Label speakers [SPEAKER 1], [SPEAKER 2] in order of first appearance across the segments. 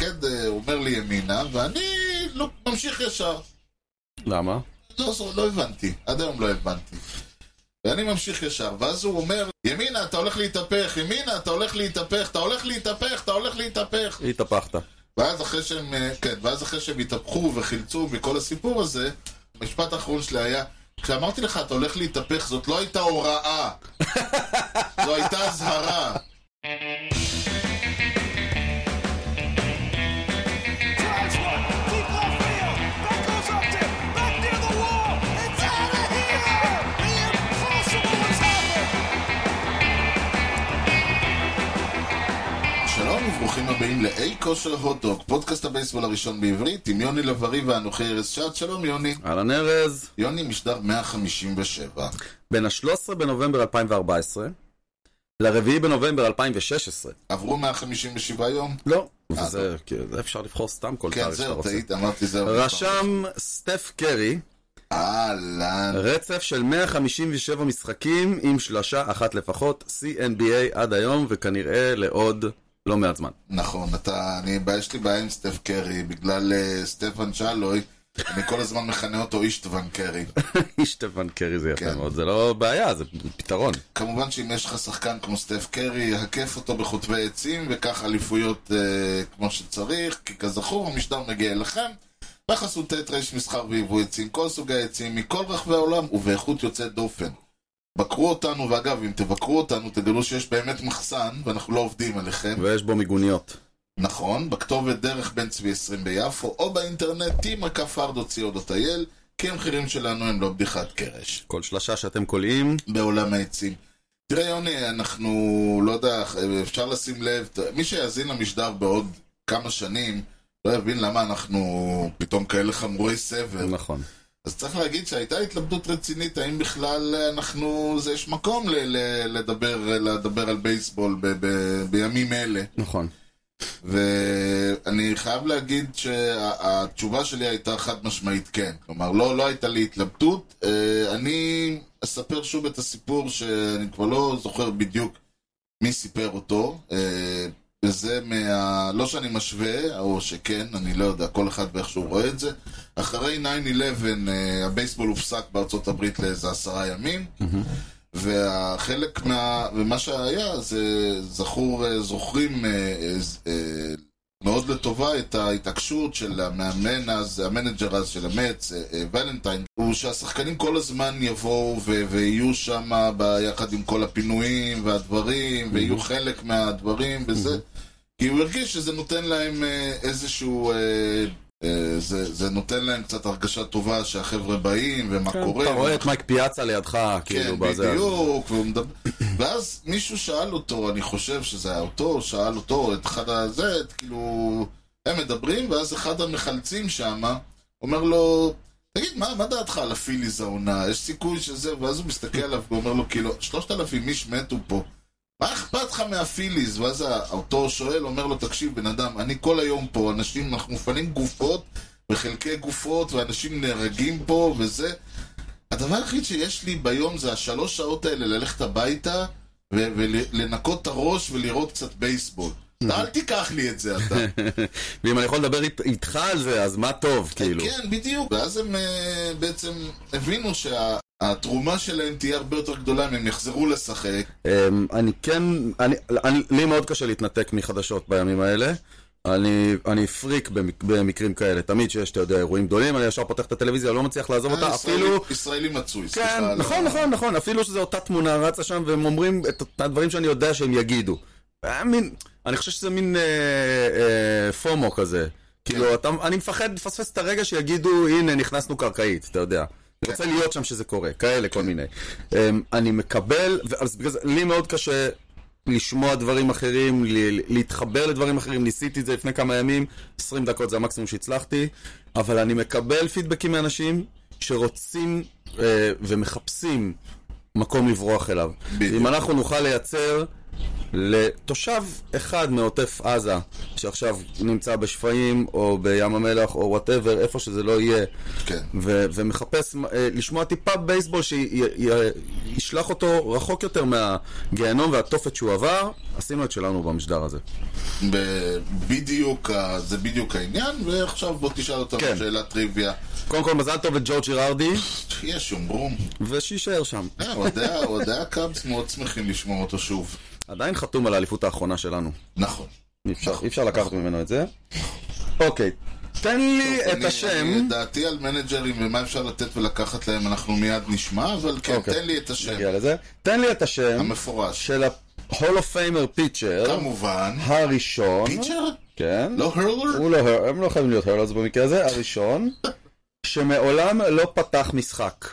[SPEAKER 1] אה, אומר לי ימינה, ואני לא- ממשיך ישר.
[SPEAKER 2] למה?
[SPEAKER 1] לא, לא הבנתי, עד היום לא הבנתי. ואני ממשיך ישר, ואז הוא אומר, ימינה, אתה הולך להתהפך, ימינה, אתה הולך להתהפך, אתה הולך להתהפך, אתה הולך להתהפך.
[SPEAKER 2] התהפכת.
[SPEAKER 1] ואז אחרי שהם, אה, כן, ואז אחרי שהם התהפכו וחילצו מכל הסיפור הזה, המשפט האחרון שלי היה, כשאמרתי לך, אתה הולך להתהפך, זאת לא הייתה הוראה. זו הייתה אזהרה.
[SPEAKER 3] Drives one. Deep left field. That goes up to back near the wall. It's out of here. The impossible has happened.
[SPEAKER 1] שלום וברוכים הבאים לאי כושר הוטדוק, פודקאסט הבייסבול הראשון בעברית, עם יוני לב-ארי ואנוכי ארז שעד, שלום יוני.
[SPEAKER 2] אהלן ארז,
[SPEAKER 1] יוני משדר 157.
[SPEAKER 2] בין ה-13 בנובמבר 2014 ל-4 בנובמבר 2016.
[SPEAKER 1] עברו 157 יום?
[SPEAKER 2] לא. וזה, כי- זה אפשר לבחור סתם כל
[SPEAKER 1] כן,
[SPEAKER 2] תאריך שאתה
[SPEAKER 1] זהו,
[SPEAKER 2] רוצה.
[SPEAKER 1] טעית, אמרתי זהו.
[SPEAKER 2] רשם סטף קרי
[SPEAKER 1] אהלן.
[SPEAKER 2] רצף של 157 משחקים עם שלשה אחת לפחות, CNBA עד היום וכנראה לעוד לא מעט זמן.
[SPEAKER 1] נכון, אתה, אני, יש לי בעיה עם סטף קרי, בגלל אה, סטפן שלוי, אני כל הזמן מכנה אותו אישטוון קרי.
[SPEAKER 2] שטפן קרי זה יפה
[SPEAKER 1] כן.
[SPEAKER 2] מאוד, זה לא בעיה, זה פתרון.
[SPEAKER 1] כמובן שאם יש לך שחקן כמו סטף קרי, הקף אותו בחוטבי עצים, וקח אליפויות אה, כמו שצריך, כי כזכור, המשדר מגיע אליכם. בחסות ט ר' מסחר ויבוא עצים, כל סוגי עצים מכל רחבי העולם ובאיכות יוצאת דופן. בקרו אותנו, ואגב, אם תבקרו אותנו, תגלו שיש באמת מחסן, ואנחנו לא עובדים עליכם.
[SPEAKER 2] ויש בו מיגוניות.
[SPEAKER 1] נכון, בכתובת דרך בן צבי 20 ביפו, או באינטרנט t.fardo.co.il, כי המחירים שלנו הם לא בדיחת קרש.
[SPEAKER 2] כל שלשה שאתם קולעים,
[SPEAKER 1] בעולם העצים. תראה יוני, אנחנו, לא יודע, אפשר לשים לב, מי שיאזין למשדר בעוד כמה שנים, לא יבין למה אנחנו פתאום כאלה חמורי סבר.
[SPEAKER 2] נכון.
[SPEAKER 1] אז צריך להגיד שהייתה התלבטות רצינית, האם בכלל אנחנו, זה יש מקום ל- ל- לדבר, לדבר על בייסבול ב- ב- בימים אלה.
[SPEAKER 2] נכון.
[SPEAKER 1] ואני חייב להגיד שהתשובה שלי הייתה חד משמעית כן. כלומר, לא, לא הייתה לי התלבטות. אה, אני אספר שוב את הסיפור שאני כבר לא זוכר בדיוק מי סיפר אותו. אה, וזה מה... לא שאני משווה, או שכן, אני לא יודע, כל אחד ואיך שהוא רואה את זה. אחרי 9-11 אה, הבייסבול הופסק בארצות הברית לאיזה עשרה ימים. והחלק מה... ומה שהיה, זה זכור, אה, זוכרים אה, אה, אה, מאוד לטובה את ההתעקשות של המאמן אז, המנג'ר אז של המץ, אה, אה, ולנטיין, הוא שהשחקנים כל הזמן יבואו ו- ויהיו שם ביחד עם כל הפינויים והדברים, ויהיו חלק מהדברים וזה, כי הוא הרגיש שזה נותן להם אה, איזשהו... אה, אה, זה, זה נותן להם קצת הרגשה טובה שהחבר'ה באים ומה קורה.
[SPEAKER 2] אתה רואה את מייק פיאצה לידך,
[SPEAKER 1] כן,
[SPEAKER 2] כאילו, בזה.
[SPEAKER 1] בדיוק, והוא מדבר... ואז מישהו שאל אותו, אני חושב שזה היה אותו, שאל אותו, את אחד הזה, את כאילו... הם מדברים, ואז אחד המחלצים שם אומר לו, תגיד, מה, מה דעתך על הפיליז העונה? יש סיכוי שזה... ואז הוא מסתכל עליו ואומר לו, כאילו, שלושת אלפים איש מתו פה. מה אכפת לך מהפיליז? ואז ה- אותו שואל, אומר לו, תקשיב, בן אדם, אני כל היום פה, אנשים, אנחנו מפנים גופות, וחלקי גופות, ואנשים נהרגים פה, וזה. הדבר היחיד שיש לי ביום זה השלוש שעות האלה ללכת הביתה ו- ולנקות את הראש ולראות קצת בייסבול. אתה אל תיקח לי את זה אתה.
[SPEAKER 2] ואם אני יכול לדבר אית- איתך על זה, אז מה טוב, כאילו.
[SPEAKER 1] כן, בדיוק. ואז הם אה, בעצם הבינו שהתרומה שלהם תהיה הרבה יותר גדולה אם הם יחזרו לשחק.
[SPEAKER 2] אמ, אני כן, אני, אני, לי מאוד קשה להתנתק מחדשות בימים האלה. אני, אני פריק במק, במקרים כאלה. תמיד שיש, אתה יודע, אירועים גדולים, אני ישר פותח את הטלוויזיה, לא מצליח לעזוב אותה,
[SPEAKER 1] אה, ישראלי-
[SPEAKER 2] אפילו...
[SPEAKER 1] ישראלי מצוי, סליחה. לא.
[SPEAKER 2] כן,
[SPEAKER 1] על ה-
[SPEAKER 2] נכון, נכון, נכון, אפילו שזו אותה תמונה רצה שם, והם אומרים את אותם הדברים שאני יודע שהם יגידו. היה מין, אני חושב שזה מין אה, אה, פומו כזה. כאילו, אתה, אני מפחד לפספס את הרגע שיגידו, הנה, נכנסנו קרקעית, אתה יודע. אני רוצה להיות שם שזה קורה, כאלה, כל מיני. אמ, אני מקבל, ו- אז בגלל זה, לי מאוד קשה לשמוע דברים אחרים, ל- להתחבר לדברים אחרים, ניסיתי את זה לפני כמה ימים, 20 דקות זה המקסימום שהצלחתי, אבל אני מקבל פידבקים מאנשים שרוצים אה, ומחפשים מקום לברוח אליו.
[SPEAKER 1] בדיוק.
[SPEAKER 2] אם אנחנו נוכל לייצר לתושב אחד מעוטף עזה, שעכשיו נמצא בשפיים, או בים המלח, או וואטאבר, איפה שזה לא יהיה,
[SPEAKER 1] כן.
[SPEAKER 2] ו- ומחפש אה, לשמוע טיפה בייסבול שישלח אותו רחוק יותר מהגיהנום והתופת שהוא עבר, עשינו את שלנו במשדר הזה.
[SPEAKER 1] ב- בדיוק, ה- זה בדיוק העניין, ועכשיו בוא תשאל אותנו
[SPEAKER 2] כן.
[SPEAKER 1] שאלת טריוויה.
[SPEAKER 2] קודם כל, מזל טוב לג'ורג' ג'ירארדי,
[SPEAKER 1] יש שומרום.
[SPEAKER 2] ושיישאר שם.
[SPEAKER 1] אה, אוהדי- אוהדי הקאבס מאוד שמחים לשמוע אותו שוב.
[SPEAKER 2] עדיין חתום על האליפות האחרונה שלנו.
[SPEAKER 1] נכון.
[SPEAKER 2] אי אפשר, אי אפשר לקחת ממנו את זה. אוקיי, תן לי את
[SPEAKER 1] אני-
[SPEAKER 2] השם.
[SPEAKER 1] אני- דעתי על מנג'רים ומה אפשר לתת ולקחת להם אנחנו מיד נשמע, אבל כן,
[SPEAKER 2] אוקיי.
[SPEAKER 1] תן לי את השם
[SPEAKER 2] נגיע לזה. תן לי את השם
[SPEAKER 1] המפורש.
[SPEAKER 2] של ה-Hall of Famer פיצ'ר
[SPEAKER 1] כמובן,
[SPEAKER 2] הראשון.
[SPEAKER 1] פיצ'ר?
[SPEAKER 2] כן.
[SPEAKER 1] לא הרלר?
[SPEAKER 2] הוא לא, הם לא חייבים להיות הרלס במקרה הזה. הראשון שמעולם לא פתח משחק.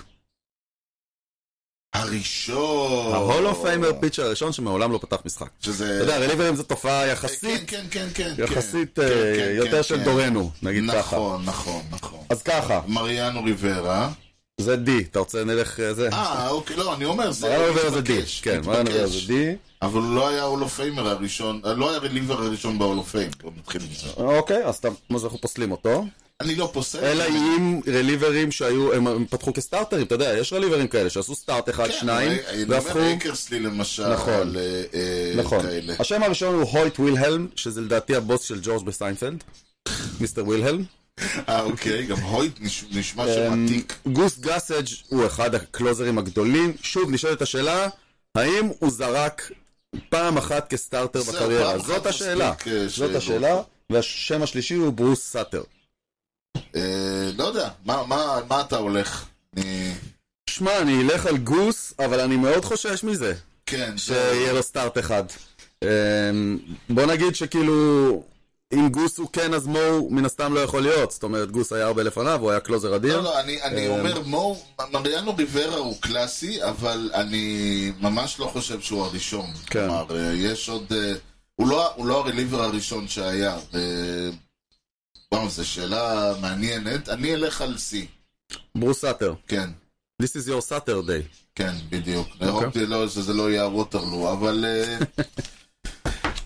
[SPEAKER 1] הראשון.
[SPEAKER 2] ה-Hall of Famer פיצ'ר הראשון שמעולם לא פתח משחק. אתה
[SPEAKER 1] שזה...
[SPEAKER 2] יודע, רליברים זו תופעה
[SPEAKER 1] כן,
[SPEAKER 2] יחסית,
[SPEAKER 1] כן, כן, כן. כן.
[SPEAKER 2] יחסית
[SPEAKER 1] כן,
[SPEAKER 2] אה,
[SPEAKER 1] כן, כן,
[SPEAKER 2] יותר של
[SPEAKER 1] כן.
[SPEAKER 2] דורנו, נגיד ככה.
[SPEAKER 1] נכון, נכון, נכון.
[SPEAKER 2] אז ככה,
[SPEAKER 1] מריאנו ריברה.
[SPEAKER 2] זה D, אתה רוצה נלך אה, זה?
[SPEAKER 1] אה, אוקיי, לא, אני אומר, זה
[SPEAKER 2] מריאנו ריבר זה
[SPEAKER 1] מתבקש,
[SPEAKER 2] D, כן, מריאנו ריבר זה
[SPEAKER 1] מתבקש.
[SPEAKER 2] D.
[SPEAKER 1] אבל הוא לא היה הולופיימר הראשון, אה, לא היה רליבר הראשון בהולופיימר, בוא נתחיל עם זה.
[SPEAKER 2] אוקיי, אז אתה- אז אנחנו פוסלים אותו.
[SPEAKER 1] אני לא פוסל.
[SPEAKER 2] אלא
[SPEAKER 1] אני-
[SPEAKER 2] אם רליברים שהיו, הם- הם פתחו כסטארטרים, אתה יודע, יש רליברים כאלה שעשו סטארט אחד,
[SPEAKER 1] כן,
[SPEAKER 2] שניים,
[SPEAKER 1] אבל אני אומר,
[SPEAKER 2] והפכו...
[SPEAKER 1] אקרסלי למשל,
[SPEAKER 2] נכון.
[SPEAKER 1] אה, אה,
[SPEAKER 2] נכון.
[SPEAKER 1] כאלה.
[SPEAKER 2] השם הראשון הוא הויט וילהלם, שזה לדעתי הבוס של ג'ורג' בסיינפלד, מיסטר וילהלם.
[SPEAKER 1] אה, אוקיי, גם הויט נש- נשמע
[SPEAKER 2] אמ,
[SPEAKER 1] שם עתיק.
[SPEAKER 2] גוס גסג' הוא אחד הקלוזרים הגדולים. שוב, נשאלת השאלה, האם הוא זרק פעם אחת כסטארטר
[SPEAKER 1] זהו,
[SPEAKER 2] בקריירה?
[SPEAKER 1] פעם אחת
[SPEAKER 2] זאת השאלה.
[SPEAKER 1] מספיק, אה,
[SPEAKER 2] זאת
[SPEAKER 1] ש-
[SPEAKER 2] השאלה. והשם השלישי הוא ברוס סאטר.
[SPEAKER 1] אה, לא יודע, מה- מה על מה אתה הולך? אני-
[SPEAKER 2] שמע, אני אלך על גוס, אבל אני מאוד חושש מזה.
[SPEAKER 1] כן, זה-
[SPEAKER 2] שיהיה לו סטארט אחד. אמ, בוא נגיד שכאילו, אם גוס הוא כן, אז מו מן הסתם לא יכול להיות. זאת אומרת, גוס היה הרבה לפניו, הוא היה קלוזר אדיר.
[SPEAKER 1] לא, לא, אני, אני
[SPEAKER 2] אמ,
[SPEAKER 1] אומר, מו, מריאנו ריברה הוא קלאסי, אבל אני ממש לא חושב שהוא הראשון.
[SPEAKER 2] כן.
[SPEAKER 1] כלומר, אה, יש עוד... אה, הוא לא, הוא לא הרליבר הראשון שהיה. ו- וואו, זו שאלה מעניינת. אני אלך על C.
[SPEAKER 2] ברוס סאטר.
[SPEAKER 1] כן,
[SPEAKER 2] This is your Saturday.
[SPEAKER 1] כן, בדיוק. הרמתי לא, שזה לא יהיה הווטרלו, אבל... אה,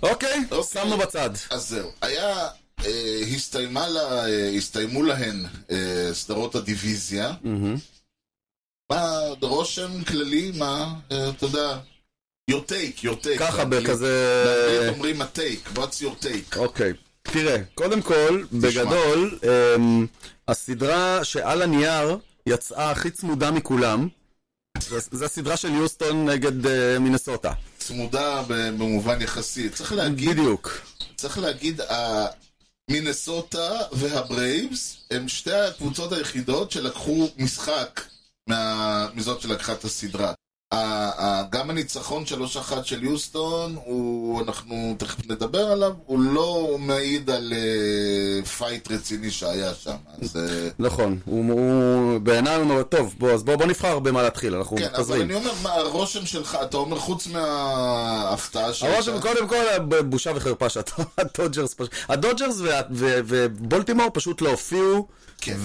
[SPEAKER 2] אוקיי,
[SPEAKER 1] אוקיי.
[SPEAKER 2] שמנו בצד.
[SPEAKER 1] אז זהו. היה... אה, הסתיימה לה, אה, הסתיימו להן אה, סדרות הדיוויזיה. מה, רושם כללי, מה, אה, אתה יודע, your take, your take.
[SPEAKER 2] ככה
[SPEAKER 1] באנגלית-
[SPEAKER 2] בכזה...
[SPEAKER 1] באנגלית אומרים הטייק, what's your take?
[SPEAKER 2] אוקיי. תראה, קודם כל, בגדול, אמ, הסדרה שעל הנייר יצאה הכי צמודה מכולם, זו- זו הסדרה של יוסטון נגד אה, מינסוטה.
[SPEAKER 1] צמודה ב- במובן יחסי. צריך להגיד,
[SPEAKER 2] בדיוק.
[SPEAKER 1] צריך להגיד, ה- מינסוטה והברייבס הם שתי הקבוצות היחידות שלקחו משחק מה- מזאת שלקחה את הסדרה. ה- ה- גם הניצחון 3-1 של יוסטון, הוא, אנחנו תכף נדבר עליו, הוא לא מעיד על אה, פייט רציני שהיה שם. אז... אה,
[SPEAKER 2] נכון, הוא, הוא בעיניי הוא אומר, טוב, בוא, אז בוא, בוא נבחר במה להתחיל, אנחנו
[SPEAKER 1] כן, אבל
[SPEAKER 2] חוזרים.
[SPEAKER 1] אני אומר, מה הרושם שלך, אתה אומר חוץ מההפתעה שלך.
[SPEAKER 2] הרושם, קודם כל, ב- בושה וחרפה שהדודג'רס, פש- הדודג'רס וה- ו- ובולטימור פשוט לא הופיעו,
[SPEAKER 1] כן.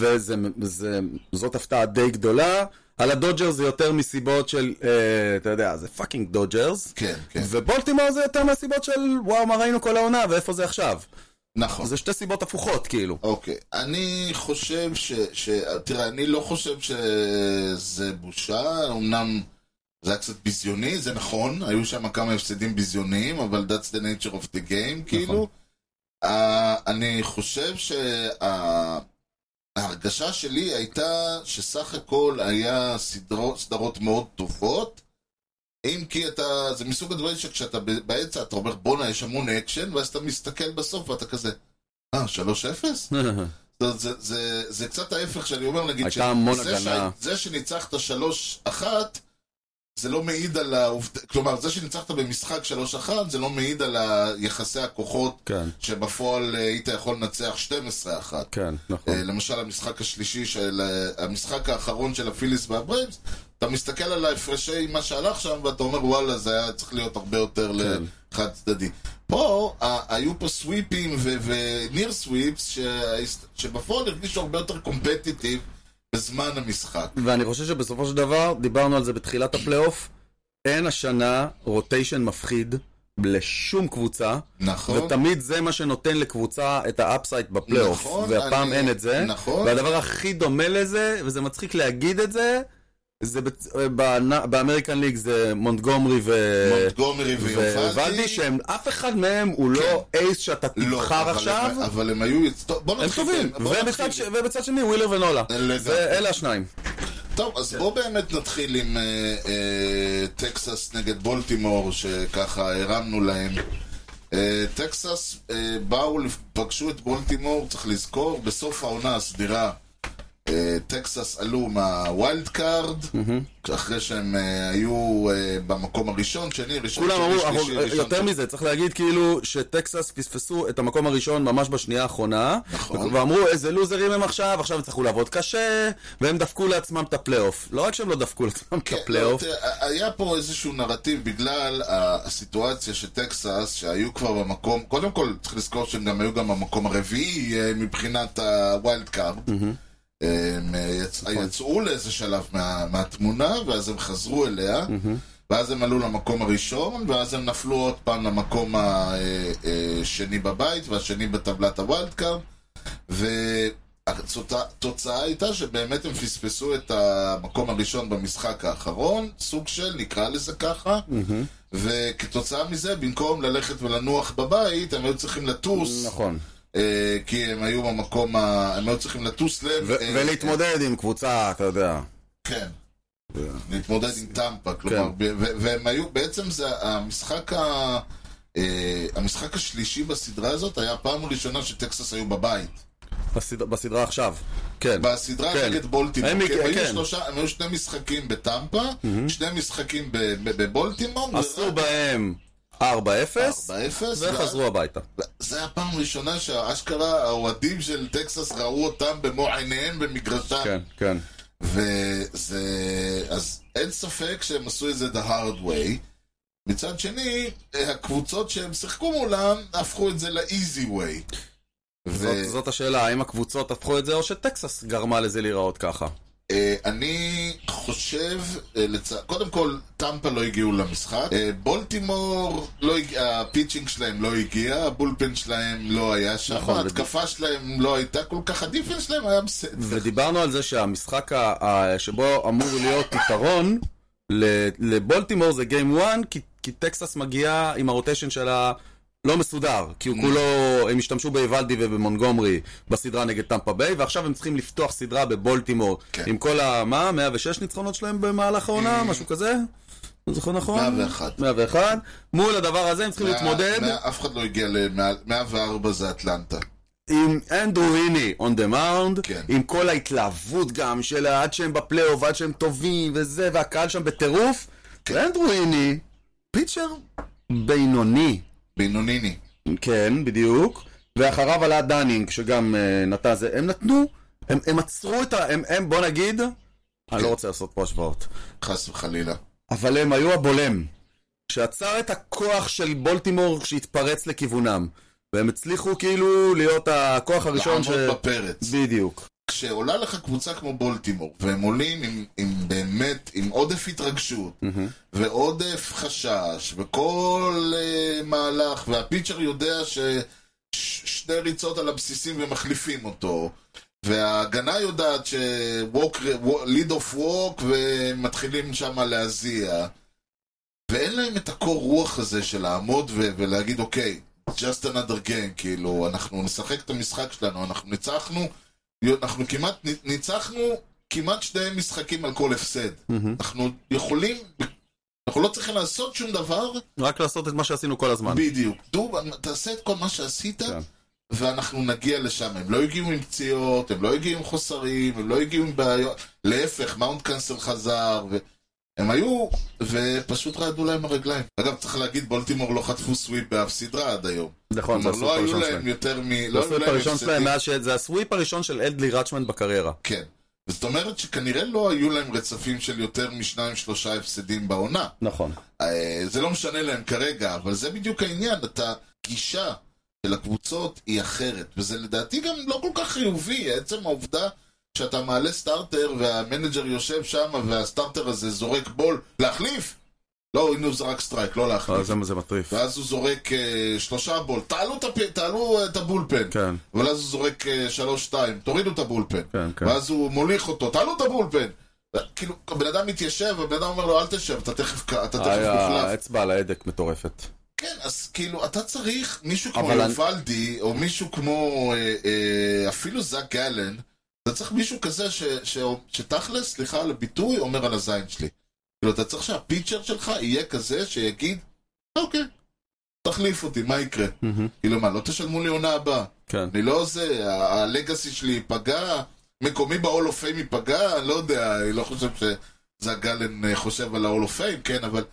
[SPEAKER 2] וזאת הפתעה די גדולה. על הדודג'רס זה יותר מסיבות של, אה, אתה יודע, זה פאקינג דודג'רס.
[SPEAKER 1] כן, כן,
[SPEAKER 2] ובולטימור זה יותר מהסיבות של, וואו, מה ראינו כל העונה, ואיפה זה עכשיו?
[SPEAKER 1] נכון.
[SPEAKER 2] זה שתי סיבות הפוכות, כאילו.
[SPEAKER 1] אוקיי, אני חושב ש... ש... תראה, אני לא חושב שזה בושה, אמנם זה היה קצת ביזיוני, זה נכון, היו שם כמה הפסדים ביזיוניים, אבל that's the nature of the game, כאילו. Uh, אני חושב שההרגשה שלי הייתה שסך הכל היה סדרות, סדרות מאוד טובות. אם כי אתה, זה מסוג הדברים שכשאתה ב- באמצע אתה אומר בואנה יש המון אקשן ואז אתה מסתכל בסוף ואתה כזה אה, 3-0? זאת אומרת, זה, זה, זה קצת ההפך שאני אומר, נגיד,
[SPEAKER 2] הייתה המון
[SPEAKER 1] זה
[SPEAKER 2] הגנה.
[SPEAKER 1] זה שניצחת 3-1, זה לא מעיד על העובדה, כלומר, זה שניצחת במשחק 3-1, זה לא מעיד על יחסי הכוחות
[SPEAKER 2] כן,
[SPEAKER 1] שבפועל אה, היית יכול לנצח 12-1.
[SPEAKER 2] כן, נכון.
[SPEAKER 1] אה, למשל, המשחק השלישי, של, אה, המשחק האחרון של הפיליס והברייבס, אתה מסתכל על ההפרשי מה שהלך שם, ואתה אומר, וואלה, זה היה צריך להיות הרבה יותר
[SPEAKER 2] כן.
[SPEAKER 1] לחד צדדי. פה, ה- היו פה סוויפים וניר סוויפס, שבפועל הרגישו הרבה יותר קומפטיטיב בזמן המשחק.
[SPEAKER 2] ואני חושב שבסופו של דבר, דיברנו על זה בתחילת הפלייאוף, אין השנה רוטיישן מפחיד לשום קבוצה,
[SPEAKER 1] נכון.
[SPEAKER 2] ותמיד זה מה שנותן לקבוצה את האפסייט בפלייאוף,
[SPEAKER 1] נכון,
[SPEAKER 2] והפעם
[SPEAKER 1] אני-
[SPEAKER 2] אין את זה.
[SPEAKER 1] נכון.
[SPEAKER 2] והדבר הכי דומה לזה, וזה מצחיק להגיד את זה, זה בצ- בנ- באמריקן ליג זה מונטגומרי ו...
[SPEAKER 1] מונטגומרי
[SPEAKER 2] וולדי,
[SPEAKER 1] ויובלדי.
[SPEAKER 2] שהם, אף אחד מהם הוא לא אייס שאתה
[SPEAKER 1] לא,
[SPEAKER 2] תבחר
[SPEAKER 1] אבל
[SPEAKER 2] עכשיו,
[SPEAKER 1] הם- אבל הם היו... יצ- טוב, בוא
[SPEAKER 2] הם
[SPEAKER 1] נתחיל.
[SPEAKER 2] טובים.
[SPEAKER 1] בוא נתחיל.
[SPEAKER 2] ובצד ש- ובצד שני ווילר ונולה.
[SPEAKER 1] לדעתי.
[SPEAKER 2] זה- אלה השניים.
[SPEAKER 1] טוב, אז בוא באמת נתחיל עם אה, אה, טקסס נגד בולטימור, שככה הרמנו להם. אה, טקסס אה, באו, לפ- פגשו את בולטימור, צריך לזכור, בסוף העונה הסדירה. אה, טקסס עלו מהווילד קארד, אחרי שהם אה, היו אה, במקום הראשון, שני, ראשון,
[SPEAKER 2] כולם אמרו,
[SPEAKER 1] שני, שלישי,
[SPEAKER 2] אנחנו-
[SPEAKER 1] ראשון,
[SPEAKER 2] יותר מזה, צריך להגיד כאילו שטקסס פספסו את המקום הראשון ממש בשנייה האחרונה.
[SPEAKER 1] נכון.
[SPEAKER 2] ואמרו, איזה לוזרים הם עכשיו, עכשיו הם יצטרכו לעבוד קשה, והם דפקו לעצמם את הפלייאוף. לא רק שהם לא דפקו לעצמם את
[SPEAKER 1] כן,
[SPEAKER 2] הפלייאוף,
[SPEAKER 1] לא, תראה, היה פה איזשהו נרטיב בגלל ה- הסיטואציה של טקסס, שהיו כבר במקום, קודם כל צריך לזכור שהם גם היו גם במקום הרביעי אה, מבחינת הווילד קארד. הם אה, יצ- יצאו לאיזה שלב מה- מהתמונה, ואז הם חזרו אליה, ואז הם עלו למקום הראשון, ואז הם נפלו עוד פעם למקום השני בבית, והשני בטבלת הווילד קארד, והתוצאה הייתה שבאמת הם פספסו את המקום הראשון במשחק האחרון, סוג של, נקרא לזה ככה, וכתוצאה מזה, במקום ללכת ולנוח בבית, הם היו צריכים לטוס.
[SPEAKER 2] נכון.
[SPEAKER 1] אה, כי הם היו במקום, ה... הם היו צריכים לטוס לב.
[SPEAKER 2] ו-
[SPEAKER 1] אה,
[SPEAKER 2] ולהתמודד עם קבוצה, אתה יודע.
[SPEAKER 1] כן. להתמודד עם טמפה,
[SPEAKER 2] כן.
[SPEAKER 1] כלומר, ב- ו- והם היו, בעצם זה המשחק ה... אה, המשחק השלישי בסדרה הזאת היה הפעם הראשונה שטקסס היו בבית.
[SPEAKER 2] בסד- בסדרה עכשיו. כן.
[SPEAKER 1] בסדרה
[SPEAKER 2] כן.
[SPEAKER 1] נגד בולטימור.
[SPEAKER 2] הם
[SPEAKER 1] כי הם
[SPEAKER 2] הגיע-
[SPEAKER 1] היו
[SPEAKER 2] כן.
[SPEAKER 1] שלושה, הם היו שני משחקים בטמפה, שני משחקים ב- ב- בבולטימור.
[SPEAKER 2] עשו
[SPEAKER 1] ורק
[SPEAKER 2] בהם 4-0,
[SPEAKER 1] 4-0.
[SPEAKER 2] וחזרו הביתה.
[SPEAKER 1] זה הפעם הראשונה שאשכרה האוהדים של טקסס ראו אותם במו עיניהם במגרשם.
[SPEAKER 2] כן, כן.
[SPEAKER 1] וזה... אז אין ספק שהם עשו את זה the hard way. מצד שני, הקבוצות שהם שיחקו מולם, הפכו את זה ל-easy way.
[SPEAKER 2] זאת- זאת השאלה, האם הקבוצות הפכו את זה, או שטקסס גרמה לזה להיראות ככה.
[SPEAKER 1] ואני אה, חושב, אה, לצ... קודם כל, טמפה לא הגיעו למשחק. אה, בולטימור, לא הג... הפיצ'ינג שלהם לא הגיע, הבולפן שלהם לא היה שם,
[SPEAKER 2] נכון,
[SPEAKER 1] ההתקפה שלהם לא הייתה כל כך, הדיפן שלהם היה בסדר.
[SPEAKER 2] ודיברנו על זה שהמשחק ה- ה- שבו אמור להיות יתרון ל- לבולטימור זה גיים 1, כי, כי טקסס מגיעה עם הרוטיישן שלה לא מסודר, כי הוא כולו, הם השתמשו ביוולדי ובמונגומרי בסדרה נגד טמפה ביי, ועכשיו הם צריכים לפתוח סדרה בבולטימור,
[SPEAKER 1] כן.
[SPEAKER 2] עם כל ה... מה? 106 ניצחונות שלהם במהלך העונה? משהו כזה? לא זוכר נכון?
[SPEAKER 1] 101.
[SPEAKER 2] 101. מול הדבר הזה הם צריכים להתמודד.
[SPEAKER 1] מה- מה- אף אחד לא הגיע למעל 104 זה אטלנטה.
[SPEAKER 2] עם אנדרו איני on the mound,
[SPEAKER 1] כן.
[SPEAKER 2] עם כל ההתלהבות גם של עד שהם בפלייאוף, עד שהם טובים וזה, והקהל שם בטירוף,
[SPEAKER 1] כן.
[SPEAKER 2] ואנדרו איני, פיצ'ר בינוני,
[SPEAKER 1] בינוניני.
[SPEAKER 2] כן, בדיוק, ואחריו עלה דנינג, שגם אה, נתן זה, הם נתנו, הם, הם עצרו את ה... הם, הם בוא נגיד, אני לא רוצה לעשות פה השוואות,
[SPEAKER 1] חס וחלילה.
[SPEAKER 2] אבל הם היו הבולם, שעצר את הכוח של בולטימור שהתפרץ לכיוונם, והם הצליחו כאילו להיות הכוח הראשון ש...
[SPEAKER 1] לעמוד בפרץ.
[SPEAKER 2] בדיוק.
[SPEAKER 1] כשעולה לך קבוצה כמו בולטימור, והם עולים עם, עם באמת, עם עודף התרגשות, ועודף חשש, וכל uh, מהלך, והפיצ'ר יודע ששתי ריצות על הבסיסים ומחליפים אותו, וההגנה יודעת ש-lead of walk, ומתחילים שם להזיע, ואין להם את הקור רוח הזה של לעמוד ו- ולהגיד, אוקיי, just another game, כאילו, אנחנו נשחק את המשחק שלנו, אנחנו ניצחנו, אנחנו כמעט ניצחנו כמעט שני משחקים על כל הפסד. אנחנו יכולים, אנחנו לא צריכים לעשות שום דבר,
[SPEAKER 2] רק לעשות את מה שעשינו כל הזמן.
[SPEAKER 1] בדיוק. דו, תעשה את כל מה שעשית,
[SPEAKER 2] כן.
[SPEAKER 1] ואנחנו נגיע לשם. הם לא הגיעו עם פציעות, הם לא הגיעו עם חוסרים, הם לא הגיעו עם בעיות. להפך, מאונט קאנסל חזר, ו... הם היו, ופשוט רעדו להם הרגליים. אגב, צריך להגיד, בולטימור לא חטפו סוויפ באף סדרה עד היום.
[SPEAKER 2] נכון, זה
[SPEAKER 1] כלומר,
[SPEAKER 2] הסוויפ
[SPEAKER 1] לא היו
[SPEAKER 2] הראשון
[SPEAKER 1] להם
[SPEAKER 2] שלהם.
[SPEAKER 1] יותר מ...
[SPEAKER 2] זה
[SPEAKER 1] לא היו
[SPEAKER 2] הסוויפ
[SPEAKER 1] להם
[SPEAKER 2] הראשון שלהם אה?
[SPEAKER 1] הפסדים
[SPEAKER 2] מאז ש... זה הסוויפ הראשון של אדלי רצ'מן בקריירה.
[SPEAKER 1] כן. זאת אומרת שכנראה לא היו להם רצפים של יותר משניים שלושה הפסדים בעונה.
[SPEAKER 2] נכון.
[SPEAKER 1] אה, זה לא משנה להם כרגע, אבל זה בדיוק העניין, אתה, גישה של הקבוצות היא אחרת, וזה לדעתי גם לא כל כך חיובי, עצם העובדה שאתה מעלה סטארטר והמנג'ר יושב שם והסטארטר הזה זורק בול, להחליף! לא, הנה הוא זרק סטרייק, לא
[SPEAKER 2] אה,
[SPEAKER 1] להחליף.
[SPEAKER 2] זה- זה מטריף.
[SPEAKER 1] ואז הוא זורק אה, שלושה בול, תעלו את הפ- תעלו אה, את הבולפן.
[SPEAKER 2] כן.
[SPEAKER 1] אבל אז הוא זורק אה, שלוש-שתיים, תורידו את הבולפן.
[SPEAKER 2] כן, כן.
[SPEAKER 1] ואז הוא מוליך אותו, תעלו את הבולפן. כאילו, הבן אדם מתיישב, הבן אדם אומר לו, אל תשב, אתה תכף ק- אתה תכף
[SPEAKER 2] היה
[SPEAKER 1] מוחלף.
[SPEAKER 2] אצבע על ההדק מטורפת.
[SPEAKER 1] כן, אז כאילו, אתה צריך מישהו כמו
[SPEAKER 2] אבל אני-
[SPEAKER 1] יובלדי, או מישהו כמו אה, אה, אפילו זאק גלן, אתה צריך מישהו כזה ש- ש- שתכלס, סליחה על הביטוי, אומר על הזין שלי. כאילו, אתה צריך שהפיצ'ר שלך יהיה כזה שיגיד, אוקיי, תחליף אותי, מה יקרה? כאילו, מה, לא תשלמו לי עונה הבאה?
[SPEAKER 2] כן.
[SPEAKER 1] אני לא זה, ה- הלגאסי שלי ייפגע, מקומי ב-all of fame ייפגע, אני לא יודע, אני לא חושב שזאק גלן אה, חושב על ה-all of fame, כן, אבל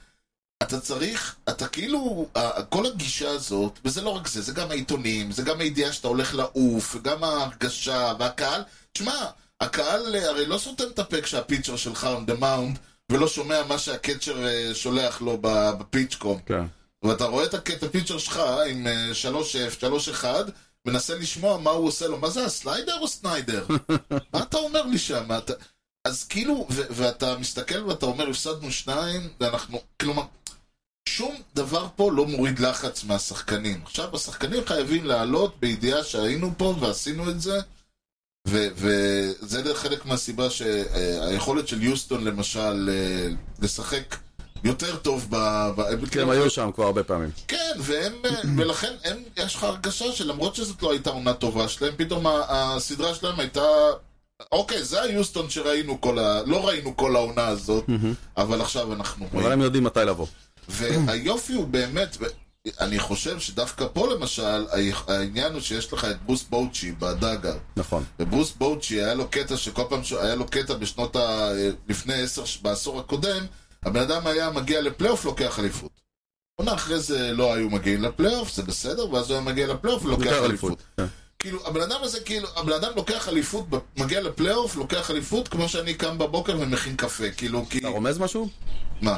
[SPEAKER 1] אתה צריך, אתה כאילו, ה- כל הגישה הזאת, וזה לא רק זה, זה גם העיתונים, זה גם הידיעה שאתה הולך לעוף, וגם ההרגשה, והקהל, תשמע, הקהל אה, הרי לא סותם את הפה כשהפיצ'ר שלך on the mound, ולא שומע מה שהקצ'ר אה, שולח לו ב- בפיצ'קום.
[SPEAKER 2] כן.
[SPEAKER 1] ואתה רואה את הק- את הפיצ'ר שלך עם אה, 3-0, 3-1, מנסה לשמוע מה הוא עושה לו. מה זה, הסליידר או סניידר? מה אתה אומר לי שם? אתה... אז כאילו, ו- ואתה מסתכל ואתה אומר, הפסדנו שניים, ואנחנו, כלומר, שום דבר פה לא מוריד לחץ מהשחקנים. עכשיו, השחקנים חייבים לעלות בידיעה שהיינו פה ועשינו את זה, ו- וזה דרך חלק מהסיבה שהיכולת של יוסטון, למשל, אה, לשחק יותר טוב ב... ב-
[SPEAKER 2] כי הם כן, היו שם כבר הרבה פעמים.
[SPEAKER 1] כן, והם, ולכן הם, יש לך הרגשה שלמרות שזאת לא הייתה עונה טובה שלהם, פתאום ה- הסדרה שלהם הייתה... אוקיי, זה היוסטון שראינו כל ה... לא ראינו כל העונה הזאת,
[SPEAKER 2] Mm-hmm.
[SPEAKER 1] אבל עכשיו אנחנו
[SPEAKER 2] אבל
[SPEAKER 1] רואים.
[SPEAKER 2] הם יודעים מתי לבוא.
[SPEAKER 1] והיופי הוא באמת, ו- אני חושב שדווקא פה למשל, ה- העניין הוא שיש לך את ברוס בוצ'י בדאגר.
[SPEAKER 2] נכון.
[SPEAKER 1] וברוס בוצ'י היה לו קטע שכל פעם ש- היה לו קטע בשנות ה... לפני עשר, בעשור הקודם, הבן אדם היה מגיע לפלייאוף, לוקח אליפות. עונה אחרי זה לא היו מגיעים לפלייאוף, זה בסדר, ואז הוא היה מגיע לפלייאוף ולוקח
[SPEAKER 2] יותר
[SPEAKER 1] אליפות.
[SPEAKER 2] אליפות. כן.
[SPEAKER 1] כאילו, הבן אדם הזה, כאילו, הבן אדם לוקח אליפות, ב- מגיע לפלייאוף, לוקח אליפות, כמו שאני קם בבוקר ומכין קפה, כאילו, כי...
[SPEAKER 2] אתה רומז משהו?
[SPEAKER 1] מה?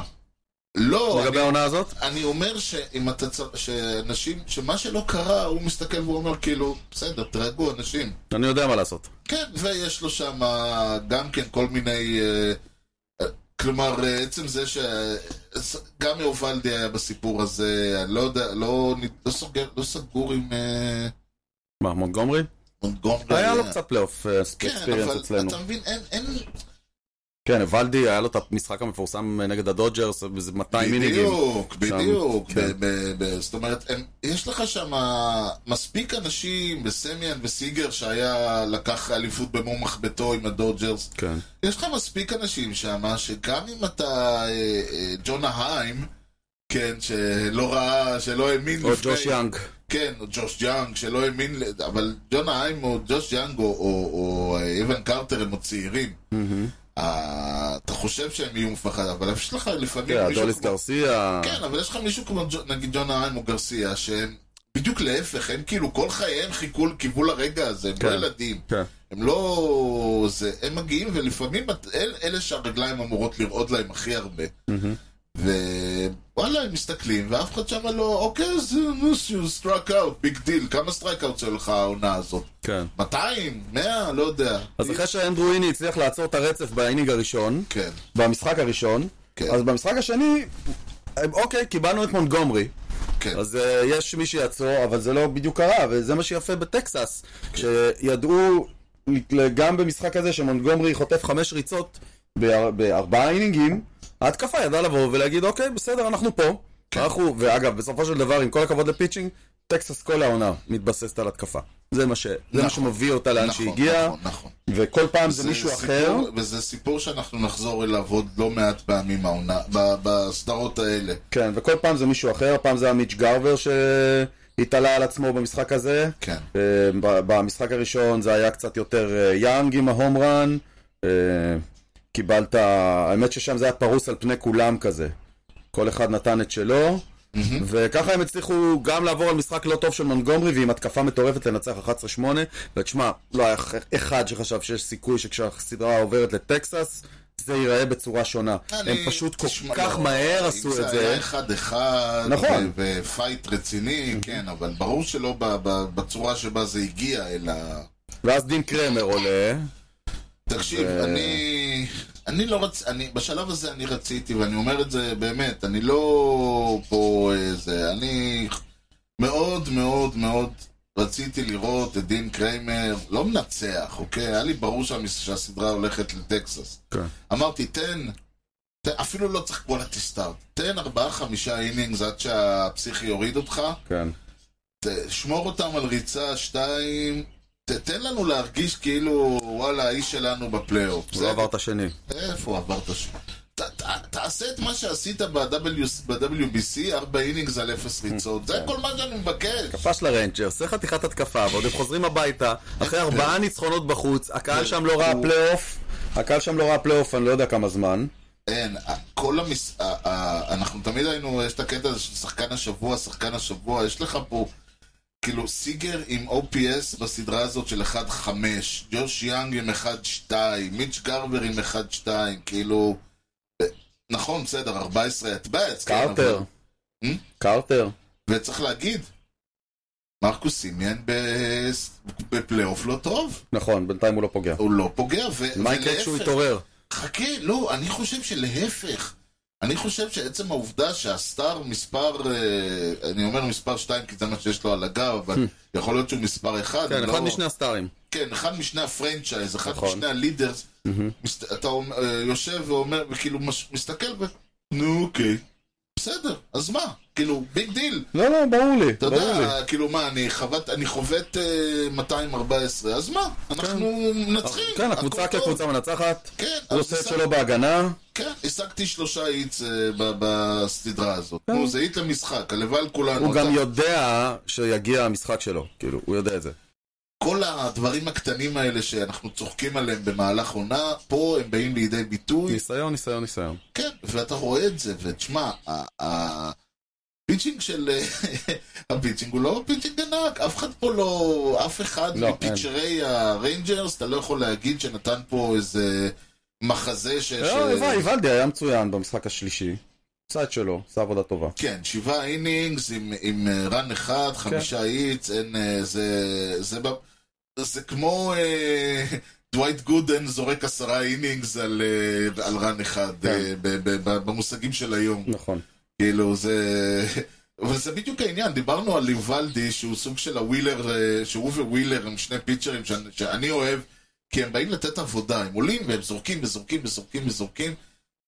[SPEAKER 1] לא,
[SPEAKER 2] נכון. לגבי העונה הזאת?
[SPEAKER 1] אני אומר שאם אתה צריך, שאנשים, שמה שלא קרה, הוא מסתכל והוא אומר, כאילו, בסדר, תרגעו, אנשים.
[SPEAKER 2] אני יודע מה לעשות.
[SPEAKER 1] כן, ויש לו שם גם כן כל מיני... אה, אה, כלומר, אה, עצם זה ש... גם יובלדי היה בסיפור הזה, אני לא יודע, לא, לא, סוגר, לא סגור עם אה,
[SPEAKER 2] מה, מונטגומרי?
[SPEAKER 1] מונטגומרי.
[SPEAKER 2] היה לו קצת פלייאוף אה,
[SPEAKER 1] כן,
[SPEAKER 2] אקספיריאנס
[SPEAKER 1] אבל
[SPEAKER 2] אצלנו.
[SPEAKER 1] אתה מבין, אין... אין...
[SPEAKER 2] כן, ולדי, היה לו את המשחק המפורסם נגד הדודג'רס, זה 200 מיניגים.
[SPEAKER 1] בדיוק, בדיוק.
[SPEAKER 2] כן.
[SPEAKER 1] ב- ב- ב- זאת אומרת, הם, יש לך שם אה, מספיק אנשים בסמיאן וסיגר שהיה, לקח אליפות במו מחבטו עם הדודג'רס.
[SPEAKER 2] כן.
[SPEAKER 1] יש לך מספיק אנשים שם, שגם אם אתה אה, אה, ג'ונה היים, כן, שלא ראה, שלא האמין
[SPEAKER 2] או ג'וש יאנג.
[SPEAKER 1] כן, או ג'וש יאנג, שלא האמין, ל- אבל ג'ונה היים או ג'וש יאנג או, או, או אה, איוון קרטר הם עוד צעירים. אה, אתה חושב שהם יהיו מפחדים, אבל יש לך לפעמים
[SPEAKER 2] כן,
[SPEAKER 1] מישהו
[SPEAKER 2] דוליס
[SPEAKER 1] כמו...
[SPEAKER 2] גרסיה.
[SPEAKER 1] כן, אבל יש לך מישהו כמו ג'- נגיד ג'ונה היים או גרסיה, שהם בדיוק להפך, הם כאילו כל חייהם חיכו, קיוו לרגע הזה, הם לא
[SPEAKER 2] כן.
[SPEAKER 1] ילדים.
[SPEAKER 2] כן.
[SPEAKER 1] הם לא... זה, הם מגיעים, ולפעמים את- אל, אלה שהרגליים אמורות לרעוד להם הכי הרבה. ווואלה, הם מסתכלים, ואף אחד שם לא, אוקיי, אז נו, you struck out, big deal, כמה strike out שלך העונה הזאת?
[SPEAKER 2] כן.
[SPEAKER 1] 200? 100? לא יודע.
[SPEAKER 2] אז אחרי שאנדרו איני הצליח לעצור את הרצף באינינג הראשון,
[SPEAKER 1] כן.
[SPEAKER 2] במשחק הראשון,
[SPEAKER 1] כן.
[SPEAKER 2] אז במשחק השני, אוקיי, קיבלנו את מונטגומרי.
[SPEAKER 1] כן.
[SPEAKER 2] אז אה, יש מי שיעצור, אבל זה לא בדיוק קרה, וזה מה שיפה בטקסס. כשידעו גם במשחק הזה שמונטגומרי חוטף חמש ריצות באר- בארבעה אינינגים, ההתקפה ידעה לבוא ולהגיד, אוקיי, בסדר, אנחנו פה.
[SPEAKER 1] כן.
[SPEAKER 2] אנחנו, ואגב, בסופו של דבר, עם כל הכבוד לפיצ'ינג, טקסס כל העונה מתבססת על התקפה. זה מה, ש... זה מה
[SPEAKER 1] נכון.
[SPEAKER 2] שמביא אותה לאן
[SPEAKER 1] נכון,
[SPEAKER 2] שהיא הגיעה,
[SPEAKER 1] נכון, נכון.
[SPEAKER 2] וכל פעם זה,
[SPEAKER 1] זה
[SPEAKER 2] מישהו
[SPEAKER 1] סיפור-
[SPEAKER 2] אחר.
[SPEAKER 1] וזה סיפור שאנחנו נחזור אליו עוד לא מעט פעמים העונה, ב- בסדרות האלה.
[SPEAKER 2] כן, וכל פעם זה מישהו אחר, פעם זה היה מיץ' גרבר שהתעלה על עצמו במשחק הזה.
[SPEAKER 1] כן.
[SPEAKER 2] אה, ב- במשחק הראשון זה היה קצת יותר אה, יאנג עם ההום רן. אה, קיבלת, האמת ששם זה היה פרוס על פני כולם כזה. כל אחד נתן את שלו. וככה הם הצליחו גם לעבור על משחק לא טוב של מונגומרי ועם התקפה מטורפת לנצח 11-8 ותשמע, לא היה אח- אחד שחשב שיש סיכוי שכשהסדרה עוברת לטקסס זה ייראה בצורה שונה. הם
[SPEAKER 1] אני-
[SPEAKER 2] פשוט כל
[SPEAKER 1] תשמע,
[SPEAKER 2] כך
[SPEAKER 1] לא,
[SPEAKER 2] מהר עשו
[SPEAKER 1] אם
[SPEAKER 2] את
[SPEAKER 1] זה היה
[SPEAKER 2] זה.
[SPEAKER 1] אחד אחד,
[SPEAKER 2] נכון.
[SPEAKER 1] ופייט רציני, כן, אבל ברור שלא ב- ב- בצורה שבה זה הגיע, אלא...
[SPEAKER 2] ואז דין קרמר עולה.
[SPEAKER 1] תקשיב, אני... אני לא רצ... אני, בשלב הזה אני רציתי, ואני אומר את זה באמת, אני לא פה איזה... אני מאוד מאוד מאוד רציתי לראות את דין קריימר, לא מנצח, אוקיי? היה לי ברור שהמס... שהסדרה הולכת לטקסס.
[SPEAKER 2] כן.
[SPEAKER 1] אמרתי, תן, תן אפילו לא צריך quality start, תן ארבעה חמישה אינינגס עד שהפסיכי יוריד אותך,
[SPEAKER 2] כן.
[SPEAKER 1] ת- שמור אותם על ריצה שתיים, ת- תן לנו להרגיש כאילו, וואלה, האיש שלנו בפלייאוף.
[SPEAKER 2] הוא
[SPEAKER 1] בסדר?
[SPEAKER 2] לא עבר את השני.
[SPEAKER 1] איפה עברת שם? ת- ת- תעשה את מה שעשית ב-W- ב-WBC, 4 אינינגס על 0 ריצות,
[SPEAKER 2] כן.
[SPEAKER 1] זה כל מה שאני מבקש.
[SPEAKER 2] פש לרנצ'ר, עושה חתיכת התקפה, ועוד הם חוזרים הביתה, אחרי ארבעה ניצחונות בחוץ, הקהל שם לא ראה פלייאוף, הקהל שם לא ראה פלייאוף, אני לא יודע כמה זמן.
[SPEAKER 1] אין, ה- כל המס... ה- ה- אנחנו תמיד היינו, יש את הקטע הזה של שחקן השבוע, שחקן השבוע, יש לך פה כאילו סיגר עם OPS בסדרה הזאת של 1-5, ג'וש יאנג עם 1-2, מיץ' גרבר עם 1-2, כאילו... אה, נכון, בסדר, 14 אטבעץ,
[SPEAKER 2] קרטר. קרטר.
[SPEAKER 1] כן, וצריך להגיד, מרקוס סימיאן בס- בפלייאוף לא טוב,
[SPEAKER 2] נכון, בינתיים הוא לא פוגע.
[SPEAKER 1] הוא לא פוגע, ו...
[SPEAKER 2] מה יקרה כשהוא יתעורר?
[SPEAKER 1] חכה, לא, אני חושב שלהפך. אני חושב שעצם העובדה שהסטאר מספר, אה, אני אומר מספר 2 כי זה מה שיש לו על הגב, אבל יכול להיות שהוא מספר 1.
[SPEAKER 2] Hmm. כן, אחד משני הסטארים.
[SPEAKER 1] כן, אחד משני הפרנצ'ייז, אחד
[SPEAKER 2] נכון.
[SPEAKER 1] משני הלידרס. מסת... אתה אומר- אה, יושב ואומר, וכאילו מש... מסתכל ו... נו, אוקיי. בסדר, אז מה? כאילו, ביג דיל.
[SPEAKER 2] לא, לא, ברור לי,
[SPEAKER 1] אתה
[SPEAKER 2] ברור לי.
[SPEAKER 1] יודע, כאילו מה, אני חוות, אני חובט אה, 214, אז מה? אנחנו מנצחים.
[SPEAKER 2] כן,
[SPEAKER 1] הכל
[SPEAKER 2] הקבוצה
[SPEAKER 1] טוב.
[SPEAKER 2] כקבוצה מנצחת,
[SPEAKER 1] כן, אז
[SPEAKER 2] הוא עושה את
[SPEAKER 1] השג-
[SPEAKER 2] שלו בהגנה,
[SPEAKER 1] כן, השגתי שלושה איץ אה, ב- בסדרה הזאת. נו, זה איט למשחק, הלוואי על כולנו.
[SPEAKER 2] כן. הוא
[SPEAKER 1] אתה-
[SPEAKER 2] גם יודע שיגיע המשחק שלו, כאילו, הוא יודע את זה.
[SPEAKER 1] כל הדברים הקטנים האלה שאנחנו צוחקים עליהם במהלך עונה, פה הם באים לידי ביטוי.
[SPEAKER 2] ניסיון, ניסיון, ניסיון.
[SPEAKER 1] כן, ואתה רואה את זה, ותשמע, ה- ה- הפיצ'ינג של... הפיצ'ינג הוא לא פיצ'ינג ענק, אף אחד פה לא... אף אחד
[SPEAKER 2] לא,
[SPEAKER 1] מפיצ'רי הריינג'רס, אתה לא יכול להגיד שנתן פה איזה מחזה ש... ש-
[SPEAKER 2] לא, איוולדי היה מצוין במשחק השלישי. עשה את שלו, עשה עבודה טובה.
[SPEAKER 1] כן, שבעה אינינגס עם, עם אה, רן אחד, חמישה איץ, אין... אה, זה... זה, ב... זה כמו אה, דווייט גודן זורק עשרה אינינגס על, אה, על רן אחד,
[SPEAKER 2] כן.
[SPEAKER 1] אה, ב, ב, ב, במושגים של היום.
[SPEAKER 2] נכון.
[SPEAKER 1] כאילו, זה... אבל זה בדיוק העניין, דיברנו על ליבלדי, שהוא סוג של הווילר, אה, שהוא וווילר הם שני פיצ'רים שאני, שאני אוהב, כי הם באים לתת עבודה, הם עולים והם זורקים וזורקים וזורקים וזורקים,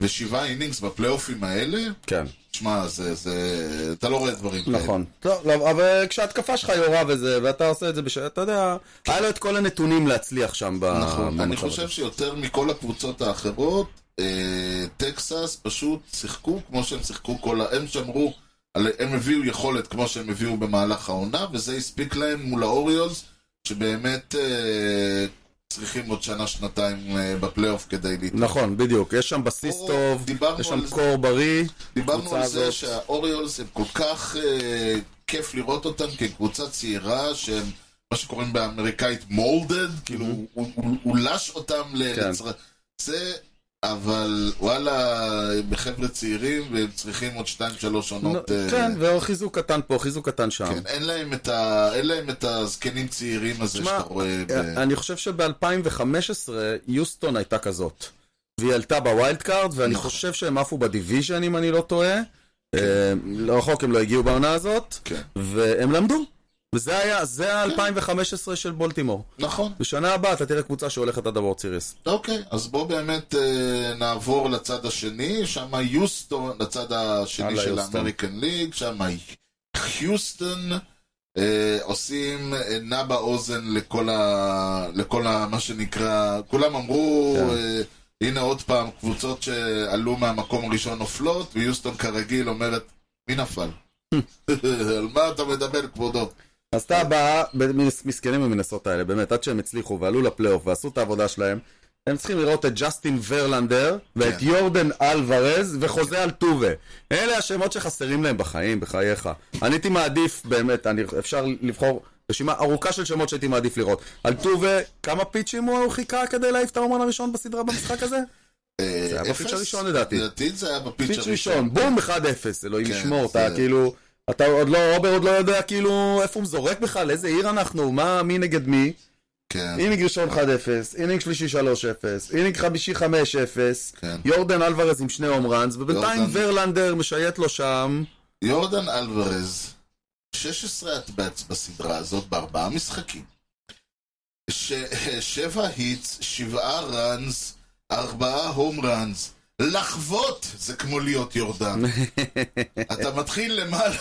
[SPEAKER 1] ושבעה אינינגס בפלייאופים האלה,
[SPEAKER 2] כן,
[SPEAKER 1] תשמע, זה, זה... אתה לא רואה דברים כאלה.
[SPEAKER 2] נכון. לא, לא, אבל כשההתקפה שלך יורה וזה, ואתה עושה את זה בשביל, אתה יודע, היה לו את כל הנתונים להצליח שם ב-
[SPEAKER 1] כן. נכון. אני
[SPEAKER 2] במצב
[SPEAKER 1] חושב
[SPEAKER 2] הזה.
[SPEAKER 1] שיותר מכל הקבוצות האחרות, אה, טקסס פשוט שיחקו כמו שהם שיחקו כל ה... הם שמרו, על... הם הביאו יכולת כמו שהם הביאו במהלך העונה, וזה הספיק להם מול האוריולס, שבאמת אה, צריכים עוד שנה-שנתיים אה, בפלייאוף כדי להתקדם.
[SPEAKER 2] נכון, בדיוק. יש שם בסיס
[SPEAKER 1] פה
[SPEAKER 2] טוב,
[SPEAKER 1] דיברנו
[SPEAKER 2] יש
[SPEAKER 1] על
[SPEAKER 2] שם
[SPEAKER 1] זה.
[SPEAKER 2] קור בריא.
[SPEAKER 1] דיברנו
[SPEAKER 2] הקבוצה
[SPEAKER 1] על זה
[SPEAKER 2] הזאת.
[SPEAKER 1] שהאוריולס הם כל כך אה, כיף לראות אותם כקבוצה צעירה שהם מה שקוראים באמריקאית molded, כאילו הוא- הוא הוא לש אותם
[SPEAKER 2] כן.
[SPEAKER 1] לצר... זה, אבל וואלה, הם חבר'ה צעירים והם צריכים עוד 2-3 עונות. אה,
[SPEAKER 2] כן, וחיזוק קטן פה, חיזוק קטן שם.
[SPEAKER 1] כן, אין להם את ה- אין להם את הזקנים צעירים הזה
[SPEAKER 2] תשמע, אה,
[SPEAKER 1] שאתה רואה. ב-
[SPEAKER 2] אני חושב שב-2015 יוסטון הייתה כזאת. והיא עלתה בווילד קארד, ואני
[SPEAKER 1] נכון.
[SPEAKER 2] חושב שהם עפו בדיוויז'ן, אם אני לא טועה. אה, לא רחוק הם לא הגיעו בעונה הזאת.
[SPEAKER 1] כן.
[SPEAKER 2] והם למדו. וזה היה, זה ה-2015 של בולטימור.
[SPEAKER 1] נכון,
[SPEAKER 2] בשנה הבאה אתה תראה קבוצה שהולכת עד הוורד סיריס.
[SPEAKER 1] אוקיי, אז בואו באמת אה, נעבור לצד השני, שם יוסטון, לצד השני
[SPEAKER 2] הלאה,
[SPEAKER 1] של
[SPEAKER 2] יוסטון.
[SPEAKER 1] האמריקן ליג, שם היוסטון אה, עושים אה, נע באוזן לכל, ה, לכל ה, מה שנקרא, כולם אמרו,
[SPEAKER 2] כן.
[SPEAKER 1] אה, הנה עוד פעם, קבוצות שעלו מהמקום הראשון נופלות, ויוסטון כרגיל אומרת, מי נפל? על מה אתה מדבר, כבודו?
[SPEAKER 2] עשתה הבאה, במס- מסכנים במנסות האלה, באמת, עד שהם הצליחו ועלו לפלייאוף ועשו את העבודה שלהם, הם צריכים לראות את ג'סטין ורלנדר ואת
[SPEAKER 1] כן.
[SPEAKER 2] יורדן אלוורז וחוזה אלטובה. אלה השמות שחסרים להם בחיים, בחייך. אני הייתי מעדיף, באמת, אני, אפשר לבחור רשימה ארוכה של שמות שהייתי מעדיף לראות. אלטובה, כמה פיצ'ים הוא חיכה כדי להעיף את ההומן הראשון בסדרה במשחק הזה?
[SPEAKER 1] אה,
[SPEAKER 2] היה בפיץ'
[SPEAKER 1] אפס?
[SPEAKER 2] הראשון, לדעתי.
[SPEAKER 1] לדעתי זה היה בפיץ'
[SPEAKER 2] פיץ'
[SPEAKER 1] הראשון.
[SPEAKER 2] ראשון, בום 1-0, אלוהים
[SPEAKER 1] כן,
[SPEAKER 2] ישמור,
[SPEAKER 1] זה-
[SPEAKER 2] אתה כאילו, אתה עוד לא, רובר עוד לא יודע כאילו איפה הוא זורק בכלל, איזה עיר אנחנו, מה, מי נגד מי,
[SPEAKER 1] כן.
[SPEAKER 2] אינינג ראשון 1-0, אינינג שלישי 3-0, אינינג חמישי 5-0,
[SPEAKER 1] כן.
[SPEAKER 2] יורדן אלוורז עם שני הום ראנס, ובינתיים
[SPEAKER 1] יורדן.
[SPEAKER 2] ורלנדר משייט לו שם.
[SPEAKER 1] יורדן אלוורז, 16 אטבעץ בסדרה הזאת בארבעה משחקים. ש... שבע היטס, שבעה ראנס, ארבעה הום ראנס. לחוות זה כמו להיות יורדן. אתה מתחיל למעלה.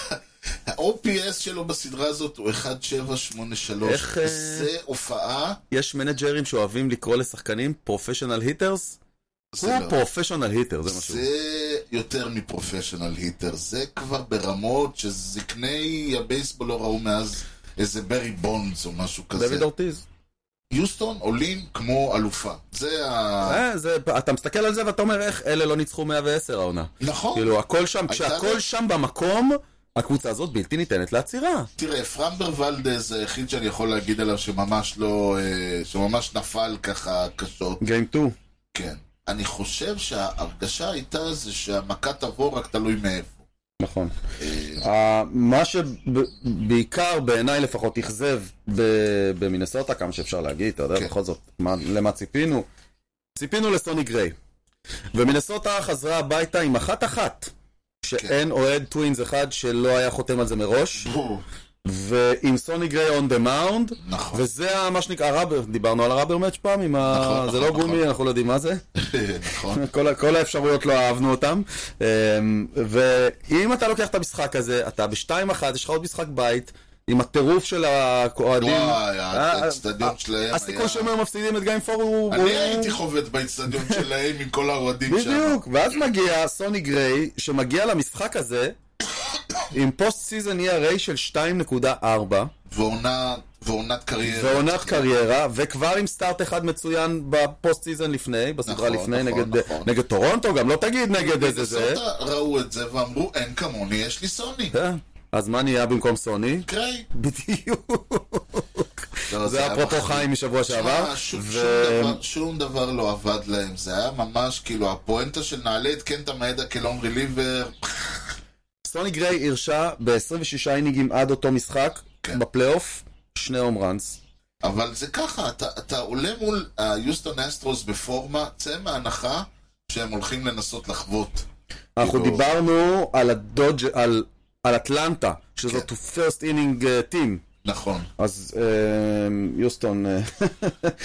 [SPEAKER 1] ה-OPS שלו בסדרה הזאת הוא 1783.
[SPEAKER 2] איך, אה,
[SPEAKER 1] זה הופעה,
[SPEAKER 2] יש מנג'רים שאוהבים לקרוא לשחקנים פרופשיונל היטרס? הוא
[SPEAKER 1] זה לא.
[SPEAKER 2] פרופשיונל היטר, זה משהו.
[SPEAKER 1] זה יותר מפרופשיונל היטר, זה כבר ברמות שזקני הבייסבול לא ראו מאז איזה ברי בונדס או משהו כזה.
[SPEAKER 2] דוד אורטיז.
[SPEAKER 1] יוסטון עולים כמו אלופה. זה ה...
[SPEAKER 2] אה, זה- אתה מסתכל על זה ואתה אומר, איך אלה לא ניצחו 110 העונה.
[SPEAKER 1] נכון.
[SPEAKER 2] כאילו, הכל שם,
[SPEAKER 1] הייתה
[SPEAKER 2] כשהכל
[SPEAKER 1] לה-
[SPEAKER 2] שם במקום, הקבוצה הזאת בלתי ניתנת לעצירה.
[SPEAKER 1] תראה, אפרים ברוולדה זה היחיד שאני יכול להגיד עליו שממש לא... אה, שממש נפל ככה קשות.
[SPEAKER 2] גיים 2.
[SPEAKER 1] כן. אני חושב שההרגשה הייתה זה שהמכה תבוא רק תלוי מאיפה.
[SPEAKER 2] נכון.
[SPEAKER 1] אה,
[SPEAKER 2] ה- מה שבעיקר בעיניי לפחות אכזב ב- במינסוטה, כמה שאפשר להגיד, אתה יודע,
[SPEAKER 1] כן.
[SPEAKER 2] בכל זאת, מה- למה ציפינו? ציפינו לסוני גריי. ומינסוטה חזרה הביתה עם אחת-אחת,
[SPEAKER 1] כן.
[SPEAKER 2] שאין אוהד טווינס אחד שלא היה חותם על זה מראש,
[SPEAKER 1] בואו.
[SPEAKER 2] ועם סוני גריי און דה מאונד,
[SPEAKER 1] נכון.
[SPEAKER 2] וזה ה- מה שנקרא הראבר, דיברנו על הראבר מאץ' פעם, עם ה...
[SPEAKER 1] נכון,
[SPEAKER 2] זה לא
[SPEAKER 1] נכון,
[SPEAKER 2] גומי, אנחנו לא יודעים מה זה.
[SPEAKER 1] נכון.
[SPEAKER 2] כל, ה- כל האפשרויות לא אהבנו אותן. אמ, ואם אתה לוקח את המשחק הזה, אתה בשתיים אחת, יש לך עוד משחק בית, עם הטירוף של הכועדים.
[SPEAKER 1] וואי,
[SPEAKER 2] אה,
[SPEAKER 1] האצטדיון
[SPEAKER 2] אה,
[SPEAKER 1] שלהם היה...
[SPEAKER 2] הסיכוי שהם היו מפסידים את גיים פור הוא... הוא-
[SPEAKER 1] אני הייתי חובט באצטדיון שלהם עם כל האוהדים שם.
[SPEAKER 2] בדיוק, ואז מגיע סוני גריי, שמגיע למשחק הזה, עם פוסט סיזן ERA של 2.4.
[SPEAKER 1] ועונה- ועונת קריירה.
[SPEAKER 2] ועונת קריירה, וכבר עם סטארט אחד מצוין בפוסט סיזן לפני, בסדרה
[SPEAKER 1] נכון,
[SPEAKER 2] לפני,
[SPEAKER 1] נכון,
[SPEAKER 2] נגד-
[SPEAKER 1] נכון.
[SPEAKER 2] נגד טורונטו, גם לא תגיד נגד איזה זה.
[SPEAKER 1] בסוטה ראו את זה ואמרו, אין כמוני, יש לי סוני.
[SPEAKER 2] כן. אז מה נהיה במקום סוני?
[SPEAKER 1] קריי.
[SPEAKER 2] בדיוק.
[SPEAKER 1] לא,
[SPEAKER 2] זה
[SPEAKER 1] היה
[SPEAKER 2] אפרופו
[SPEAKER 1] מחריד.
[SPEAKER 2] חיים משבוע שעבר.
[SPEAKER 1] שמע, שום-
[SPEAKER 2] ו-
[SPEAKER 1] שום דבר- שום דבר לא עבד להם, זה היה ממש כאילו הפואנטה של נעלה את קנטה מעדה כלון ריליבר,
[SPEAKER 2] סוני גריי הרשה ב-26 אינינגים עד אותו משחק,
[SPEAKER 1] כן.
[SPEAKER 2] בפלייאוף, שני הום ראנס.
[SPEAKER 1] אבל זה ככה, אתה, אתה עולה מול היוסטון אסטרוס בפורמה, צא מההנחה שהם הולכים לנסות לחוות.
[SPEAKER 2] אנחנו
[SPEAKER 1] כאילו-
[SPEAKER 2] דיברנו על הדודג' על... על אטלנטה, שזאת
[SPEAKER 1] כן.
[SPEAKER 2] first inning uh, team,
[SPEAKER 1] נכון.
[SPEAKER 2] אז אה, יוסטון, אה,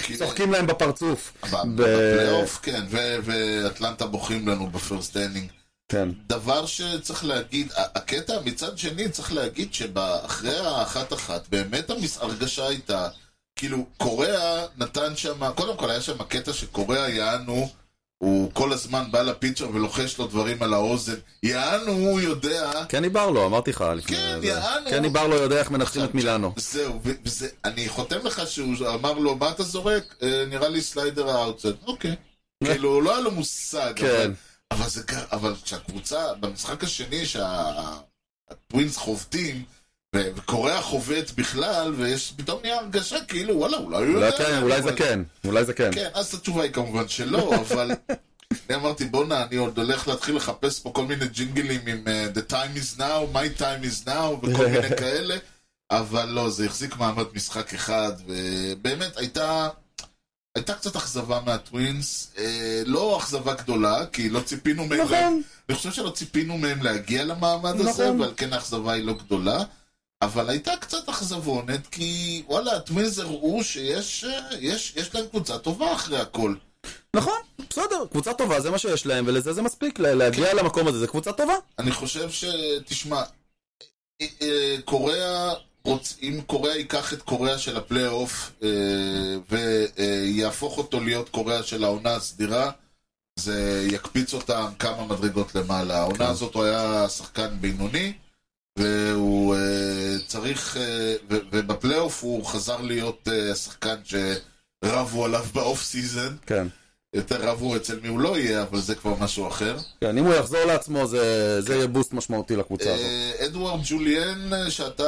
[SPEAKER 1] כי-
[SPEAKER 2] צוחקים להם בפרצוף.
[SPEAKER 1] ב-
[SPEAKER 2] ב-
[SPEAKER 1] כאילו- בפלייאוף, כן, ו- ואטלנטה בוכים לנו בפרסט אינינג.
[SPEAKER 2] כן.
[SPEAKER 1] דבר שצריך להגיד, ה- הקטע מצד שני, צריך להגיד שאחרי האחת-אחת, באמת המס- ההרגשה הייתה, כאילו, קוריאה נתן שם, קודם כל היה שם קטע שקוריאה, יענו, הוא כל הזמן בא לפיצ'ר ולוחש לו דברים על האוזן, יענו, הוא יודע,
[SPEAKER 2] קני ברלו, אמרתי לך לפני...
[SPEAKER 1] כן,
[SPEAKER 2] זה.
[SPEAKER 1] יענו.
[SPEAKER 2] קני ברלו יודע איך מנצחים את מילאנו.
[SPEAKER 1] זהו, ו- וזה, אני חותם לך שהוא אמר לו, מה אתה זורק? "אה, נראה לי סליידר האוטסד. אוקיי. כאילו, לא היה לו מושג.
[SPEAKER 2] כן.
[SPEAKER 1] אבל- אבל זה קרה, אבל כשהקבוצה, במשחק השני, שהטווינס חובטים, ו- וקוריאה חובט בכלל, ויש פתאום נהיה הרגשה כאילו, וואלה, אולי הוא
[SPEAKER 2] אולי
[SPEAKER 1] יודע.
[SPEAKER 2] כן, אולי זה
[SPEAKER 1] אבל-
[SPEAKER 2] כן, אולי זה כן.
[SPEAKER 1] כן, אז התשובה היא כמובן שלא, אבל... אני אמרתי, בואנה, אני עוד הולך להתחיל לחפש פה כל מיני ג'ינגלים עם אה, The time is now, my time is now, וכל מיני כאלה, אבל לא, זה החזיק מעמד משחק אחד, ובאמת הייתה... הייתה קצת אכזבה מהטווינס, אה, לא אכזבה גדולה, כי לא ציפינו מהם...
[SPEAKER 2] נכון.
[SPEAKER 1] אני חושב שלא ציפינו מהם להגיע למעמד הזה,
[SPEAKER 2] נכון.
[SPEAKER 1] ועל כן האכזבה היא לא גדולה. אבל הייתה קצת אכזבונת, כי וואלה, הטווינז הראו שיש אה, יש, יש להם קבוצה טובה אחרי הכל.
[SPEAKER 2] נכון, בסדר, קבוצה טובה, זה מה שיש להם, ולזה זה מספיק, לה- להגיע
[SPEAKER 1] כן.
[SPEAKER 2] למקום הזה, זה קבוצה טובה.
[SPEAKER 1] אני חושב ש... תשמע, אה, אה, קוריאה, רוצ... אם קוריאה ייקח את קוריאה של הפלייאוף אה, ויהפוך אותו להיות קוריאה של העונה הסדירה, זה יקפיץ אותם כמה מדרגות למעלה. העונה הזאת הוא היה שחקן בינוני, והוא אה, צריך... אה, ו- ובפלייאוף הוא חזר להיות אה, השחקן שרבו עליו באוף סיזן.
[SPEAKER 2] כן.
[SPEAKER 1] יותר רבו אצל מי הוא לא יהיה, אבל זה כבר משהו אחר.
[SPEAKER 2] כן, אם הוא יחזור לעצמו, זה זה יהיה בוסט משמעותי לקבוצה הזאת.
[SPEAKER 1] אה, אדוארד ג'וליאן, אה, שאתה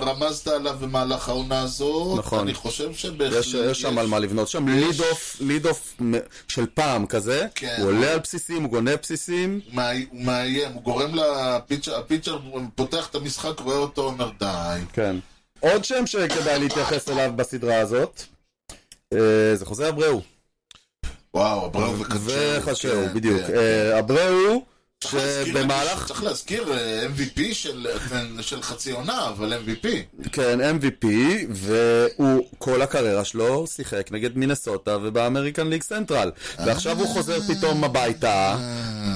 [SPEAKER 1] רמזת עליו במהלך העונה הזאת,
[SPEAKER 2] נכון.
[SPEAKER 1] אני חושב שבהחלט...
[SPEAKER 2] יש יש שם על מה לבנות, יש שם ליד אוף, ליד אוף מ- של פעם כזה,
[SPEAKER 1] כן.
[SPEAKER 2] הוא עולה על בסיסים, הוא גונב בסיסים,
[SPEAKER 1] הוא מאי- הוא מאיים, הוא גורם לפיצ'ר, הפיצ'ר פותח את המשחק, רואה אותו, אומר די.
[SPEAKER 2] כן. עוד שם שכדאי להתייחס אליו בסדרה הזאת, אה, זה חוזה אבראו.
[SPEAKER 1] וואו, אבראו וקצ'או.
[SPEAKER 2] וחשאו,
[SPEAKER 1] כן,
[SPEAKER 2] בדיוק.
[SPEAKER 1] כן.
[SPEAKER 2] אה, אבראו,
[SPEAKER 1] צריך להזכיר-
[SPEAKER 2] שבמהלך...
[SPEAKER 1] צריך להזכיר אה, MVP של של חצי עונה, אבל MVP.
[SPEAKER 2] כן, MVP, והוא כל הקריירה שלו שיחק נגד מינסוטה ובאמריקן ליג סנטרל. ועכשיו הוא חוזר פתאום הביתה,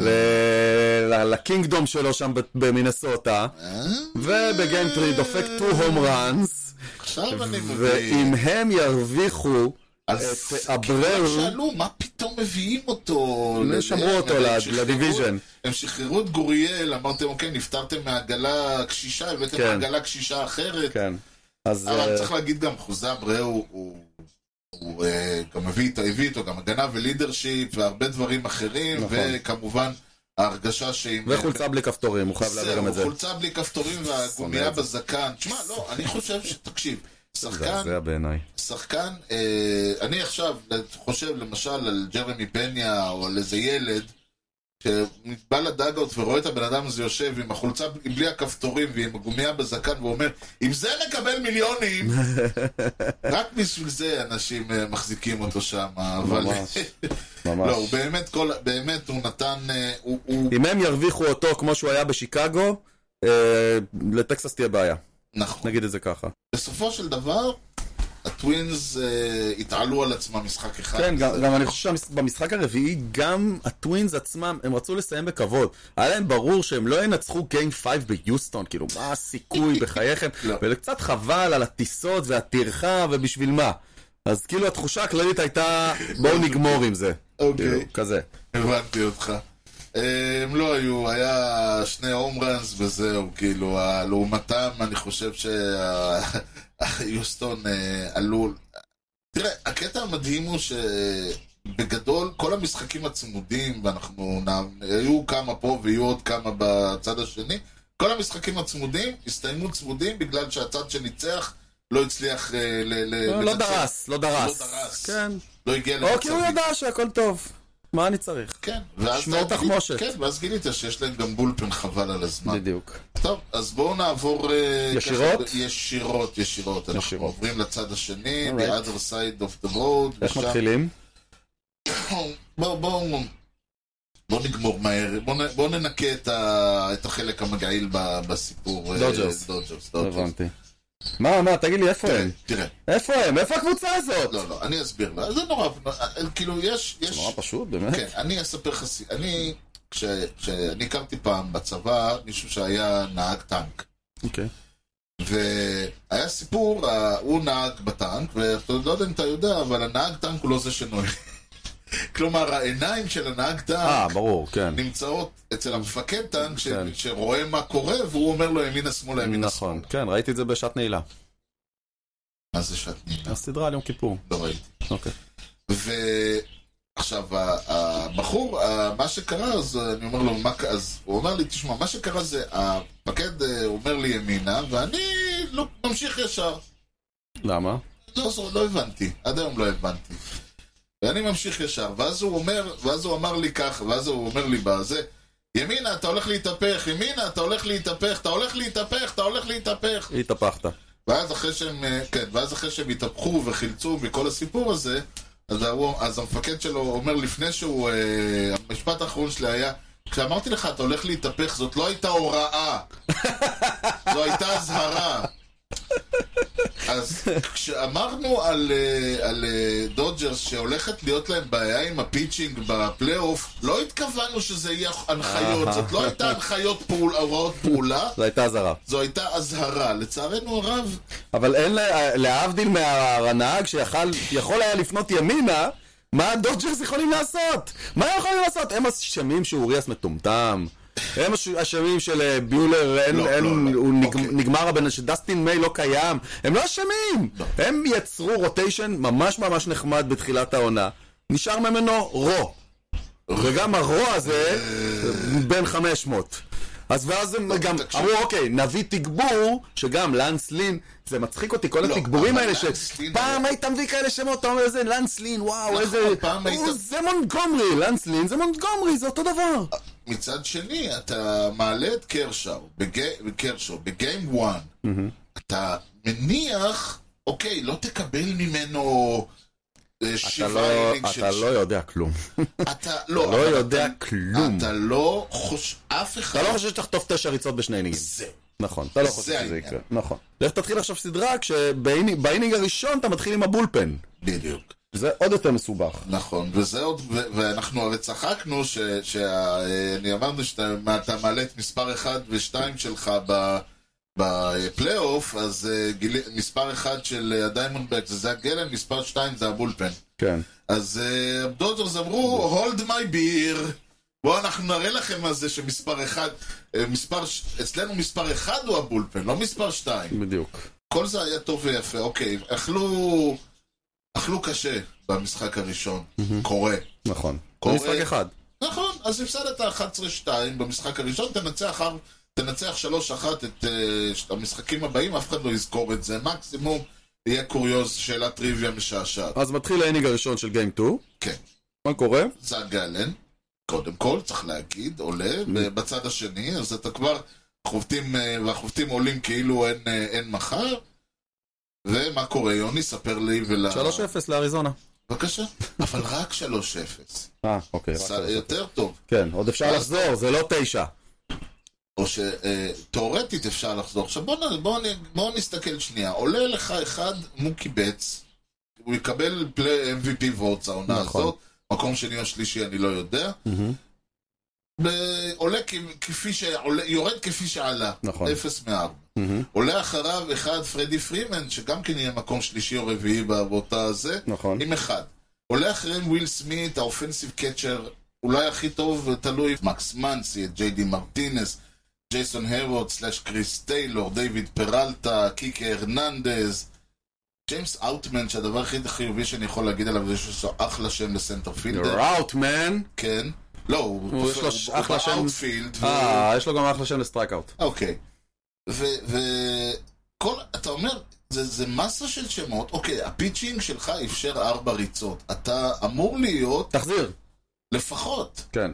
[SPEAKER 2] ל- ל- לקינגדום שלו שם ב- במינסוטה,
[SPEAKER 1] אה?
[SPEAKER 2] ובגיימטרי דופק 2 הום ראנס,
[SPEAKER 1] עכשיו אני מבין.
[SPEAKER 2] ואם הם ירוויחו
[SPEAKER 1] אז
[SPEAKER 2] את
[SPEAKER 1] כאילו
[SPEAKER 2] אבראו,
[SPEAKER 1] שאלו, מה פתאום מביאים אותו?
[SPEAKER 2] הם
[SPEAKER 1] ל-
[SPEAKER 2] שמרו
[SPEAKER 1] ל-
[SPEAKER 2] לא אותו
[SPEAKER 1] הם
[SPEAKER 2] ל-
[SPEAKER 1] שחררו-
[SPEAKER 2] לדיוויז'ן.
[SPEAKER 1] הם שחררו את גוריאל, אמרתם, אוקיי, נפטרתם מעגלה קשישה, הבאתם
[SPEAKER 2] כן.
[SPEAKER 1] מעגלה קשישה אחרת.
[SPEAKER 2] כן, אז...
[SPEAKER 1] אבל
[SPEAKER 2] אה,
[SPEAKER 1] צריך להגיד גם, חוזה אבראו הוא- הוא... הוא אה, גם הביא איתו, הביא איתו גם הגנה ולידרשיפ והרבה דברים אחרים,
[SPEAKER 2] נכון.
[SPEAKER 1] וכמובן ההרגשה שעם...
[SPEAKER 2] וחולצה בלי כפתורים, הוא חייב להביא גם את זה.
[SPEAKER 1] זהו, חולצה בלי כפתורים
[SPEAKER 2] שונא
[SPEAKER 1] והגומייה
[SPEAKER 2] את זה.
[SPEAKER 1] בזקן. תשמע, לא, אני חושב ש... תקשיב, שחקן,
[SPEAKER 2] זה בעיניי.
[SPEAKER 1] שחקן, אה, אני עכשיו חושב למשל על ג'רמי פניה או על איזה ילד, שבא לדאגות ורואה את הבן אדם הזה יושב עם החולצה בלי הכפתורים ועם הגומייה בזקן ואומר, עם זה נקבל מיליונים! רק בשביל זה אנשים אה, מחזיקים אותו שם, אבל...
[SPEAKER 2] ממש,
[SPEAKER 1] לא,
[SPEAKER 2] ממש.
[SPEAKER 1] הוא באמת, כל, באמת, הוא נתן, אה, הוא, הוא,
[SPEAKER 2] אם הם ירוויחו אותו כמו שהוא היה בשיקגו, אה, לטקסס תהיה בעיה,
[SPEAKER 1] נכון.
[SPEAKER 2] נגיד את זה ככה.
[SPEAKER 1] בסופו של דבר, הטווינס אה, התעלו על עצמם משחק אחד.
[SPEAKER 2] כן, גם
[SPEAKER 1] זה-
[SPEAKER 2] גם אני חושב שבמשחק הרביעי, גם הטווינס עצמם, הם רצו לסיים בכבוד. היה להם ברור שהם לא ינצחו גיים 5 ביוסטון, כאילו, מה הסיכוי בחייכם?
[SPEAKER 1] לא.
[SPEAKER 2] וקצת חבל על הטיסות והטרחה ובשביל מה. אז כאילו התחושה הכללית הייתה, בואו נגמור עם זה.
[SPEAKER 1] אוקיי.
[SPEAKER 2] כאילו, כזה.
[SPEAKER 1] הבנתי אותך. אה, הם לא היו, היה שני הום ראנס וזהו, כאילו, ה- לעומתם, אני חושב שיוסטון עלול. תראה, הקטע המדהים הוא שבגדול, כל המשחקים הצמודים, ואנחנו, נע- היו כמה פה ויהיו עוד כמה בצד השני, כל המשחקים הצמודים הסתיימו צמודים בגלל שהצד שניצח לא הצליח אה, ל... ל-
[SPEAKER 2] לא
[SPEAKER 1] לנצח.
[SPEAKER 2] דרס, לא דרס.
[SPEAKER 1] לא דרס.
[SPEAKER 2] כן.
[SPEAKER 1] לא הגיע
[SPEAKER 2] או
[SPEAKER 1] למצב
[SPEAKER 2] כי הוא ידע שהכל טוב. מה אני צריך?
[SPEAKER 1] כן, ואז
[SPEAKER 2] שמור
[SPEAKER 1] אתה-
[SPEAKER 2] תחמושת.
[SPEAKER 1] כן, ואז גילית שיש להם גם בולפן חבל על הזמן.
[SPEAKER 2] בדיוק.
[SPEAKER 1] טוב, אז בואו נעבור... אה,
[SPEAKER 2] ישירות?
[SPEAKER 1] ככה- ישירות, ישירות. אנחנו
[SPEAKER 2] ישירות.
[SPEAKER 1] עוברים לצד השני,
[SPEAKER 2] Alright.
[SPEAKER 1] the other side of the road.
[SPEAKER 2] איך
[SPEAKER 1] ושם-
[SPEAKER 2] מתחילים?
[SPEAKER 1] בואו, בואו... בואו נגמור מהר, בואו נ- בואו ננקה את ה- את החלק המגעיל ב- בסיפור. אה,
[SPEAKER 2] דודג'רס.
[SPEAKER 1] דודג'רס,
[SPEAKER 2] לא
[SPEAKER 1] דודג'רס.
[SPEAKER 2] הבנתי. כן. מה, מה, תגיד לי, איפה
[SPEAKER 1] תראה,
[SPEAKER 2] הם?
[SPEAKER 1] תראה,
[SPEAKER 2] איפה הם? איפה הקבוצה הזאת?
[SPEAKER 1] כן. לא, לא, אני אסביר לה. זה נורא, כאילו, יש...
[SPEAKER 2] זה
[SPEAKER 1] יש-
[SPEAKER 2] נורא פשוט, באמת.
[SPEAKER 1] כן, אני אספר לך, ס- אני, כש- כשאני הכרתי פעם בצבא מישהו שהיה נהג טנק.
[SPEAKER 2] אוקיי.
[SPEAKER 1] והיה סיפור, ה- הוא נהג בטנק, ואתה לא יודע אם אתה יודע, אבל הנהג טנק הוא לא זה שנוהג. כלומר, העיניים של הנהג
[SPEAKER 2] אה,
[SPEAKER 1] טנק
[SPEAKER 2] ברור, כן.
[SPEAKER 1] נמצאות אצל המפקד טנק, ש-
[SPEAKER 2] כן.
[SPEAKER 1] שרואה מה קורה, והוא אומר לו ימינה שמאלה, ימינה שמאלה.
[SPEAKER 2] נכון, כן, ראיתי את זה בשעת נעילה.
[SPEAKER 1] אה. מה זה שאת נהנה?
[SPEAKER 2] הסדרה על יום כיפור.
[SPEAKER 1] לא ראיתי.
[SPEAKER 2] אוקיי.
[SPEAKER 1] ועכשיו, ה- הבחור, ה- מה שקרה, אז אני אומר לו, מה ק- אז הוא אומר לי, תשמע, מה שקרה זה, הפקד אה, אומר לי ימינה, ואני לא, ממשיך ישר.
[SPEAKER 2] למה?
[SPEAKER 1] לא, זו- לא הבנתי, עד היום לא הבנתי. ואני ממשיך ישר, ואז הוא אומר, ואז הוא אמר לי ככה, ואז הוא אומר לי בזה, ימינה, אתה הולך להתהפך, ימינה, אתה הולך להתהפך, אתה הולך להתהפך, אתה הולך להתהפך.
[SPEAKER 2] התהפכת.
[SPEAKER 1] ואז אחרי שהם, אה, כן, ואז אחרי שהם התהפכו וחילצו מכל הסיפור הזה, אז, הוא, אז המפקד שלו אומר לפני שהוא, אה, המשפט האחרון שלי היה, כשאמרתי לך אתה הולך להתהפך, זאת לא הייתה הוראה, זו הייתה אזהרה. אז כשאמרנו על, אה, על אה, דודג'רס שהולכת להיות להם בעיה עם הפיצ'ינג בפלייאוף, לא התכוונו שזה יהיה הנחיות, זאת לא הייתה הנחיות פעול, הוראות פעולה,
[SPEAKER 2] זו הייתה אזהרה.
[SPEAKER 1] זו הייתה אזהרה. לצערנו הרב,
[SPEAKER 2] אבל אין, לה- להבדיל מהנהג שיכל יכול היה לפנות ימינה, מה הדודג'רס יכולים לעשות? מה הם יכולים לעשות? הם אשמים שאוריאס מטומטם. הם אש- אשמים של אה, ביולר, אין,
[SPEAKER 1] לא,
[SPEAKER 2] אין,
[SPEAKER 1] לא, לא.
[SPEAKER 2] הוא נג,
[SPEAKER 1] אוקיי.
[SPEAKER 2] נגמר הבן, שדסטין מיי לא קיים. הם לא אשמים! הם יצרו רוטיישן ממש ממש נחמד בתחילת העונה. נשאר ממנו רו. וגם הרוע הזה בין 500. אז ואז הם גם
[SPEAKER 1] תקשיב.
[SPEAKER 2] אמרו, אוקיי, נביא תגבור, שגם לנס לין, זה מצחיק אותי, כל
[SPEAKER 1] לא,
[SPEAKER 2] התגבורים
[SPEAKER 1] אבל
[SPEAKER 2] האלה,
[SPEAKER 1] לנס לין
[SPEAKER 2] שפעם
[SPEAKER 1] היה-
[SPEAKER 2] היית מביא כאלה שמות, אתה אומר איזה לנס לין, וואו,
[SPEAKER 1] נכון,
[SPEAKER 2] איזה...
[SPEAKER 1] פעם היית-
[SPEAKER 2] הוא- זה מונטגומרי, לנס לין זה מונטגומרי, זה אותו דבר.
[SPEAKER 1] מצד שני, אתה מעלה את קרשאו, בגי- קרשאו, בגיים 1,
[SPEAKER 2] Mm-hmm.
[SPEAKER 1] אתה מניח, אוקיי, לא תקבל ממנו אה,
[SPEAKER 2] אתה
[SPEAKER 1] שבעה
[SPEAKER 2] לא-
[SPEAKER 1] אינינג של...
[SPEAKER 2] אתה לא יודע כלום.
[SPEAKER 1] אתה לא,
[SPEAKER 2] לא
[SPEAKER 1] אבל
[SPEAKER 2] יודע
[SPEAKER 1] אתה-
[SPEAKER 2] כלום.
[SPEAKER 1] אתה לא חושב... אף אחד...
[SPEAKER 2] אתה לא חושב שתחטוף תשע ריצות בשני אינינגים.
[SPEAKER 1] זה.
[SPEAKER 2] נכון, אתה לא
[SPEAKER 1] זה
[SPEAKER 2] חושב שזה
[SPEAKER 1] העניין.
[SPEAKER 2] יקרה. נכון. לך תתחיל עכשיו סדרה כשבאינינג הראשון אתה מתחיל עם הבולפן.
[SPEAKER 1] בדיוק.
[SPEAKER 2] זה עוד יותר מסובך.
[SPEAKER 1] נכון, וזה עוד, ו- ואנחנו הרי צחקנו, ש- שה- אה, אני אמרנו שאתה מה, אתה מעלה את מספר 1 ו-2 שלך ב- בפלייאוף, אז אה, גיל, מספר 1 של אה, הדיימונדבק זה זאק גלן, מספר 2 זה הבולפן.
[SPEAKER 2] כן.
[SPEAKER 1] אז אה, הדודג'רס אמרו, hold my beer. בואו אנחנו נראה לכם מה זה שמספר 1, מספר, ש- אצלנו מספר 1 הוא הבולפן, לא מספר 2.
[SPEAKER 2] בדיוק.
[SPEAKER 1] כל זה היה טוב ויפה, אוקיי, אכלו, אכלו קשה במשחק הראשון, קורה.
[SPEAKER 2] נכון.
[SPEAKER 1] קורה.
[SPEAKER 2] זה משחק אחד.
[SPEAKER 1] נכון, אז הפסדת 11-2 במשחק הראשון, תנצח, אר- תנצח 3-1 את אה, ש- המשחקים הבאים, אף אחד לא יזכור את זה, מקסימום יהיה קוריוז, שאלת טריוויה משעשעת.
[SPEAKER 2] אז מתחיל האינינג הראשון של גיים 2.
[SPEAKER 1] כן,
[SPEAKER 2] מה קורה?
[SPEAKER 1] זאן גלן, קודם כל, צריך להגיד, עולה, ובצד השני, אז אתה כבר, חובטים, אה, והחובטים עולים כאילו אין, אה, אין מחר, ומה קורה, יוני? ספר לי ול...
[SPEAKER 2] 3-0 לאריזונה.
[SPEAKER 1] בבקשה, אבל רק 3-0.
[SPEAKER 2] אה, אוקיי. רק
[SPEAKER 1] ס-
[SPEAKER 2] שלוש.
[SPEAKER 1] יותר טוב.
[SPEAKER 2] כן, עוד אפשר לחזור, זה לא תשע.
[SPEAKER 1] או שתאורטית אפשר לחזור. עכשיו בואו נ- בואו נ- בואו נסתכל שנייה. עולה לך אחד מוקי בץ, הוא יקבל פלי MVP וורטס העונה
[SPEAKER 2] נכון.
[SPEAKER 1] הזאת, מקום שני או שלישי אני לא יודע. ב- עולה כ- כפי שעולה, יורד כפי שעלה,
[SPEAKER 2] נכון.
[SPEAKER 1] אפס מארבע. עולה אחריו אחד פרדי פרימן, שגם כן יהיה מקום שלישי או רביעי באותה זה,
[SPEAKER 2] נכון.
[SPEAKER 1] עם אחד. עולה אחריהם וויל סמית, האופנסיב קצ'ר, אולי הכי טוב, תלוי, מקס מנסי, את ג'יי די מרטינס, ג'ייסון הרווד, סלאש קריס טיילור, דיוויד פרלטה, קיקה הרננדז, ג'יימס אאוטמן, שהדבר הכי חיובי שאני יכול להגיד עליו זה שהוא אחלה שם לסנטר פילדר,
[SPEAKER 2] ראוטמן.
[SPEAKER 1] כן. לא, הוא
[SPEAKER 2] הוא, יש לו
[SPEAKER 1] תופס- הוא
[SPEAKER 2] אחלה שם.
[SPEAKER 1] באאוטפילד. והוא-
[SPEAKER 2] אה, יש לו גם אחלה שם לסטרייקאוט.
[SPEAKER 1] אוקיי. וכל, אתה אומר, זה, זה מסה של שמות, אוקיי, הפיצ'ינג שלך אפשר ארבע ריצות. אתה אמור להיות
[SPEAKER 2] תחזיר.
[SPEAKER 1] לפחות.
[SPEAKER 2] כן.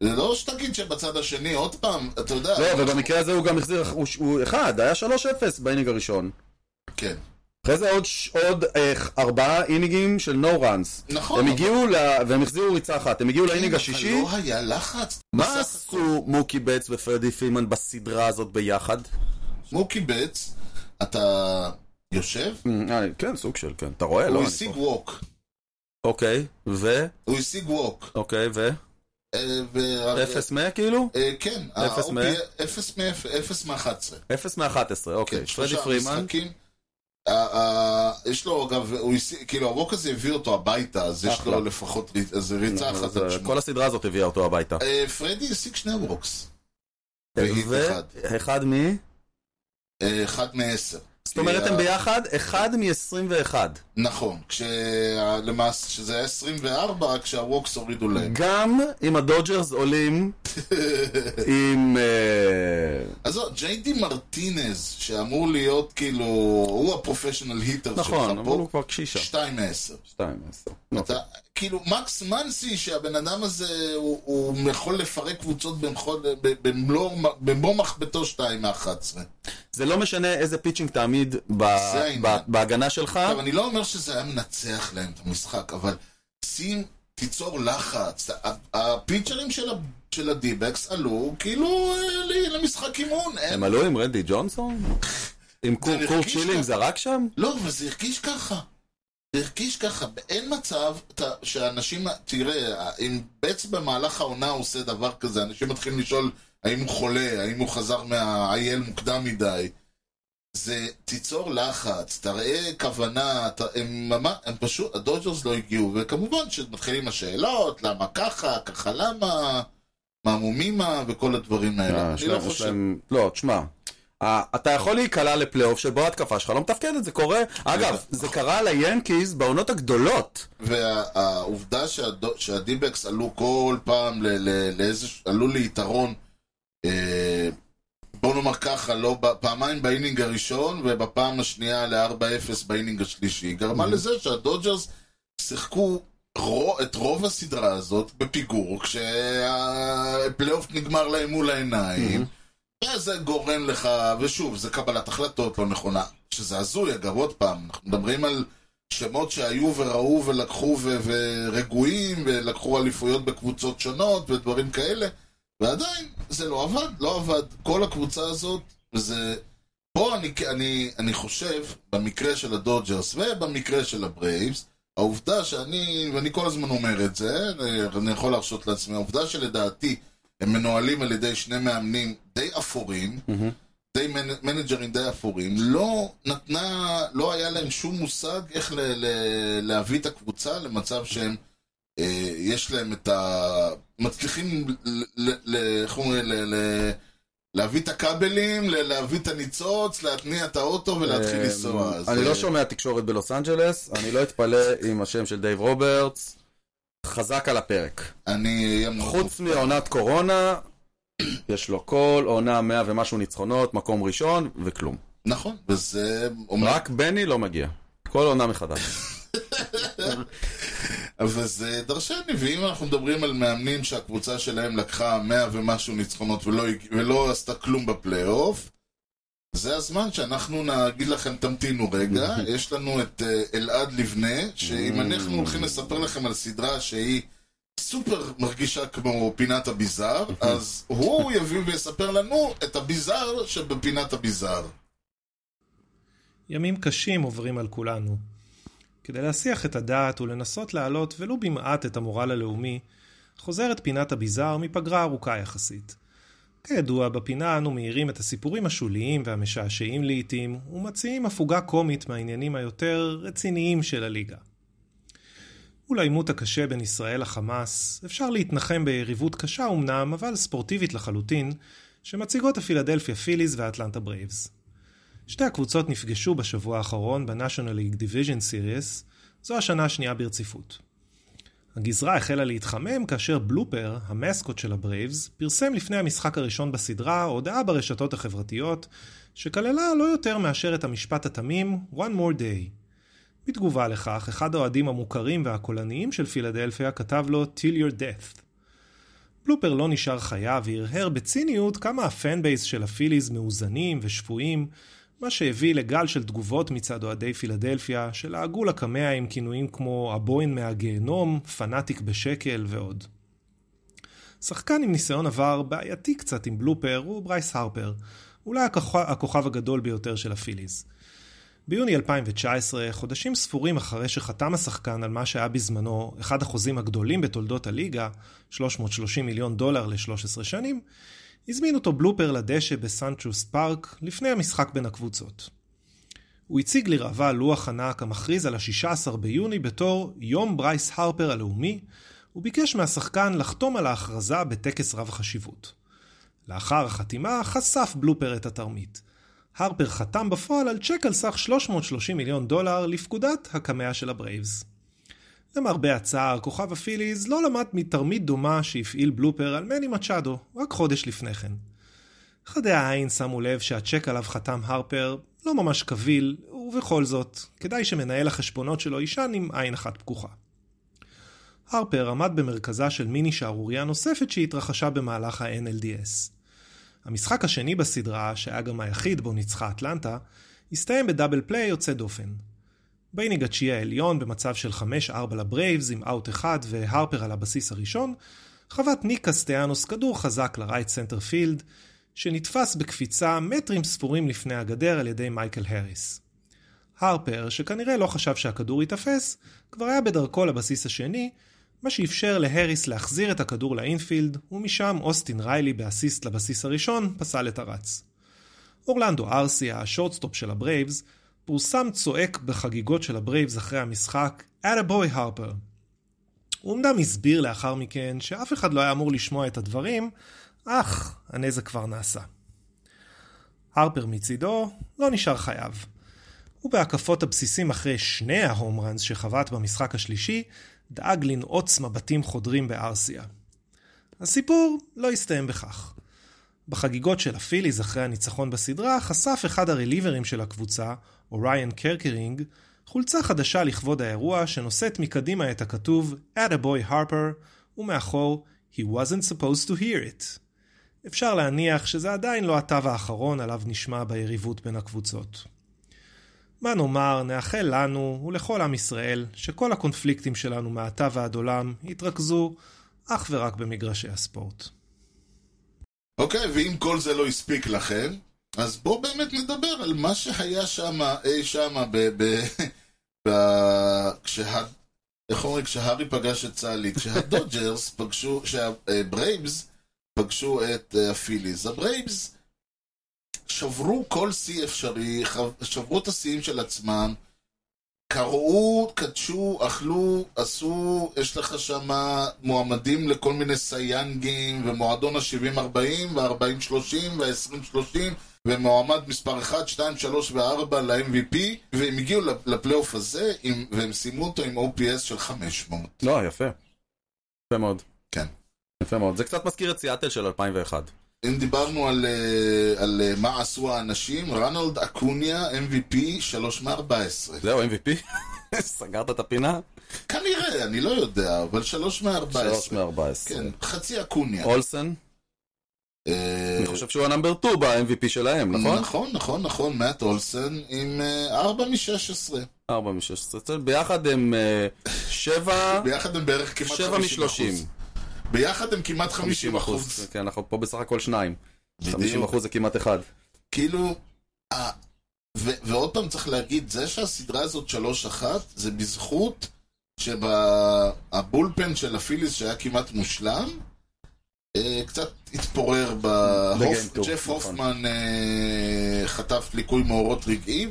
[SPEAKER 1] זה לא שתגיד שבצד השני, עוד פעם, אתה יודע...
[SPEAKER 2] לא, ובמקרה הזה הוא גם החזיר, הוא- הוא אחד, היה 3-0 באינינג הראשון.
[SPEAKER 1] כן.
[SPEAKER 2] אחרי זה עוד, ש- עוד אה, ארבעה אינינגים של נו ראנס.
[SPEAKER 1] נכון,
[SPEAKER 2] הם
[SPEAKER 1] אבל-
[SPEAKER 2] הגיעו ל... והם החזירו ריצה אחת. הם הגיעו לאינינג השישי.
[SPEAKER 1] אבל לא היה לחץ. בסך
[SPEAKER 2] מה
[SPEAKER 1] הכל.
[SPEAKER 2] עשו מוקי בץ ופרדי פרימן בסדרה הזאת ביחד?
[SPEAKER 1] מוקי בץ, אתה יושב?
[SPEAKER 2] כן, סוג של, כן. אתה רואה?
[SPEAKER 1] הוא השיג ווק.
[SPEAKER 2] אוקיי, ו?
[SPEAKER 1] הוא השיג ווק.
[SPEAKER 2] אוקיי, ו?
[SPEAKER 1] אה, ו-
[SPEAKER 2] אפס מה כאילו?
[SPEAKER 1] אה, כן.
[SPEAKER 2] אפס מה?
[SPEAKER 1] ה-OPS אפס מה? אפס מה-11.
[SPEAKER 2] אפס מ-11, אוקיי.
[SPEAKER 1] כן,
[SPEAKER 2] פרדי
[SPEAKER 1] שלושה
[SPEAKER 2] פרימן?
[SPEAKER 1] משחקים. ה- ה- יש לו, אגב, הוא הסי- כאילו, הרוק הזה הביא אותו הביתה, אז יש
[SPEAKER 2] אחלה.
[SPEAKER 1] לו לפחות ריצ- איזה ריצה
[SPEAKER 2] לא,
[SPEAKER 1] אחת
[SPEAKER 2] זה-
[SPEAKER 1] על שמו.
[SPEAKER 2] כל הסדרה הזאת הביאה אותו הביתה.
[SPEAKER 1] אה, פרדי השיג שני רוקס.
[SPEAKER 2] כן,
[SPEAKER 1] והיט אחד.
[SPEAKER 2] אחד מ...
[SPEAKER 1] אה, אחד מעשר.
[SPEAKER 2] זאת אומרת,
[SPEAKER 1] כי
[SPEAKER 2] הם
[SPEAKER 1] ה-
[SPEAKER 2] ביחד, אחד מ-21.
[SPEAKER 1] נכון, כשלמעשה, שזה היה 24, כשהווקס הורידו להם.
[SPEAKER 2] גם אם הדודג'רס עולים
[SPEAKER 1] אה.
[SPEAKER 2] עם... אה,
[SPEAKER 1] אז זהו, ג'יי די מרטינז, שאמור להיות כאילו, הוא הפרופשיונל היטר שלך
[SPEAKER 2] נכון, אבל
[SPEAKER 1] פה,
[SPEAKER 2] הוא כבר קשישה.
[SPEAKER 1] שתיים מעשר.
[SPEAKER 2] שתיים, עשר. אוקיי.
[SPEAKER 1] אתה, כאילו, מקס מנסי, שהבן אדם הזה, הוא, הוא יכול לפרק קבוצות במחול- ב- במלוא במלוא מחבטו 2 מ-11.
[SPEAKER 2] זה לא משנה איזה פיצ'ינג תעמיד ב-
[SPEAKER 1] העניין.
[SPEAKER 2] ב- בהגנה שלך.
[SPEAKER 1] עכשיו, אני לא אומר שזה היה מנצח להם את המשחק, אבל שים, תיצור לחץ. ה- הפיצ'רים של, ה- של הדיבקס עלו כאילו אה, ל- למשחק אימון. הם...
[SPEAKER 2] הם עלו עם רנדי ג'ונסון? עם קור-
[SPEAKER 1] זה
[SPEAKER 2] קורט
[SPEAKER 1] הרגיש
[SPEAKER 2] שילינג
[SPEAKER 1] ככה.
[SPEAKER 2] זרק שם?
[SPEAKER 1] לא, אבל זה הרגיש ככה. זה הרגיש ככה. אין מצב אתה, שאנשים, תראה, אם בעצם במהלך העונה הוא עושה דבר כזה, אנשים מתחילים לשאול האם הוא חולה, האם הוא חזר מהאייל מוקדם מדי. זה תיצור לחץ, תראה כוונה, ת, הם, ממש- הם פשוט, הדודג'רס לא הגיעו, וכמובן שמתחילים השאלות, למה ככה, ככה למה, מה מומימה, וכל הדברים
[SPEAKER 2] אה,
[SPEAKER 1] האלה. אני לא חושב...
[SPEAKER 2] לא, תשמע. אה, אתה יכול להיקלע לפלייאוף שבו ההתקפה שלך לא מתפקדת, זה קורה. אגב, זה קרה ליאנקיז בעונות הגדולות.
[SPEAKER 1] והעובדה שהדו- שהדיבקס עלו כל פעם ל- ל- לאיזה... עלו ליתרון, אה, בוא נאמר ככה, לא, ב- פעמיים באינינג הראשון ובפעם השנייה ל-4-0 באינינג השלישי, היא גרמה לזה שהדודג'רס שיחקו רו- את רוב הסדרה הזאת בפיגור, כשהפלייאוף נגמר להם מול העיניים. וזה גורם לך, ושוב, זה קבלת החלטות לא נכונה, שזה הזוי, אגב, עוד פעם, אנחנו מדברים על שמות שהיו וראו ולקחו ו- ורגועים, ולקחו אליפויות בקבוצות שונות ודברים כאלה, ועדיין זה לא עבד, לא עבד. כל הקבוצה הזאת, זה... פה אני, אני, אני חושב, במקרה של הדודג'רס ובמקרה של הברייבס, העובדה שאני, ואני כל הזמן אומר את זה, אני- אני יכול להרשות לעצמי, העובדה שלדעתי הם מנוהלים על ידי שני מאמנים די אפורים, די מנ- מנג'רים די אפורים, לא נתנה, לא היה להם שום מושג איך ל, ל, להביא את הקבוצה למצב שהם, אה, יש להם את ה... מצליחים, ל- ל- ל- איך אומרים, ל- ל- להביא את הכבלים, ל- להביא את הניצוץ, להתניע את האוטו ולהתחיל
[SPEAKER 2] אה,
[SPEAKER 1] לא לנסוע. אז,
[SPEAKER 2] אני
[SPEAKER 1] אה,
[SPEAKER 2] לא שומע תקשורת בלוס אנג'לס, אני לא אתפלא אם השם של דייב רוברטס חזק על הפרק.
[SPEAKER 1] אני אהיה מאוד
[SPEAKER 2] חוץ מעונת קורונה, יש לו כל עונה 100 ומשהו ניצחונות, מקום ראשון, וכלום.
[SPEAKER 1] נכון, וזה...
[SPEAKER 2] רק בני לא מגיע. כל עונה מחדש.
[SPEAKER 1] אבל זה דרשני, ואם אנחנו מדברים על מאמנים שהקבוצה שלהם לקחה 100 ומשהו ניצחונות ולא, הג- ולא עשתה כלום בפלייאוף, זה הזמן שאנחנו נגיד לכם, תמתינו רגע, יש לנו את אה, אלעד לבנה, שאם אנחנו הולכים לספר לכם על סדרה שהיא סופר מרגישה כמו פינת הביזאר, אז הוא יביא ויספר לנו את הביזאר שבפינת הביזאר.
[SPEAKER 4] ימים קשים עוברים על כולנו. כדי להסיח את הדעת ולנסות להעלות ולו במעט את המורל הלאומי, חוזרת פינת הביזאר מפגרה ארוכה יחסית. כידוע, בפינה אנו מאירים את הסיפורים השוליים והמשעשעים לעיתים, ומציעים הפוגה קומית מהעניינים היותר רציניים של הליגה. מול העימות הקשה בין ישראל לחמאס, אפשר להתנחם ביריבות קשה אמנם, אבל ספורטיבית לחלוטין, שמציגות הפילדלפיה פיליז והאטלנטה ברייבס. שתי הקבוצות נפגשו בשבוע האחרון ב-National League Division Series, זו השנה השנייה ברציפות. הגזרה החלה להתחמם כאשר בלופר, המסקוט של הברייבס, פרסם לפני המשחק הראשון בסדרה הודעה ברשתות החברתיות, שכללה לא יותר מאשר את המשפט התמים One More Day. בתגובה לכך, אחד האוהדים המוכרים והקולניים של פילדלפיה כתב לו Till Your Death. בלופר לא נשאר חיה והרהר בציניות כמה הפן בייס של הפיליז מאוזנים ושפויים, מה שהביא לגל של תגובות מצד אוהדי פילדלפיה, שלעגו לקמע עם כינויים כמו הבוין מהגיהנום, פנאטיק בשקל ועוד. שחקן עם ניסיון עבר בעייתי קצת עם בלופר הוא ברייס הרפר, אולי הכוכ- הכוכב הגדול ביותר של הפיליז. ביוני 2019, חודשים ספורים אחרי שחתם השחקן על מה שהיה בזמנו אחד החוזים הגדולים בתולדות הליגה, 330 מיליון דולר ל-13 שנים, הזמין אותו בלופר לדשא בסנצ'וס פארק לפני המשחק בין הקבוצות. הוא הציג לראווה לוח ענק המכריז על ה-16 ביוני בתור יום ברייס הרפר הלאומי, וביקש מהשחקן לחתום על ההכרזה בטקס רב חשיבות. לאחר החתימה חשף בלופר את התרמית. הרפר חתם בפועל על צ'ק על סך 330 מיליון דולר לפקודת הקמע של הברייבס. למרבה הצער, כוכב הפיליז לא למד מתרמית דומה שהפעיל בלופר על מני מצ'אדו, רק חודש לפני כן. חדי העין שמו לב שהצ'ק עליו חתם הרפר לא ממש קביל, ובכל זאת, כדאי שמנהל החשבונות שלו יישן עם עין אחת פקוחה. הרפר עמד במרכזה של מיני שערורייה נוספת שהתרחשה במהלך ה-NLDS. המשחק השני בסדרה, שהיה גם היחיד בו ניצחה אטלנטה, הסתיים בדאבל פליי יוצא דופן. בייניג התשיעי העליון במצב של 5-4 לברייבס עם אאוט אחד והרפר על הבסיס הראשון, חבט ניק קסטיאנוס כדור חזק לרייט סנטר פילד, שנתפס בקפיצה מטרים ספורים לפני הגדר על ידי מייקל האריס. הרפר, שכנראה לא חשב שהכדור ייתפס, כבר היה בדרכו לבסיס השני, מה שאפשר להריס להחזיר את הכדור לאינפילד, ומשם אוסטין ריילי באסיסט לבסיס הראשון פסל את הרץ. אורלנדו ארסי, השורטסטופ של הברייבס, פורסם צועק בחגיגות של הברייבס אחרי המשחק, "Attaboy הרפר". הוא אמנם הסביר לאחר מכן שאף אחד לא היה אמור לשמוע את הדברים, אך הנזק כבר נעשה. הרפר מצידו לא נשאר חייו. ובהקפות הבסיסים אחרי שני ההום ראנס שחבט במשחק השלישי, דאג לנעוץ מבטים חודרים בארסיה. הסיפור לא הסתיים בכך. בחגיגות של הפיליז אחרי הניצחון בסדרה, חשף אחד הרליברים של הקבוצה, אוריין קרקרינג, חולצה חדשה לכבוד האירוע שנושאת מקדימה את הכתוב "Attaboy Harper" ומאחור "He wasn't supposed to hear it". אפשר להניח שזה עדיין לא התו האחרון עליו נשמע ביריבות בין הקבוצות. מה נאמר, נאחל לנו ולכל עם ישראל שכל הקונפליקטים שלנו מעתה ועד עולם יתרכזו אך ורק במגרשי הספורט.
[SPEAKER 1] אוקיי, ואם כל זה לא הספיק לכם, אז בואו באמת נדבר על מה שהיה שם, אי שמה, ב... ב... ב... כשה... איך אומרים? כשהארי פגש את סאלי, כשהדודג'רס פגשו, כשהברייבס פגשו את אה, הפיליז. הברייבס שברו כל שיא אפשרי, חב- שברו את השיאים של עצמם, קרעו, קדשו, אכלו, עשו, יש לך שם מועמדים לכל מיני סייאנגים, ומועדון ה-70-40, וה-40-30, וה-20-30, ומועמד מספר 1, 2, 3 ו-4 ל-MVP, והם הגיעו לפ- לפלייאוף הזה, עם, והם סיימו אותו עם OPS של 500.
[SPEAKER 2] לא, יפה. יפה מאוד.
[SPEAKER 1] כן.
[SPEAKER 2] יפה מאוד. זה קצת מזכיר את סיאטל של 2001.
[SPEAKER 1] אם דיברנו על, אה, על אה, מה עשו האנשים, רנולד אקוניה, MVP, 3 מ-14.
[SPEAKER 2] זהו, MVP? סגרת את הפינה?
[SPEAKER 1] כנראה, אני לא יודע, אבל 3 מ-14.
[SPEAKER 2] 3 מ-14.
[SPEAKER 1] כן, חצי אקוניה.
[SPEAKER 2] אולסן?
[SPEAKER 1] אה,
[SPEAKER 2] אני חושב שהוא הנאמבר 2 ב-MVP שלהם, נכון?
[SPEAKER 1] נכון, נכון, נכון, מאט אולסן עם אה, 4 מ-16.
[SPEAKER 2] 4 מ-16. ביחד אה, הם 7...
[SPEAKER 1] ביחד הם בערך כמעט 50%.
[SPEAKER 2] שבע משלושים.
[SPEAKER 1] ביחד הם כמעט 50%.
[SPEAKER 2] 50 אחוז. כן, אנחנו פה בסך הכל שניים. 50
[SPEAKER 1] בדיוק.
[SPEAKER 2] אחוז זה כמעט אחד.
[SPEAKER 1] כאילו, אה, ו- ועוד פעם צריך להגיד, זה שהסדרה הזאת 3-1, זה בזכות שהבולפן של הפיליס שהיה כמעט מושלם, אה, קצת התפורר ב...
[SPEAKER 2] בגיים
[SPEAKER 1] הופ-
[SPEAKER 2] טוב,
[SPEAKER 1] ג'ף
[SPEAKER 2] נכון.
[SPEAKER 1] הופמן אה, חטף ליקוי מאורות רגעי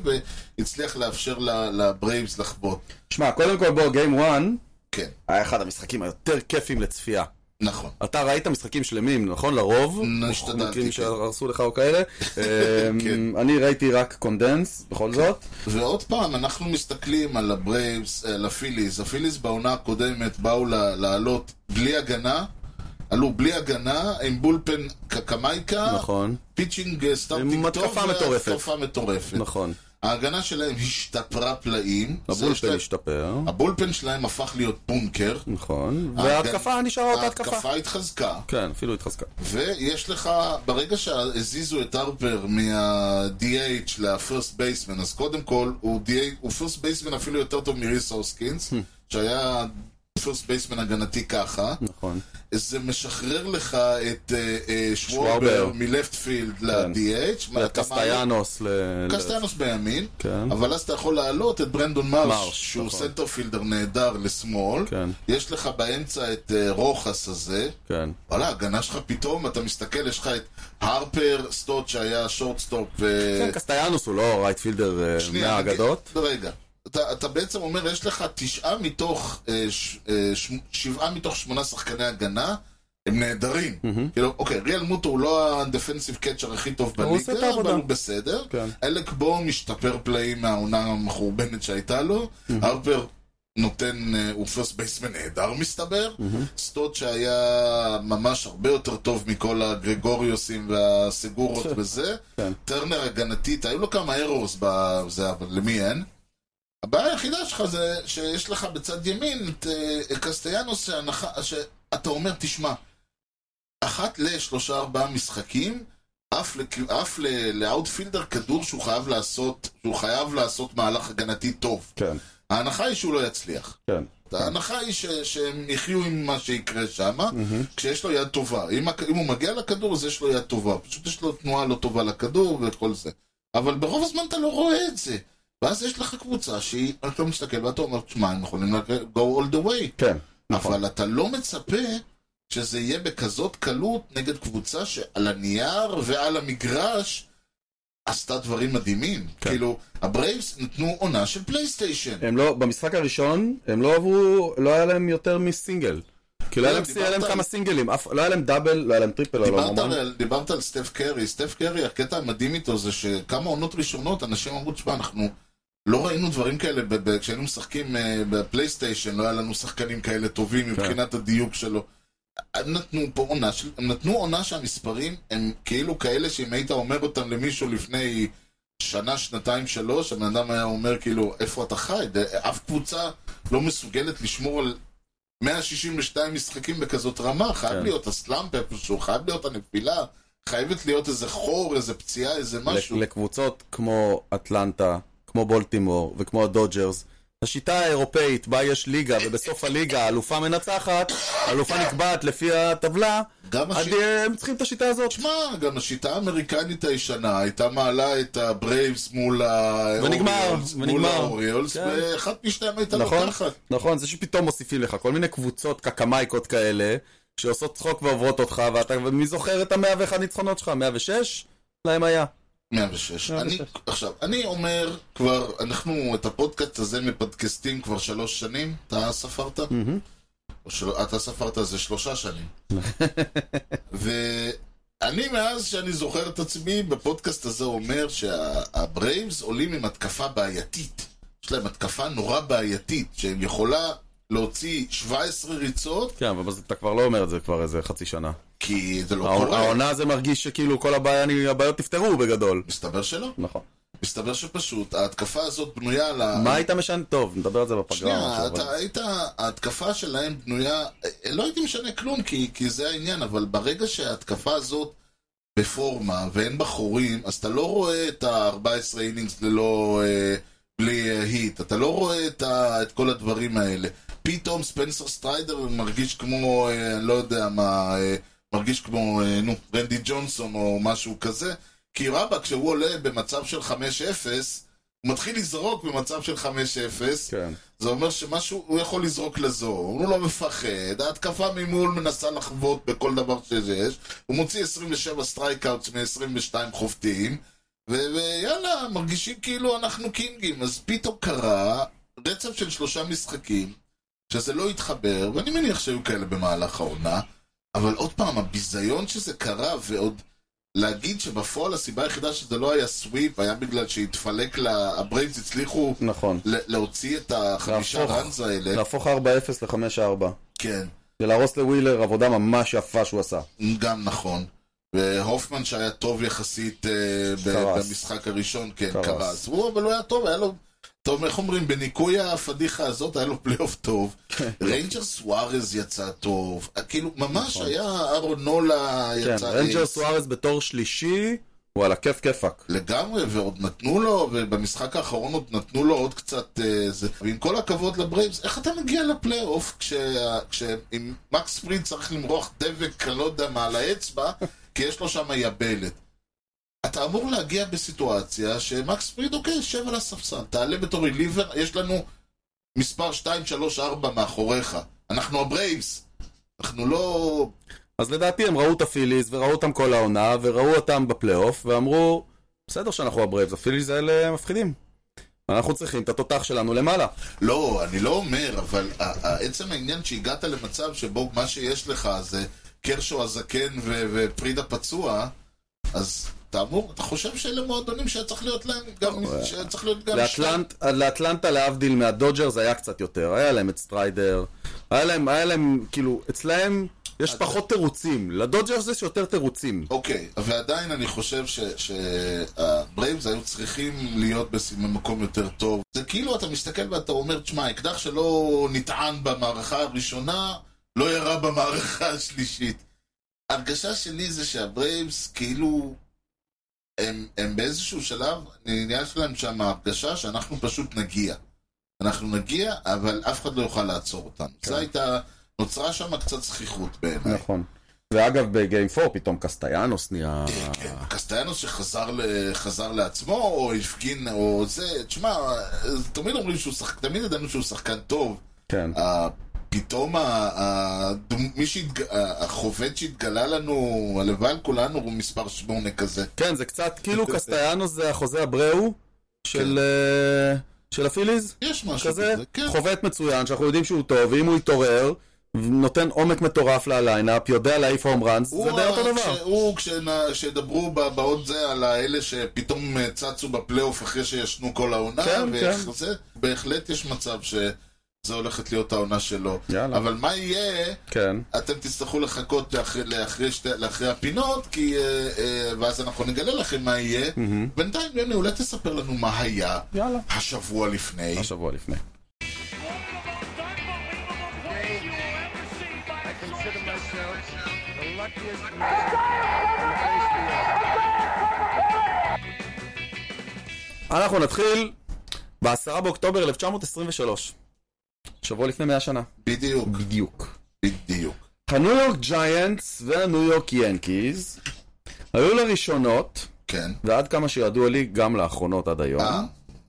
[SPEAKER 1] והצליח לאפשר ל- לברייבס לחבוט.
[SPEAKER 2] שמע, קודם כל בוא, גיים 1
[SPEAKER 1] כן,
[SPEAKER 2] היה אחד המשחקים היותר כיפים לצפייה.
[SPEAKER 1] נכון.
[SPEAKER 2] אתה ראית משחקים שלמים, נכון? לרוב?
[SPEAKER 1] השתדלתי, כן.
[SPEAKER 2] מקרים שהרסו לך או כאלה. אמ,
[SPEAKER 1] כן.
[SPEAKER 2] אני ראיתי רק קונדנס, בכל זאת.
[SPEAKER 1] ועוד פעם, אנחנו מסתכלים על הברייבס, על הפיליז. הפיליז בעונה הקודמת באו ל- לעלות בלי הגנה, עלו בלי הגנה, עם בולפן קקמייקה,
[SPEAKER 2] נכון,
[SPEAKER 1] פיצ'ינג אה, סטארטינג
[SPEAKER 2] עם
[SPEAKER 1] טוב,
[SPEAKER 2] התקפה מטורפת.
[SPEAKER 1] והתקפה מטורפת.
[SPEAKER 2] נכון.
[SPEAKER 1] ההגנה שלהם השתפרה פלאים. כן. זה יש
[SPEAKER 2] הבולפן
[SPEAKER 1] להם-
[SPEAKER 2] השתפר,
[SPEAKER 1] הבולפן שלהם הפך להיות בונקר.
[SPEAKER 2] נכון.
[SPEAKER 1] ההגנה-
[SPEAKER 2] וההתקפה נשארה אותה התקפה.
[SPEAKER 1] אה, כן. ההתקפה התחזקה.
[SPEAKER 2] כן, אפילו התחזקה.
[SPEAKER 1] ויש לך, ברגע שהזיזו את הרפר מה-DH ל-first baseman, אז קודם כל, הוא, DH, הוא first baseman אפילו יותר טוב מריס
[SPEAKER 2] Hmm.
[SPEAKER 1] הוסקינס, שהיה first baseman הגנתי ככה.
[SPEAKER 2] נכון.
[SPEAKER 1] זה משחרר לך את אה, אה, שוורבר
[SPEAKER 2] שוורבר. כן.
[SPEAKER 1] מלפט פילד ל-DH. מה- אתה מעלה-
[SPEAKER 2] קסטיאנוס ל... ל-
[SPEAKER 1] לא- קסטיאנוס בימין,
[SPEAKER 2] כן.
[SPEAKER 1] אבל אז אתה יכול להעלות את ברנדון מרש,
[SPEAKER 2] מרש,
[SPEAKER 1] שהוא
[SPEAKER 2] נכון.
[SPEAKER 1] סנטרפילדר נהדר לשמאל.
[SPEAKER 2] כן,
[SPEAKER 1] יש לך באמצע את אה, רוחס הזה.
[SPEAKER 2] כן.
[SPEAKER 1] וואלה, ההגנה שלך פתאום, אתה מסתכל, יש לך את הרפר סטוט שהיה שורטסטופ ו...
[SPEAKER 2] כן, קסטיאנוס הוא לא רייטפילדר אה,
[SPEAKER 1] אה, שנייה,
[SPEAKER 2] מהאגדות.
[SPEAKER 1] נגיד- רגע. אתה, אתה בעצם אומר, יש לך תשעה מתוך, אה, ש, אה, ש, שבעה מתוך שמונה שחקני הגנה, הם נהדרים. כאילו, אוקיי, ריאל מוטו הוא לא הדפנסיב קצ'ר הכי טוב
[SPEAKER 2] הוא עושה את
[SPEAKER 1] בליגה, אבל
[SPEAKER 2] העבודה.
[SPEAKER 1] הוא בסדר.
[SPEAKER 2] כן.
[SPEAKER 1] אלק בום משתפר פלאים מהעונה המחורבנת שהייתה לו. הרפר נותן, אה, הוא פרסט בייסמן נהדר מסתבר. סטוד שהיה ממש הרבה יותר טוב מכל הגרגוריוסים והסגורות וזה.
[SPEAKER 2] כן.
[SPEAKER 1] טרנר הגנתית, היו לו כמה ארורס בזה, אבל למי אין? הבעיה היחידה שלך זה שיש לך בצד ימין את אה, קסטיאנוס, שהנחה- שאתה אומר, תשמע, אחת לשלושה ארבעה משחקים, עף, לק- עף ל- לאאוטפילדר כדור שהוא חייב לעשות, שהוא חייב לעשות מהלך הגנתי טוב.
[SPEAKER 2] כן,
[SPEAKER 1] ההנחה היא שהוא לא יצליח.
[SPEAKER 2] כן.
[SPEAKER 1] ההנחה היא ש, שהם יחיו עם מה שיקרה שם, כשיש לו יד טובה. אם, הכ- אם הוא מגיע לכדור, אז יש לו יד טובה. פשוט יש לו תנועה לא טובה לכדור וכל זה. אבל ברוב הזמן אתה לא רואה את זה. ואז יש לך קבוצה שהיא, אתה מסתכל ואתה אומר, תשמע, הם יכולים לק- go all the way.
[SPEAKER 2] כן, נכון.
[SPEAKER 1] אבל אתה לא מצפה שזה יהיה בכזאת קלות נגד קבוצה שעל הנייר ועל המגרש עשתה דברים מדהימים.
[SPEAKER 2] כן.
[SPEAKER 1] כאילו, הברייבס נתנו עונה של פלייסטיישן.
[SPEAKER 2] הם לא, במשחק הראשון, הם לא עברו, לא היה להם יותר מסינגל. כאילו היה להם-
[SPEAKER 1] לא, דיברת
[SPEAKER 2] היה להם
[SPEAKER 1] על-
[SPEAKER 2] כמה סינגלים, אף- לא היה להם דאבל, לא היה להם טריפל, לא היה להם
[SPEAKER 1] דיברת
[SPEAKER 2] המון.
[SPEAKER 1] על, דיברת על סטף קרי, סטף קרי, הקטע המדהים איתו זה שכמה עונות ראשונות אנשים אמרו, תשמע, אנחנו לא ראינו דברים כאלה, ב- ב- כשהיינו משחקים אה, בפלייסטיישן, לא היה לנו שחקנים כאלה טובים מבחינת הדיוק שלו. הם נתנו פה עונה, של- הם נתנו עונה שהמספרים הם כאילו כאלה שאם היית אומר אותם למישהו לפני שנה, שנתיים, שלוש, הבן אדם היה אומר כאילו, איפה אתה חי? ד- אף קבוצה לא מסוגלת לשמור על 162 משחקים בכזאת רמה, חייב
[SPEAKER 2] כן.
[SPEAKER 1] להיות הסלאמפ איפשהו, חייב להיות הנפילה, חייבת להיות איזה חור, איזה פציעה, איזה
[SPEAKER 2] ל-
[SPEAKER 1] משהו.
[SPEAKER 2] לקבוצות כמו אטלנטה, כמו בולטימור וכמו הדודג'רס. השיטה האירופאית בה יש ליגה, ובסוף הליגה האלופה מנצחת, האלופה נקבעת לפי הטבלה,
[SPEAKER 1] גם
[SPEAKER 2] אז
[SPEAKER 1] השיט-
[SPEAKER 2] אה, הם צריכים את השיטה הזאת.
[SPEAKER 1] תשמע, גם השיטה האמריקנית הישנה הייתה מעלה את הברייבס מול
[SPEAKER 2] ונגמר,
[SPEAKER 1] האוריולס, מול
[SPEAKER 2] ונגמר.
[SPEAKER 1] האוריולס,
[SPEAKER 2] כן.
[SPEAKER 1] ואחת משתיהם הייתה
[SPEAKER 2] נכון,
[SPEAKER 1] לוקחת.
[SPEAKER 2] נכון, זה שפתאום מוסיפים לך כל מיני קבוצות קקמייקות כאלה, שעושות צחוק ועוברות אותך, ואתה, ומי זוכר את המאה ואחד ניצחונות שלך? 106? להם היה.
[SPEAKER 1] 106. אני,
[SPEAKER 4] 106.
[SPEAKER 1] עכשיו, אני אומר כבר, אנחנו את הפודקאסט הזה מפודקאסטים כבר שלוש שנים, אתה ספרת? או של... אתה ספרת זה שלושה שנים. ואני מאז שאני זוכר את עצמי בפודקאסט הזה אומר שהברייבס עולים עם התקפה בעייתית. יש להם התקפה נורא בעייתית, שהם יכולה להוציא 17 ריצות,
[SPEAKER 2] כן, אבל אתה כבר לא אומר את זה כבר איזה חצי שנה.
[SPEAKER 1] כי זה לא
[SPEAKER 2] העונה-
[SPEAKER 1] קורה.
[SPEAKER 2] העונה זה מרגיש שכאילו כל הבעיה- הבעיות נפתרו בגדול.
[SPEAKER 1] מסתבר שלא.
[SPEAKER 2] נכון.
[SPEAKER 1] מסתבר שפשוט ההתקפה הזאת בנויה על ה...
[SPEAKER 2] מה היית משנה? טוב, נדבר על זה בפגרה. או
[SPEAKER 1] שנייה,
[SPEAKER 2] משהו, אבל-
[SPEAKER 1] אתה היית, ההתקפה שלהם בנויה, לא הייתי משנה כלום, כי, כי זה העניין, אבל ברגע שההתקפה הזאת בפורמה ואין בה חורים, אז אתה לא רואה את ה-14 אינינגס ללא, אה, בלי אה, היט, אתה לא רואה את, ה, את כל הדברים האלה. פתאום ספנסר סטריידר מרגיש כמו, אה, אני לא יודע מה, אה, מרגיש כמו, אה, נו, רנדי ג'ונסון או משהו כזה, כי רבא, כשהוא עולה במצב של 5-0, הוא מתחיל לזרוק במצב של 5-0,
[SPEAKER 2] כן.
[SPEAKER 1] זה אומר שמשהו, הוא יכול לזרוק לזור, הוא לא מפחד, ההתקפה ממול מנסה לחבוט בכל דבר שיש, הוא מוציא 27 סטרייקאוטס מ-22 חובטים, ו- ויאללה, מרגישים כאילו אנחנו קינגים, אז פתאום קרה רצף של שלושה משחקים, שזה לא התחבר, ואני מניח שהיו כאלה במהלך העונה, אבל עוד פעם, הביזיון שזה קרה, ועוד להגיד שבפועל הסיבה היחידה שזה לא היה סוויפ, היה בגלל שהתפלק לה, הברייבס הצליחו...
[SPEAKER 2] נכון.
[SPEAKER 1] ל- להוציא את החמישה
[SPEAKER 2] להפוך.
[SPEAKER 1] ראנז האלה,
[SPEAKER 2] להפוך 4-0 ל-5-4.
[SPEAKER 1] כן,
[SPEAKER 2] ולהרוס לווילר עבודה ממש יפה שהוא עשה.
[SPEAKER 1] גם נכון. והופמן שהיה טוב יחסית אה, ב-
[SPEAKER 2] קרס.
[SPEAKER 1] במשחק הראשון, כן,
[SPEAKER 2] קרס.
[SPEAKER 1] קרס. הוא אבל הוא היה טוב, היה לו... טוב, איך אומרים, בניקוי הפדיחה הזאת היה לו פלייאוף טוב. ריינג'ר סוארז יצא טוב. אה, כאילו, ממש
[SPEAKER 2] נכון.
[SPEAKER 1] היה אהרון נולה
[SPEAKER 2] כן,
[SPEAKER 1] יצא...
[SPEAKER 2] רנג'ר
[SPEAKER 1] אייס.
[SPEAKER 2] סוארז בתור שלישי, וואלה, כיף כיפאק.
[SPEAKER 1] לגמרי, ועוד נתנו לו, ובמשחק האחרון עוד נתנו לו עוד קצת... אה, זה. ועם כל הכבוד לברייבס, איך אתה מגיע לפלייאוף כשה- כשעם מקס פריד צריך למרוח דבק, אני לא יודע מה, על האצבע, כי יש לו שם יבלת. אתה אמור להגיע בסיטואציה שמקס פריד, אוקיי, שב על הספסל, תעלה בתור ריליבר, יש לנו מספר 2, 3, 4 מאחוריך. אנחנו הברייבס. אנחנו לא...
[SPEAKER 2] אז לדעתי הם ראו את הפיליז, וראו אותם כל העונה, וראו אותם בפלייאוף, ואמרו, בסדר שאנחנו הברייבס, הפיליז האלה מפחידים. אנחנו צריכים את התותח שלנו למעלה.
[SPEAKER 1] לא, אני לא אומר, אבל ה- ה- עצם העניין שהגעת למצב שבו מה שיש לך זה קרשו הזקן ו- ופרידה פצוע, אז אתה אמור, אתה חושב שאלה מועדונים שהיה צריך להיות להם גם, שהיה צריך להיות גם
[SPEAKER 2] לאטלנט, לאטלנטה, להבדיל מהדודג'רס, היה קצת יותר. היה להם את סטריידר, היה להם, היה להם, כאילו, אצלהם יש פחות תירוצים. לדודג'רס יש יותר תירוצים.
[SPEAKER 1] אוקיי, ועדיין אני חושב שהברייבס היו צריכים להיות בס- במקום יותר טוב. זה כאילו אתה מסתכל ואתה אומר, תשמע, אקדח שלא נטען במערכה הראשונה, לא ירה במערכה השלישית. הרגשה שלי זה שהברייבס כאילו, הם, הם באיזשהו שלב, יש להם שם הרגשה שאנחנו פשוט נגיע. אנחנו נגיע, אבל אף אחד לא יוכל לעצור אותנו. זה הייתה, נוצרה שם קצת זכיחות בעיניי.
[SPEAKER 2] נכון. ואגב, בגיים 4 פתאום קסטיאנוס נהיה...
[SPEAKER 1] כן, קסטיאנוס שחזר ל- חזר לעצמו, או הפגין, או זה, תשמע, תמיד אומרים שהוא שחק... תמיד ידענו שהוא שחקן טוב.
[SPEAKER 2] כן.
[SPEAKER 1] ה- פתאום ה- ה- דמ- מי שהתג- ה- החובד שהתגלה לנו, הלוואי על כולנו, הוא מספר שמונה כזה.
[SPEAKER 2] כן, זה קצת כאילו קסטיאנוס זה החוזה הבראו של אה, של הפיליז.
[SPEAKER 1] יש משהו
[SPEAKER 2] כזה,
[SPEAKER 1] כזה, כן.
[SPEAKER 2] חובט מצוין, שאנחנו יודעים שהוא טוב, ואם הוא יתעורר, נותן עומק מטורף לליינאפ, יודע להעיף הום ראנס, זה
[SPEAKER 1] הוא
[SPEAKER 2] די
[SPEAKER 1] ה-
[SPEAKER 2] אותו דבר.
[SPEAKER 1] כשהוא, כשנ- כשידברו ב- בעוד זה על האלה שפתאום אה, צצו בפלייאוף אחרי שישנו כל העונה,
[SPEAKER 2] כן,
[SPEAKER 1] ואיך
[SPEAKER 2] כן.
[SPEAKER 1] זה, בהחלט יש מצב שזה הולכת להיות העונה שלו.
[SPEAKER 2] יאללה.
[SPEAKER 1] אבל מה יהיה...
[SPEAKER 2] כן.
[SPEAKER 1] אתם תצטרכו לחכות לאחרי, לאחרי, שתי, לאחרי הפינות, כי, אה, אה, ואז אנחנו נגלה לכם מה יהיה.
[SPEAKER 2] Mm-hmm.
[SPEAKER 1] בינתיים, יוני, אולי תספר לנו מה היה
[SPEAKER 2] יאללה.
[SPEAKER 1] השבוע לפני.
[SPEAKER 2] השבוע לפני.
[SPEAKER 5] I consider myself the luckiest man.
[SPEAKER 2] אנחנו נתחיל ב-10 באוקטובר 1923, שבוע לפני 100 שנה.
[SPEAKER 1] בדיוק,
[SPEAKER 2] בדיוק.
[SPEAKER 1] בדיוק.
[SPEAKER 2] הניו יורק ג'יינטס והניו יורק ינקיז היו לראשונות,
[SPEAKER 1] כן.
[SPEAKER 2] ועד כמה שידוע לי, גם לאחרונות עד היום.
[SPEAKER 1] אה?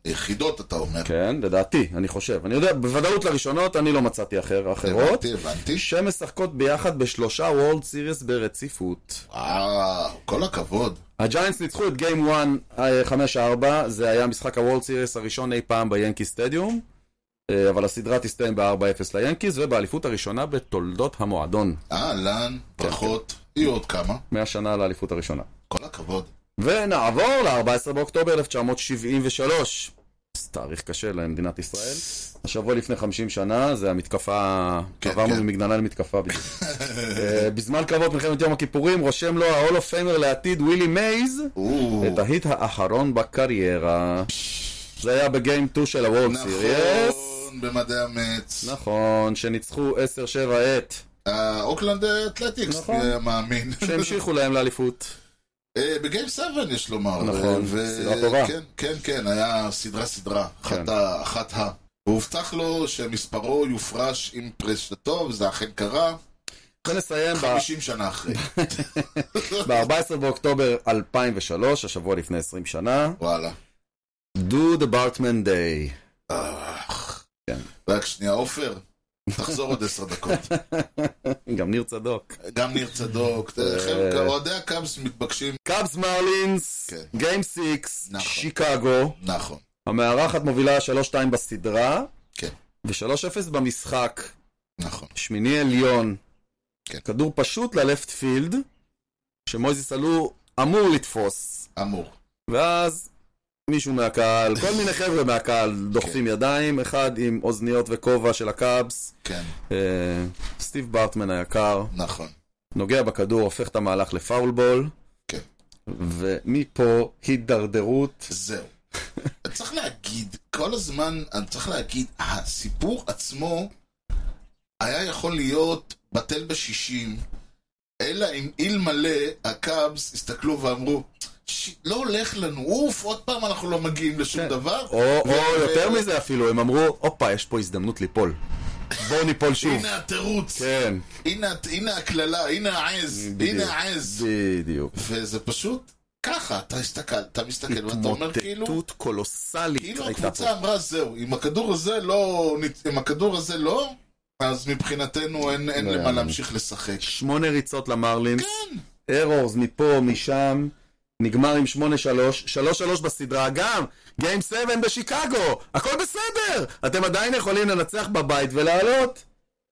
[SPEAKER 1] יחידות אתה אומר.
[SPEAKER 2] כן, לדעתי, אני חושב. אני יודע, בוודאות לראשונות, אני לא מצאתי אחר, אחרות.
[SPEAKER 1] הבנתי, הבנתי.
[SPEAKER 2] שמשחקות ביחד בשלושה וולד סיריס ברציפות.
[SPEAKER 1] וואו, כל הכבוד.
[SPEAKER 2] הג'יינטס ניצחו את גיים 1 אה, 5-4, זה היה משחק הוולד סיריס הראשון אי פעם ביאנקי סטדיום, אה, אבל הסדרה תסתיים ב-4-0 ליאנקיז, ובאליפות הראשונה בתולדות המועדון,
[SPEAKER 1] אהלן,
[SPEAKER 2] כן,
[SPEAKER 1] ברכות. יהיו עוד כמה.
[SPEAKER 2] 100 שנה לאליפות הראשונה.
[SPEAKER 1] כל הכבוד.
[SPEAKER 2] ונעבור ל-14 באוקטובר 1973. תאריך קשה למדינת ישראל. השבוע לפני 50 שנה, זה המתקפה,
[SPEAKER 1] כן,
[SPEAKER 2] עברנו
[SPEAKER 1] כן.
[SPEAKER 2] ממגננה למתקפה בדיוק. אה, בזמן קרבות מלחמת יום הכיפורים, רושם לו ה-all of famer לעתיד ווילי מייז,
[SPEAKER 1] או,
[SPEAKER 2] את ההיט האחרון בקריירה. זה היה בגיים 2 של הוולד סיריוס.
[SPEAKER 1] נכון, במדעי נכון, המץ.
[SPEAKER 2] נכון, שניצחו 10-7 את,
[SPEAKER 1] אה, אוקלנד אתלטיקס,
[SPEAKER 2] נכון.
[SPEAKER 1] אה, מאמין.
[SPEAKER 2] שהמשיכו להם לאליפות.
[SPEAKER 1] אה, בגיים 7 יש לומר. אה,
[SPEAKER 2] נכון,
[SPEAKER 1] ו-
[SPEAKER 2] סדרה טובה.
[SPEAKER 1] כן, כן, כן, היה סדרה סדרה. אחת
[SPEAKER 2] כן.
[SPEAKER 1] ה- אחת ה... והובטח לו שמספרו יופרש עם פרישתו, וזה אכן קרה,
[SPEAKER 2] ונסיים ב...
[SPEAKER 1] 50 שנה אחרי.
[SPEAKER 2] ב-14 באוקטובר 2003, השבוע לפני 20 שנה,
[SPEAKER 1] וואלה.
[SPEAKER 2] Do the Bartman Day. כן.
[SPEAKER 1] אה, רק שנייה, עופר, תחזור עוד עשר דקות.
[SPEAKER 2] גם ניר צדוק.
[SPEAKER 1] גם ניר צדוק,
[SPEAKER 2] אה.
[SPEAKER 1] חלק- אוהדי הקאבס מתבקשים,
[SPEAKER 2] קאבס מרלינס,
[SPEAKER 1] כן.
[SPEAKER 2] גיים 6,
[SPEAKER 1] נכון.
[SPEAKER 2] שיקגו.
[SPEAKER 1] נכון,
[SPEAKER 2] המארחת מובילה 3-2 בסדרה,
[SPEAKER 1] כן.
[SPEAKER 2] ו-3-0 במשחק.
[SPEAKER 1] נכון.
[SPEAKER 2] שמיני עליון.
[SPEAKER 1] כן.
[SPEAKER 2] כדור פשוט ללפט פילד, שמויזס עלו אמור לתפוס.
[SPEAKER 1] אמור.
[SPEAKER 2] ואז מישהו מהקהל, כל מיני חבר'ה מהקהל
[SPEAKER 1] כן.
[SPEAKER 2] דוחפים ידיים, אחד עם אוזניות וכובע של הקאבס.
[SPEAKER 1] כן,
[SPEAKER 2] אה, סטיב בארטמן היקר,
[SPEAKER 1] נכון.
[SPEAKER 2] נוגע בכדור, הופך את המהלך לפאול בול.
[SPEAKER 1] כן.
[SPEAKER 2] ומפה הידרדרות.
[SPEAKER 1] זהו. צריך להגיד, כל הזמן, אני צריך להגיד, הסיפור עצמו היה יכול להיות בטל בשישים, אלא אם אלמלא הקאבס הסתכלו ואמרו, "ש- לא הולך לנו, אוף, עוד פעם אנחנו לא מגיעים לשום
[SPEAKER 2] כן.
[SPEAKER 1] דבר.
[SPEAKER 2] או, או יותר מזה אפילו, הם אמרו, הופה, יש פה הזדמנות ליפול. בואו ניפול שוב.
[SPEAKER 1] הנה התירוץ,
[SPEAKER 2] כן,
[SPEAKER 1] הנה- הנה הקללה, הנה העז,
[SPEAKER 2] בדיוק.
[SPEAKER 1] הנה העז.
[SPEAKER 2] בדיוק.
[SPEAKER 1] וזה פשוט ככה, אתה הסתכל, אתה מסתכל ואתה אומר כאילו...
[SPEAKER 2] התמוטטות קולוסלית
[SPEAKER 1] כאילו
[SPEAKER 2] הייתה פה.
[SPEAKER 1] הקבוצה אמרה זהו, אם הכדור הזה לא, נת- אם הכדור הזה לא, אז מבחינתנו אין, אין
[SPEAKER 2] לא
[SPEAKER 1] למה
[SPEAKER 2] יאמן.
[SPEAKER 1] להמשיך לשחק.
[SPEAKER 2] שמונה ריצות למרלינס,
[SPEAKER 1] כן,
[SPEAKER 2] ארורס מפה, משם, נגמר עם 8-3, 3-3 בסדרה, גם, גיים 7 בשיקגו, הכל בסדר! אתם עדיין יכולים לנצח בבית ולעלות.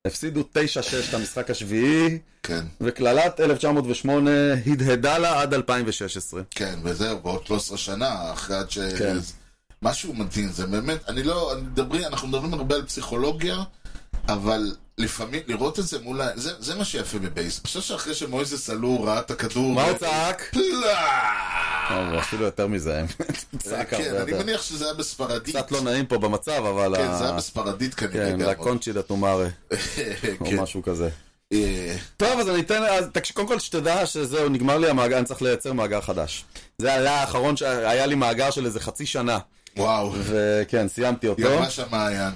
[SPEAKER 2] הפסידו 9-6 את המשחק השביעי,
[SPEAKER 1] כן,
[SPEAKER 2] וקללת 1908 הדהדה לה עד 2016.
[SPEAKER 1] כן, וזהו, בעוד 13 שנה, אחרי עד ש...
[SPEAKER 2] כן.
[SPEAKER 1] משהו מדהים, זה באמת, אני לא, אני מדברים, אנחנו מדברים הרבה על פסיכולוגיה, אבל לפעמים לראות את זה מול ה... זה, זה מה שיפה בבייס. אני חושב שאחרי שמויזס עלו, ראה את הכדור... לא!
[SPEAKER 2] מה הוא צעק?
[SPEAKER 1] פלאק!
[SPEAKER 2] אה, הוא אפילו יותר מזה, האמת. צעק
[SPEAKER 1] כן,
[SPEAKER 2] הרבה
[SPEAKER 1] אני
[SPEAKER 2] יותר.
[SPEAKER 1] מניח שזה היה בספרדית.
[SPEAKER 2] קצת לא נעים פה במצב, אבל...
[SPEAKER 1] כן,
[SPEAKER 2] ה-
[SPEAKER 1] זה היה בספרדית כנראה.
[SPEAKER 2] כן,
[SPEAKER 1] גם.
[SPEAKER 2] לה קונצ'ידה טומארה, או
[SPEAKER 1] כן.
[SPEAKER 2] משהו כזה.
[SPEAKER 1] אה,
[SPEAKER 2] טוב, אז אני אתן, אז תקשיב, קודם כל שתדע שזהו, נגמר לי המאגר, אני צריך לייצר מאגר חדש. זה היה האחרון שהיה לי מאגר של איזה חצי שנה,
[SPEAKER 1] וואו,
[SPEAKER 2] וכן, סיימתי אותו.
[SPEAKER 1] ממש המעיין.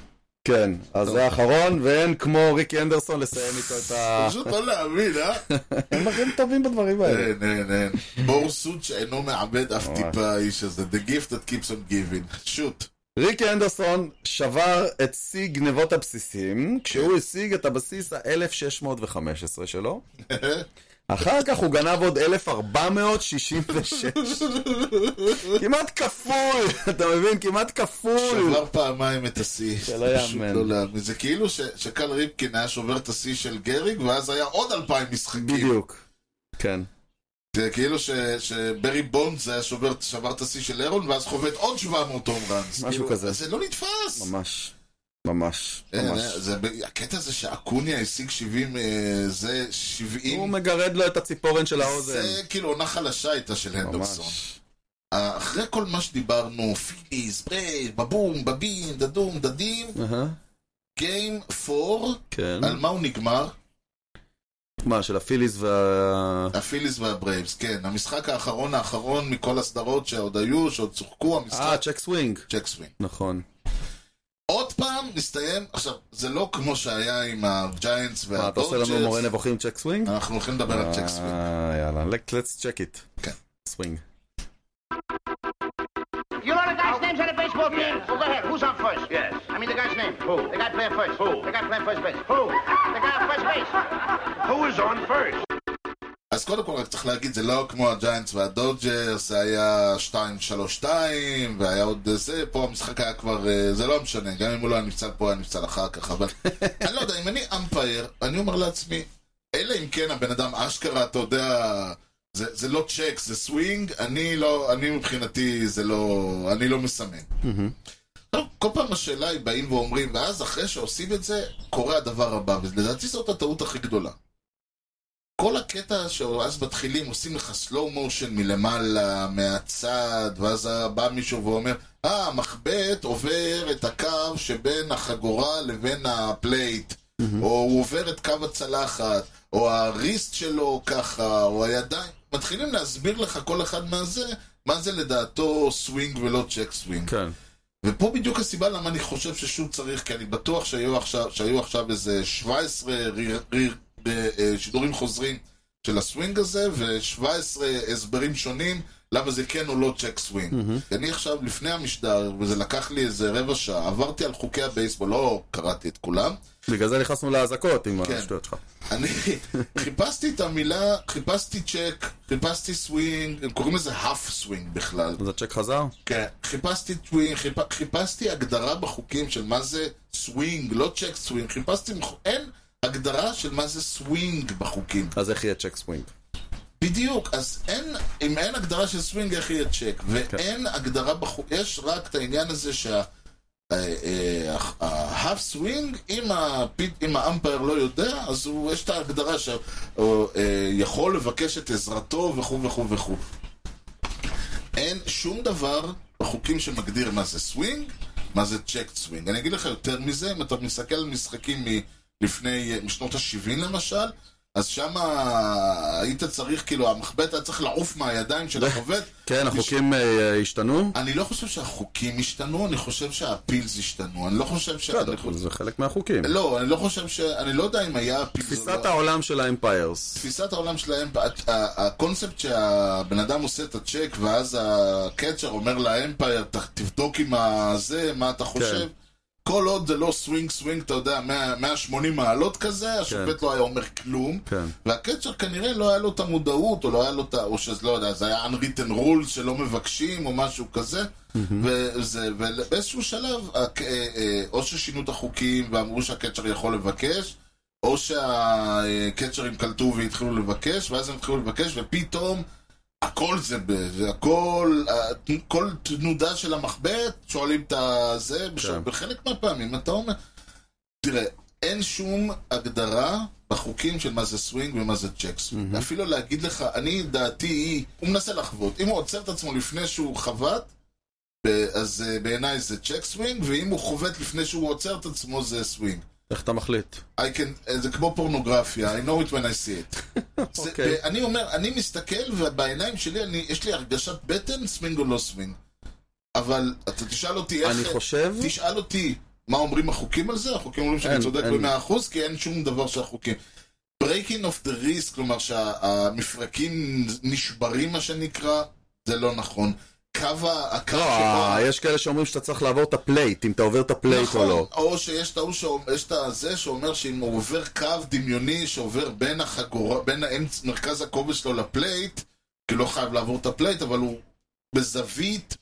[SPEAKER 2] כן, אז זה האחרון, ואין כמו ריקי אנדרסון לסיים איתו את ה...
[SPEAKER 1] פשוט לא להאמין, אה?
[SPEAKER 2] כן. הם הכי טובים בדברים האלה.
[SPEAKER 1] אין, אין, אין. בור סוד שאינו מעבד אף
[SPEAKER 2] ממש.
[SPEAKER 1] טיפה האיש הזה. The gift that keeps on giving. שוט.
[SPEAKER 2] ריקי אנדרסון שבר את שיא גנבות הבסיסים, כשהוא השיג את הבסיס ה-1615 שלו. אחר כך הוא גנב עוד 1466. כמעט כפול, אתה מבין? כמעט כפול.
[SPEAKER 1] שבר פעמיים את השיא.
[SPEAKER 2] אה. זה לא
[SPEAKER 1] פשוט
[SPEAKER 2] יאמן.
[SPEAKER 1] לא להאמין. זה כאילו ש- שקל ריפקין היה שובר את השיא של גריג, ואז היה עוד אלפיים משחקים.
[SPEAKER 2] בדיוק. כן.
[SPEAKER 1] זה כאילו ש- שברי בונדס היה שובר- שבר את השיא של אירון, ואז חובט עוד 700 הום ראנס.
[SPEAKER 2] משהו
[SPEAKER 1] כאילו,
[SPEAKER 2] כזה.
[SPEAKER 1] זה לא נתפס.
[SPEAKER 2] ממש. ממש.
[SPEAKER 1] אין,
[SPEAKER 2] ממש.
[SPEAKER 1] אין, זה ב- הקטע זה שאקוניה השיג 70, אה, זה 70
[SPEAKER 2] הוא מגרד לו את הציפורן של
[SPEAKER 1] זה
[SPEAKER 2] האוזן.
[SPEAKER 1] כאילו עונה חלשה הייתה של הנדרסון.
[SPEAKER 2] ממש.
[SPEAKER 1] אה, אחרי כל מה שדיברנו, פיליס, ברייד, בבום, בבין, דדום, דדים,
[SPEAKER 2] אהה,
[SPEAKER 1] גיים 4,
[SPEAKER 2] כן.
[SPEAKER 1] על מה הוא נגמר?
[SPEAKER 2] מה, של הפיליס וה...
[SPEAKER 1] הפיליס והברייבס, כן. המשחק האחרון האחרון מכל הסדרות שעוד היו, שעוד צוחקו,
[SPEAKER 2] אה,
[SPEAKER 1] המשחק
[SPEAKER 2] צ'ק סווינג.
[SPEAKER 1] צ'ק סווינג.
[SPEAKER 2] נכון.
[SPEAKER 1] מסתיים, עכשיו, זה לא כמו שהיה עם הג'יינטס
[SPEAKER 2] מה, אתה עושה לנו מורה
[SPEAKER 1] והדורג'ס,
[SPEAKER 2] נבוכים צ'ק סווינג?
[SPEAKER 1] אנחנו הולכים לדבר על אה, צ'ק סווינג.
[SPEAKER 2] אה, יאללה, let- let's check it.
[SPEAKER 1] כן.
[SPEAKER 2] סווינג.
[SPEAKER 6] You know the guy's names on the baseball team? Well, go ahead. Who's on first? Yes. I mean the guy's name. Who? The guy playing first. Who? The guy playing first base. Who? The guy on first base. Who is on first?
[SPEAKER 1] אז קודם כל רק צריך להגיד, זה לא כמו הג'יינטס והדודג'רס, זה היה 2-3-2, והיה עוד זה, פה המשחק היה כבר, אה, זה לא משנה, גם אם הוא לא היה נפצל פה, היה נפצל אחר כך, אבל אני לא יודע, אם אני אמפייר, אני אומר לעצמי, אלא אם כן הבן אדם אשכרה, אתה יודע, זה, זה לא צ'ק, זה סווינג, אני לא, אני מבחינתי, זה לא, אני לא מסמן. לא, כל פעם השאלה היא באים ואומרים, ואז אחרי שעושים את זה, קורה הדבר הבא, ולדעתי זאת הטעות הכי גדולה. כל הקטע שאז מתחילים, עושים לך slow motion מלמעלה, מהצד, ואז בא מישהו ואומר, אה, המחבט עובר את הקו שבין החגורה לבין הפלייט, או הוא עובר את קו הצלחת, או הריסט שלו ככה, או הידיים. מתחילים להסביר לך כל אחד מהזה, מה זה לדעתו סווינג ולא צ'ק סווינג.
[SPEAKER 2] כן.
[SPEAKER 1] ופה בדיוק הסיבה למה אני חושב ששוב צריך, כי אני בטוח שהיו עכשיו, שהיו עכשיו איזה 17 ריר, ריר, אה, אה, שידורים חוזרים של הסווינג הזה, ו-17 הסברים שונים למה זה כן או לא צ'ק סווינג. Mm-hmm. אני עכשיו, לפני המשדר, וזה לקח לי איזה רבע שעה, עברתי על חוקי הבייסבול, לא קראתי את כולם,
[SPEAKER 2] בגלל זה נכנסנו לאזעקות עם
[SPEAKER 1] כן.
[SPEAKER 2] השטויות שלך.
[SPEAKER 1] אני חיפשתי את המילה, חיפשתי צ'ק, חיפשתי סווינג, הם קוראים לזה האף סווינג בכלל.
[SPEAKER 2] אז הצ'ק חזר?
[SPEAKER 1] כן, חיפשתי טווינג, חיפ... חיפשתי הגדרה בחוקים של מה זה סווינג, לא צ'ק סווינג, חיפשתי, מח- אין הגדרה של מה זה סווינג בחוקים.
[SPEAKER 2] אז איך יהיה צ'ק סווינג?
[SPEAKER 1] בדיוק, אז אין, אם אין הגדרה של סווינג, איך יהיה צ'ק? ואין הגדרה בחוקים, יש רק את העניין הזה שה... אה, ההאף סווינג, אה, אם הפי- אם האמפייר לא יודע, אז הוא, יש את ההגדרה שיכול לבקש את עזרתו וכו' וכו' וכו'. אין שום דבר בחוקים שמגדיר מה זה סווינג, מה זה צ'ק סווינג. אני אגיד לך יותר מזה, אם אתה מסתכל על משחקים מלפני, משנות ה-70 למשל, אז שם היית צריך, כאילו, המחבט היה צריך לעוף מהידיים של החובט.
[SPEAKER 2] כן, החוקים אה, השתנו?
[SPEAKER 1] אני לא חושב שהחוקים השתנו, אני חושב שהפילס השתנו. אני לא חושב ש... אני חושב-
[SPEAKER 2] זה חלק מהחוקים.
[SPEAKER 1] לא, אני לא חושב ש... אני לא יודע אם היה פילס או לא.
[SPEAKER 2] תפיסת העולם של האמפיירס.
[SPEAKER 1] תפיסת העולם שלהם, ה- ה- הקונספט שהבן אדם עושה את הצ'ק ואז הקצ'ר אומר לאמפייר, "ת- תבדוק עם הזה, מה אתה חושב.
[SPEAKER 2] כן.
[SPEAKER 1] כל עוד זה לא סווינג סווינג, אתה יודע, 100 180 מעלות כזה, השופט לא היה אומר כלום.
[SPEAKER 2] כן.
[SPEAKER 1] והקצ'ר כנראה לא היה לו את המודעות, או לא היה לו את ה... או שזה לא יודע, זה היה unwritten rules שלא מבקשים, או משהו כזה. וזה, ובאיזשהו שלב, הק- אה, אה, או ששינו את החוקים ואמרו שהקצ'ר יכול לבקש, או שהקצ'רים קלטו והתחילו לבקש, ואז הם התחילו לבקש, ופתאום הכל זה, ב- זה הכל, ה- כל תנודה של המחבט, שואלים את הזה, בש-
[SPEAKER 2] כן.
[SPEAKER 1] בחלק מהפעמים אתה אומר, תראה, אין שום הגדרה בחוקים של מה זה סווינג ומה זה צ'ק סווינג. אפילו להגיד לך, אני, דעתי היא, הוא מנסה לחוות. אם הוא עוצר את עצמו לפני שהוא חבט, ב- אז אה, בעיניי זה צ'ק סווינג, ואם הוא חובט לפני שהוא עוצר את עצמו זה סווינג.
[SPEAKER 2] איך אתה מחליט?
[SPEAKER 1] I can, אה, זה כמו פורנוגרפיה, I know it when I see it. זה, אה,
[SPEAKER 2] אוקיי.
[SPEAKER 1] אני אומר, אני מסתכל, ובעיניים שלי אני, יש לי הרגשת בטן, סווינג או לא סווינג. אבל אתה תשאל אותי איך...
[SPEAKER 2] אני חושב...
[SPEAKER 1] תשאל אותי מה אומרים החוקים על זה, החוקים אומרים שאני
[SPEAKER 2] אין,
[SPEAKER 1] צודק
[SPEAKER 2] אין.
[SPEAKER 1] במאה אחוז, כי אין שום דבר שהחוקים... breaking of the risk, כלומר שהמפרקים נשברים, מה שנקרא, זה לא נכון. קו ה... הקו
[SPEAKER 2] לא,
[SPEAKER 1] שבו-
[SPEAKER 2] יש כאלה שאומרים שאתה צריך לעבור את הפלייט, אם אתה עובר את הפלייט או
[SPEAKER 1] אה, נכון,
[SPEAKER 2] לא.
[SPEAKER 1] או שיש את ההוא שאומר- יש את הזה שאומר שאם הוא עובר קו דמיוני שעובר בין החגורה, בין האמצ... מרכז הכובד שלו לפלייט, כי לא חייב לעבור את הפלייט, אבל הוא בזווית,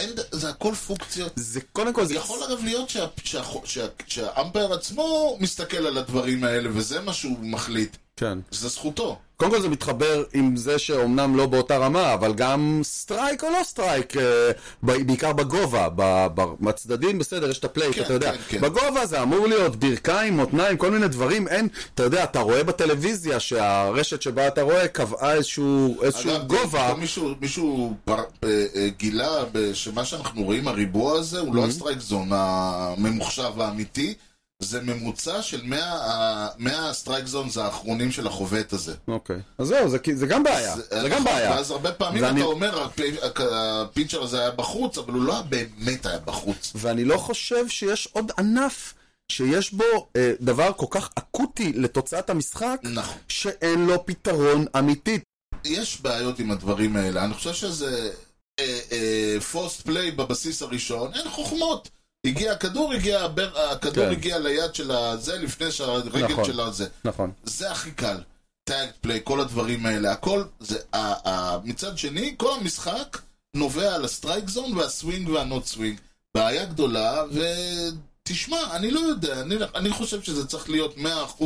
[SPEAKER 1] אין... ד- זה הכל פונקציות.
[SPEAKER 2] זה קודם כל, זה...
[SPEAKER 1] יכול אגב להיות שה- שה- שה- שהאמפייר עצמו מסתכל על הדברים האלה, וזה מה שהוא מחליט.
[SPEAKER 2] כן.
[SPEAKER 1] זה זכותו.
[SPEAKER 2] קודם כל זה מתחבר עם זה שאומנם לא באותה רמה, אבל גם סטרייק או לא סטרייק, אה, ב- בעיקר בגובה, ב- ב- בצדדים בסדר, יש את הפלייט,
[SPEAKER 1] כן,
[SPEAKER 2] אתה יודע.
[SPEAKER 1] כן, כן.
[SPEAKER 2] בגובה זה אמור להיות ברכיים, מותניים, כל מיני דברים, אין, אתה יודע, אתה רואה בטלוויזיה שהרשת שבה אתה רואה קבעה איזשהו איזשהו
[SPEAKER 1] אגב,
[SPEAKER 2] גובה.
[SPEAKER 1] פתאום מישהו, מישהו פר, אה, אה, גילה
[SPEAKER 2] Mm-hmm.
[SPEAKER 1] ב- שמה שאנחנו רואים, הריבוע הזה, הוא לא הסטרייק זון הממוחשב האמיתי, זה ממוצע של 100 הסטרייק זונס האחרונים של החובט הזה.
[SPEAKER 2] אוקיי. אז זהו, זה כי- זה גם בעיה.
[SPEAKER 1] אז-
[SPEAKER 2] זה גם בעיה.
[SPEAKER 1] ואז הרבה פעמים
[SPEAKER 2] זה
[SPEAKER 1] אתה
[SPEAKER 2] אני-
[SPEAKER 1] אומר, "הפי- הק- הפינצ'ר הזה היה בחוץ, אבל הוא לא באמת היה בחוץ.
[SPEAKER 2] ואני לא חושב שיש עוד ענף שיש בו אה, דבר כל כך אקוטי לתוצאת המשחק,
[SPEAKER 1] נכון.
[SPEAKER 2] שאין לו פתרון אמיתי.
[SPEAKER 1] יש בעיות עם הדברים האלה. אני חושב שזה אה, פוסט פליי בבסיס הראשון, אין חוכמות. הגיע הכדור, הגיע הבר- הכדור
[SPEAKER 2] כן.
[SPEAKER 1] הגיע ליד של הזה לפני שהרגל
[SPEAKER 2] נכון.
[SPEAKER 1] של הזה.
[SPEAKER 2] נכון.
[SPEAKER 1] זה הכי קל. טאג פליי, כל הדברים האלה, הכל, זה, ה, ה, מצד שני, כל המשחק נובע על הסטרייק זון והסווינג והנוט סווינג. בעיה גדולה, ותשמע, אני לא יודע, אני, אני חושב שזה צריך להיות 100%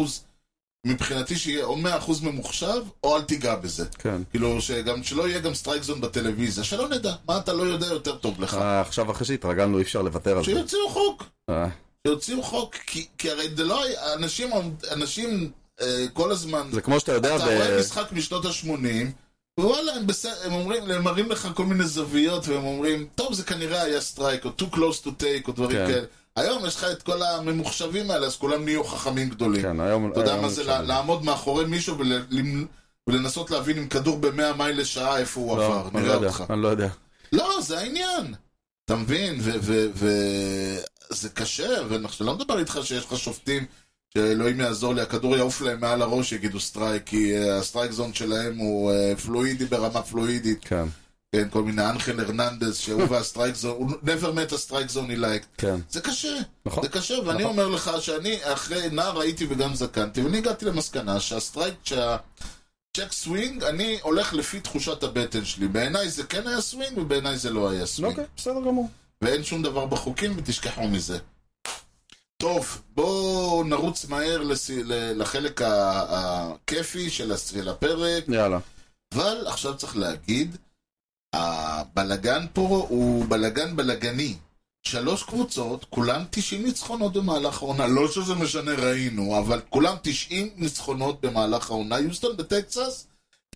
[SPEAKER 1] מבחינתי שיהיה או 100% ממוחשב, או אל תיגע בזה.
[SPEAKER 2] כן.
[SPEAKER 1] כאילו, שגם, שלא יהיה גם סטרייק זון בטלוויזיה, שלא נדע, מה אתה לא יודע יותר טוב לך.
[SPEAKER 2] אה, עכשיו אחרי שהתרגלנו אי אפשר לוותר על זה.
[SPEAKER 1] שיוציאו חוק.
[SPEAKER 2] אה,
[SPEAKER 1] שיוציאו חוק, כי, כי הרי זה לא היה, אנשים, אנשים אה, כל הזמן...
[SPEAKER 2] זה כמו שאתה יודע,
[SPEAKER 1] אתה
[SPEAKER 2] ב-
[SPEAKER 1] רואה משחק משנות ה-80, ווואלה, הם, בסדר, הם אומרים, הם מראים לך כל מיני זוויות, והם אומרים, טוב, זה כנראה היה סטרייק, או too close to take, או דברים
[SPEAKER 2] כן.
[SPEAKER 1] כאלה. היום יש לך את כל הממוחשבים האלה, אז כולם נהיו חכמים גדולים.
[SPEAKER 2] כן, היום...
[SPEAKER 1] אתה יודע
[SPEAKER 2] היום
[SPEAKER 1] מה זה
[SPEAKER 2] אפשר.
[SPEAKER 1] לה- לעמוד מאחורי מישהו ול- למ- ולנסות להבין עם כדור ב-100 מייל לשעה איפה הוא
[SPEAKER 2] לא,
[SPEAKER 1] עבר,
[SPEAKER 2] אני לא
[SPEAKER 1] נראה
[SPEAKER 2] יודע,
[SPEAKER 1] אותך.
[SPEAKER 2] אני לא יודע.
[SPEAKER 1] לא, זה העניין. אתה מבין? וזה קשה, ואני לא מדבר איתך שיש לך שופטים שאלוהים יעזור לי, הכדור יעוף להם מעל הראש, יגידו סטרייק, כי אה, הסטרייק זון שלהם הוא אה, פלואידי ברמה פלואידית.
[SPEAKER 2] כן,
[SPEAKER 1] כן, כל מיני אנחל הרננדז, שהוא והסטרייק זון, הוא never met a strike zone he liked.
[SPEAKER 2] כן.
[SPEAKER 1] זה קשה,
[SPEAKER 2] נכון.
[SPEAKER 1] זה קשה, ואני
[SPEAKER 2] נכון.
[SPEAKER 1] אומר לך שאני אחרי נער הייתי וגם זקנתי, ואני הגעתי למסקנה שהסטרייק, שהצ'ק סווינג, אני הולך לפי תחושת הבטן שלי. בעיניי זה כן היה סווינג, ובעיניי זה לא היה סווינג.
[SPEAKER 2] אוקיי, בסדר גמור.
[SPEAKER 1] ואין שום דבר בחוקים, ותשכחו מזה. טוב, בואו נרוץ מהר לס- ל- לחלק ה- הכיפי של הס- של הפרק.
[SPEAKER 2] יאללה.
[SPEAKER 1] אבל עכשיו צריך להגיד, הבלגן פה הוא בלגן בלגני. שלוש קבוצות, כולן 90 ניצחונות במהלך העונה. לא שזה משנה, ראינו, אבל כולן 90 ניצחונות במהלך העונה. יוסטון בטקסס,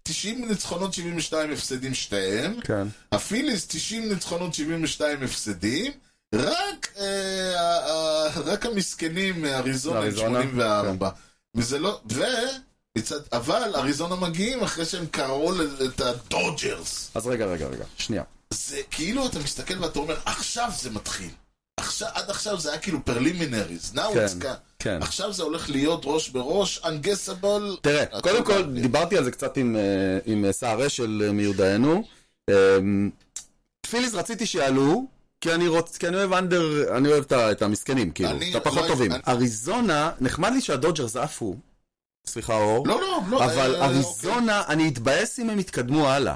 [SPEAKER 1] 90 ניצחונות, 72 הפסדים שתיהם.
[SPEAKER 2] כן.
[SPEAKER 1] הפיליס, 90 ניצחונות, 72 הפסדים. רק, אה, ה- ה- רק המסכנים מאריזונה עם
[SPEAKER 2] אריזונה,
[SPEAKER 1] 84.
[SPEAKER 2] כן.
[SPEAKER 1] וזה לא... ו... מצד, אבל אריזונה מגיעים אחרי שהם קראו ל- את הדודג'רס.
[SPEAKER 2] אז רגע, רגע, רגע. שנייה.
[SPEAKER 1] זה כאילו אתה מסתכל ואתה אומר, עכשיו זה מתחיל. עכשיו, עד עכשיו זה היה כאילו פרלימינריז. Now
[SPEAKER 2] כן,
[SPEAKER 1] it's got.
[SPEAKER 2] כן.
[SPEAKER 1] עכשיו זה הולך להיות ראש בראש, unguessable.
[SPEAKER 2] תראה, קודם כל, דיברתי על זה קצת עם, אה, עם אה, סער אשל אה, מיודענו. אמ, תפיליס רציתי שיעלו, כי אני רוצ... כי אני אוהב אנדר, אני אוהב את ה- את המסכנים, כאילו,
[SPEAKER 1] אני-
[SPEAKER 2] את הפחות
[SPEAKER 1] לא,
[SPEAKER 2] טובים.
[SPEAKER 1] אני-
[SPEAKER 2] אריזונה, נחמד לי שהדודג'רס עפו. סליחה, אור.
[SPEAKER 1] לא, לא, לא.
[SPEAKER 2] אבל
[SPEAKER 1] אה,
[SPEAKER 2] אריזונה, אני אתבאס אם הם יתקדמו הלאה.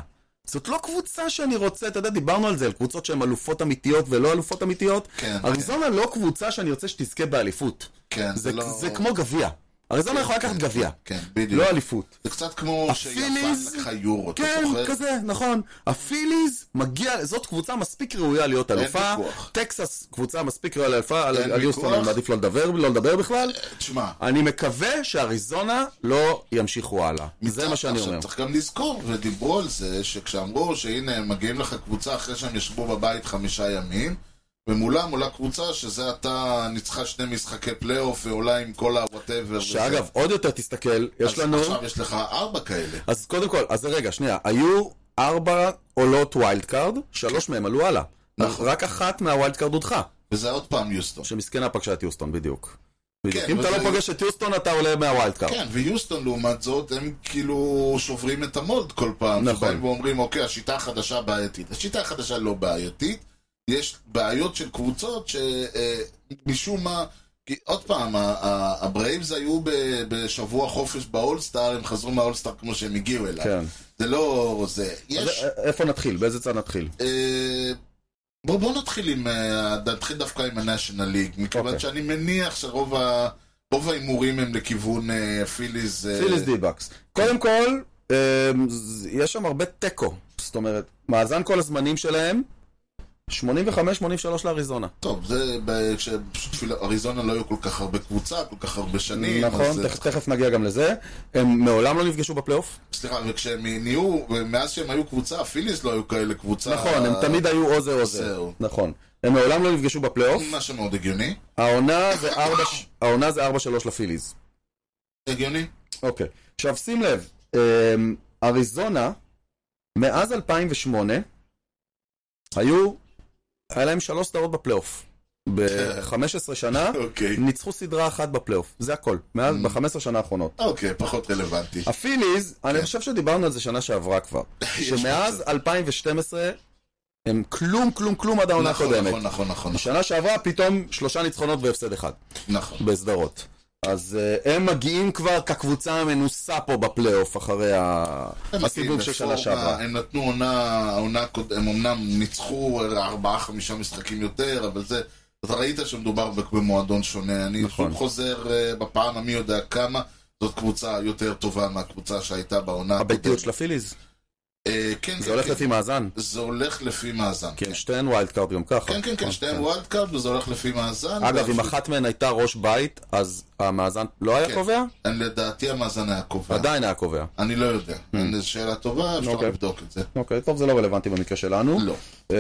[SPEAKER 2] זאת לא קבוצה שאני רוצה, אתה יודע, דיברנו על זה, על קבוצות שהן אלופות אמיתיות ולא אלופות אמיתיות.
[SPEAKER 1] כן,
[SPEAKER 2] אריזונה לא קבוצה שאני רוצה שתזכה באליפות.
[SPEAKER 1] אוקיי. כן,
[SPEAKER 2] זה-
[SPEAKER 1] לא-
[SPEAKER 2] זה כמו גביע. אריזונה יכולה לקחת גביע,
[SPEAKER 1] כן, בדיוק.
[SPEAKER 2] לא אליפות.
[SPEAKER 1] זה קצת כמו שיפן
[SPEAKER 2] הפיליז-
[SPEAKER 1] לקחה יורו, אתה
[SPEAKER 2] כן,
[SPEAKER 1] זוכר?
[SPEAKER 2] כזה, נכון. הפיליז מגיע, זאת קבוצה מספיק ראויה להיות אלופה.
[SPEAKER 1] ויכוח.
[SPEAKER 2] טקסס, קבוצה מספיק ראויה לאלופה, על
[SPEAKER 1] אין
[SPEAKER 2] על יוסטון
[SPEAKER 1] ויכוח.
[SPEAKER 2] אני מעדיף לא לדבר, לא לדבר בכלל.
[SPEAKER 1] תשמע,
[SPEAKER 2] אני מקווה שאריזונה לא ימשיכו הלאה. זה
[SPEAKER 1] מצד-
[SPEAKER 2] מה שאני
[SPEAKER 1] עכשיו
[SPEAKER 2] אומר.
[SPEAKER 1] צריך גם לזכור, ודיברו על זה, שכשאמרו שהנה הם מגיעים לך קבוצה אחרי שהם ישבו בבית חמישה ימים, ומולם עולה קבוצה שזה עתה ניצחה שני משחקי פלייאוף ועולה עם כל ה-whatever.
[SPEAKER 2] שאגב, עוד יותר תסתכל, יש לנו...
[SPEAKER 1] עכשיו יש לך ארבע כאלה.
[SPEAKER 2] אז קודם כל, אז רגע, שנייה. היו ארבע עולות ווילד קארד, שלוש מהן עלו הלאה.
[SPEAKER 1] נכון.
[SPEAKER 2] רק אחת מהווילד קארד הודחה,
[SPEAKER 1] וזה עוד פעם יוסטון.
[SPEAKER 2] שמסכנה פגשה את יוסטון, בדיוק. בדיוק.
[SPEAKER 1] כן,
[SPEAKER 2] אם אתה
[SPEAKER 1] וזה-
[SPEAKER 2] לא פוגש את יוסטון, אתה עולה מהווילד קארד.
[SPEAKER 1] כן, ויוסטון לעומת זאת, הם כאילו שוברים את המולד כל פעם.
[SPEAKER 2] נכון.
[SPEAKER 1] שבאים ואומרים, אוקיי, השיטה החדשה בעייתית. השיטה החדשה לא בעייתית, יש בעיות של קבוצות שמשום מה... כי עוד פעם, ה- ה- הברייבס היו ב- בשבוע חופש באולסטאר, הם חזרו מהאולסטאר כמו שהם הגיעו אליו.
[SPEAKER 2] כן.
[SPEAKER 1] זה לא זה. יש...
[SPEAKER 2] אז איפה נתחיל? באיזה צד נתחיל?
[SPEAKER 1] אה, בוא, בוא נתחיל עם, אה, נתחיל דווקא עם ה-National League, מכיוון
[SPEAKER 2] אוקיי.
[SPEAKER 1] שאני מניח שרוב ה... רוב ההימורים הם לכיוון אה, פיליז. אה,
[SPEAKER 2] פיליס דיבקס. קודם כל, אה, ז- יש שם הרבה תיקו. זאת אומרת, מאזן כל הזמנים שלהם, 85-83 לאריזונה.
[SPEAKER 1] טוב, זה ב- שפשוט בשביל אריזונה לא היו כל כך הרבה קבוצה, כל כך הרבה שנים. אז,
[SPEAKER 2] נכון,
[SPEAKER 1] אה,
[SPEAKER 2] תכף- תכף נגיע גם לזה. הם מעולם לא נפגשו בפלייאוף.
[SPEAKER 1] סליחה, וכשהם נהיו, ומאז שהם היו קבוצה, הפיליס לא היו כאלה קבוצה.
[SPEAKER 2] נכון, הם תמיד נכון, היו או זה או זה.
[SPEAKER 1] זהו.
[SPEAKER 2] נכון. הם מעולם לא נפגשו בפלייאוף.
[SPEAKER 1] מה שמאוד אה, הגיוני.
[SPEAKER 2] העונה זה 4 העונה זה 4-3 לפיליז.
[SPEAKER 1] הגיוני?
[SPEAKER 2] אוקיי. עכשיו שים לב, אמ, אריזונה, מאז 2008, היו, היה להם שלוש סדרות בפלייאוף. ב-15 שנה,
[SPEAKER 1] אוקיי.
[SPEAKER 2] ניצחו סדרה אחת בפלייאוף, זה הכל.
[SPEAKER 1] Mm.
[SPEAKER 2] מאז, ב-15 שנה האחרונות.
[SPEAKER 1] אוקיי, פחות רלוונטי.
[SPEAKER 2] הפיליז, אני חושב שדיברנו על זה שנה שעברה כבר.
[SPEAKER 1] כן. יש
[SPEAKER 2] שמאז 2012, הם כלום, כלום, כלום עד העונה
[SPEAKER 1] נכון,
[SPEAKER 2] הקודמת.
[SPEAKER 1] נכון, נכון, נכון, נכון,
[SPEAKER 2] שנה שעברה פתאום שלושה ניצחונות והפסד אחד.
[SPEAKER 1] נכון.
[SPEAKER 2] בסדרות. אז uh, הם מגיעים כבר כקבוצה המנוסה פה בפלייאוף אחרי ה- הסיבוב של שנה שעברה.
[SPEAKER 1] אה, הם נתנו עונה, עונה, קוד- הם אמנם ניצחו ארבעה חמישה משחקים יותר, אבל זה, אתה ראית שמדובר ב- במועדון שונה. אני
[SPEAKER 2] נכון.
[SPEAKER 1] שוב חוזר אה, בפעם המי יודע כמה, זאת קבוצה יותר טובה מהקבוצה שהייתה בעונה
[SPEAKER 2] הביתיות של הפיליז,
[SPEAKER 1] אה, כן,
[SPEAKER 2] זה
[SPEAKER 1] כן,
[SPEAKER 2] הולך
[SPEAKER 1] כן.
[SPEAKER 2] לפי כן, מאזן,
[SPEAKER 1] זה הולך לפי מאזן.
[SPEAKER 2] כי הם שתיהן ווילד קארד גם ככה. אה,
[SPEAKER 1] כן, כן, כן, שתיהם וולד קארד וזה הולך לפי מאזן.
[SPEAKER 2] נכון, אגב,
[SPEAKER 1] ואני-
[SPEAKER 2] אם אחת מהן הייתה ראש בית, אז המאזן לא היה
[SPEAKER 1] כן. אה.
[SPEAKER 2] קובע?
[SPEAKER 1] אני- לדעתי המאזן היה קובע.
[SPEAKER 2] עדיין היה קובע.
[SPEAKER 1] אני לא יודע. זו שאלה טובה, אפשר
[SPEAKER 2] אוקיי.
[SPEAKER 1] לבדוק את זה.
[SPEAKER 2] אוקיי, טוב, זה לא רלוונטי במקרה שלנו.
[SPEAKER 1] לא.
[SPEAKER 2] אה,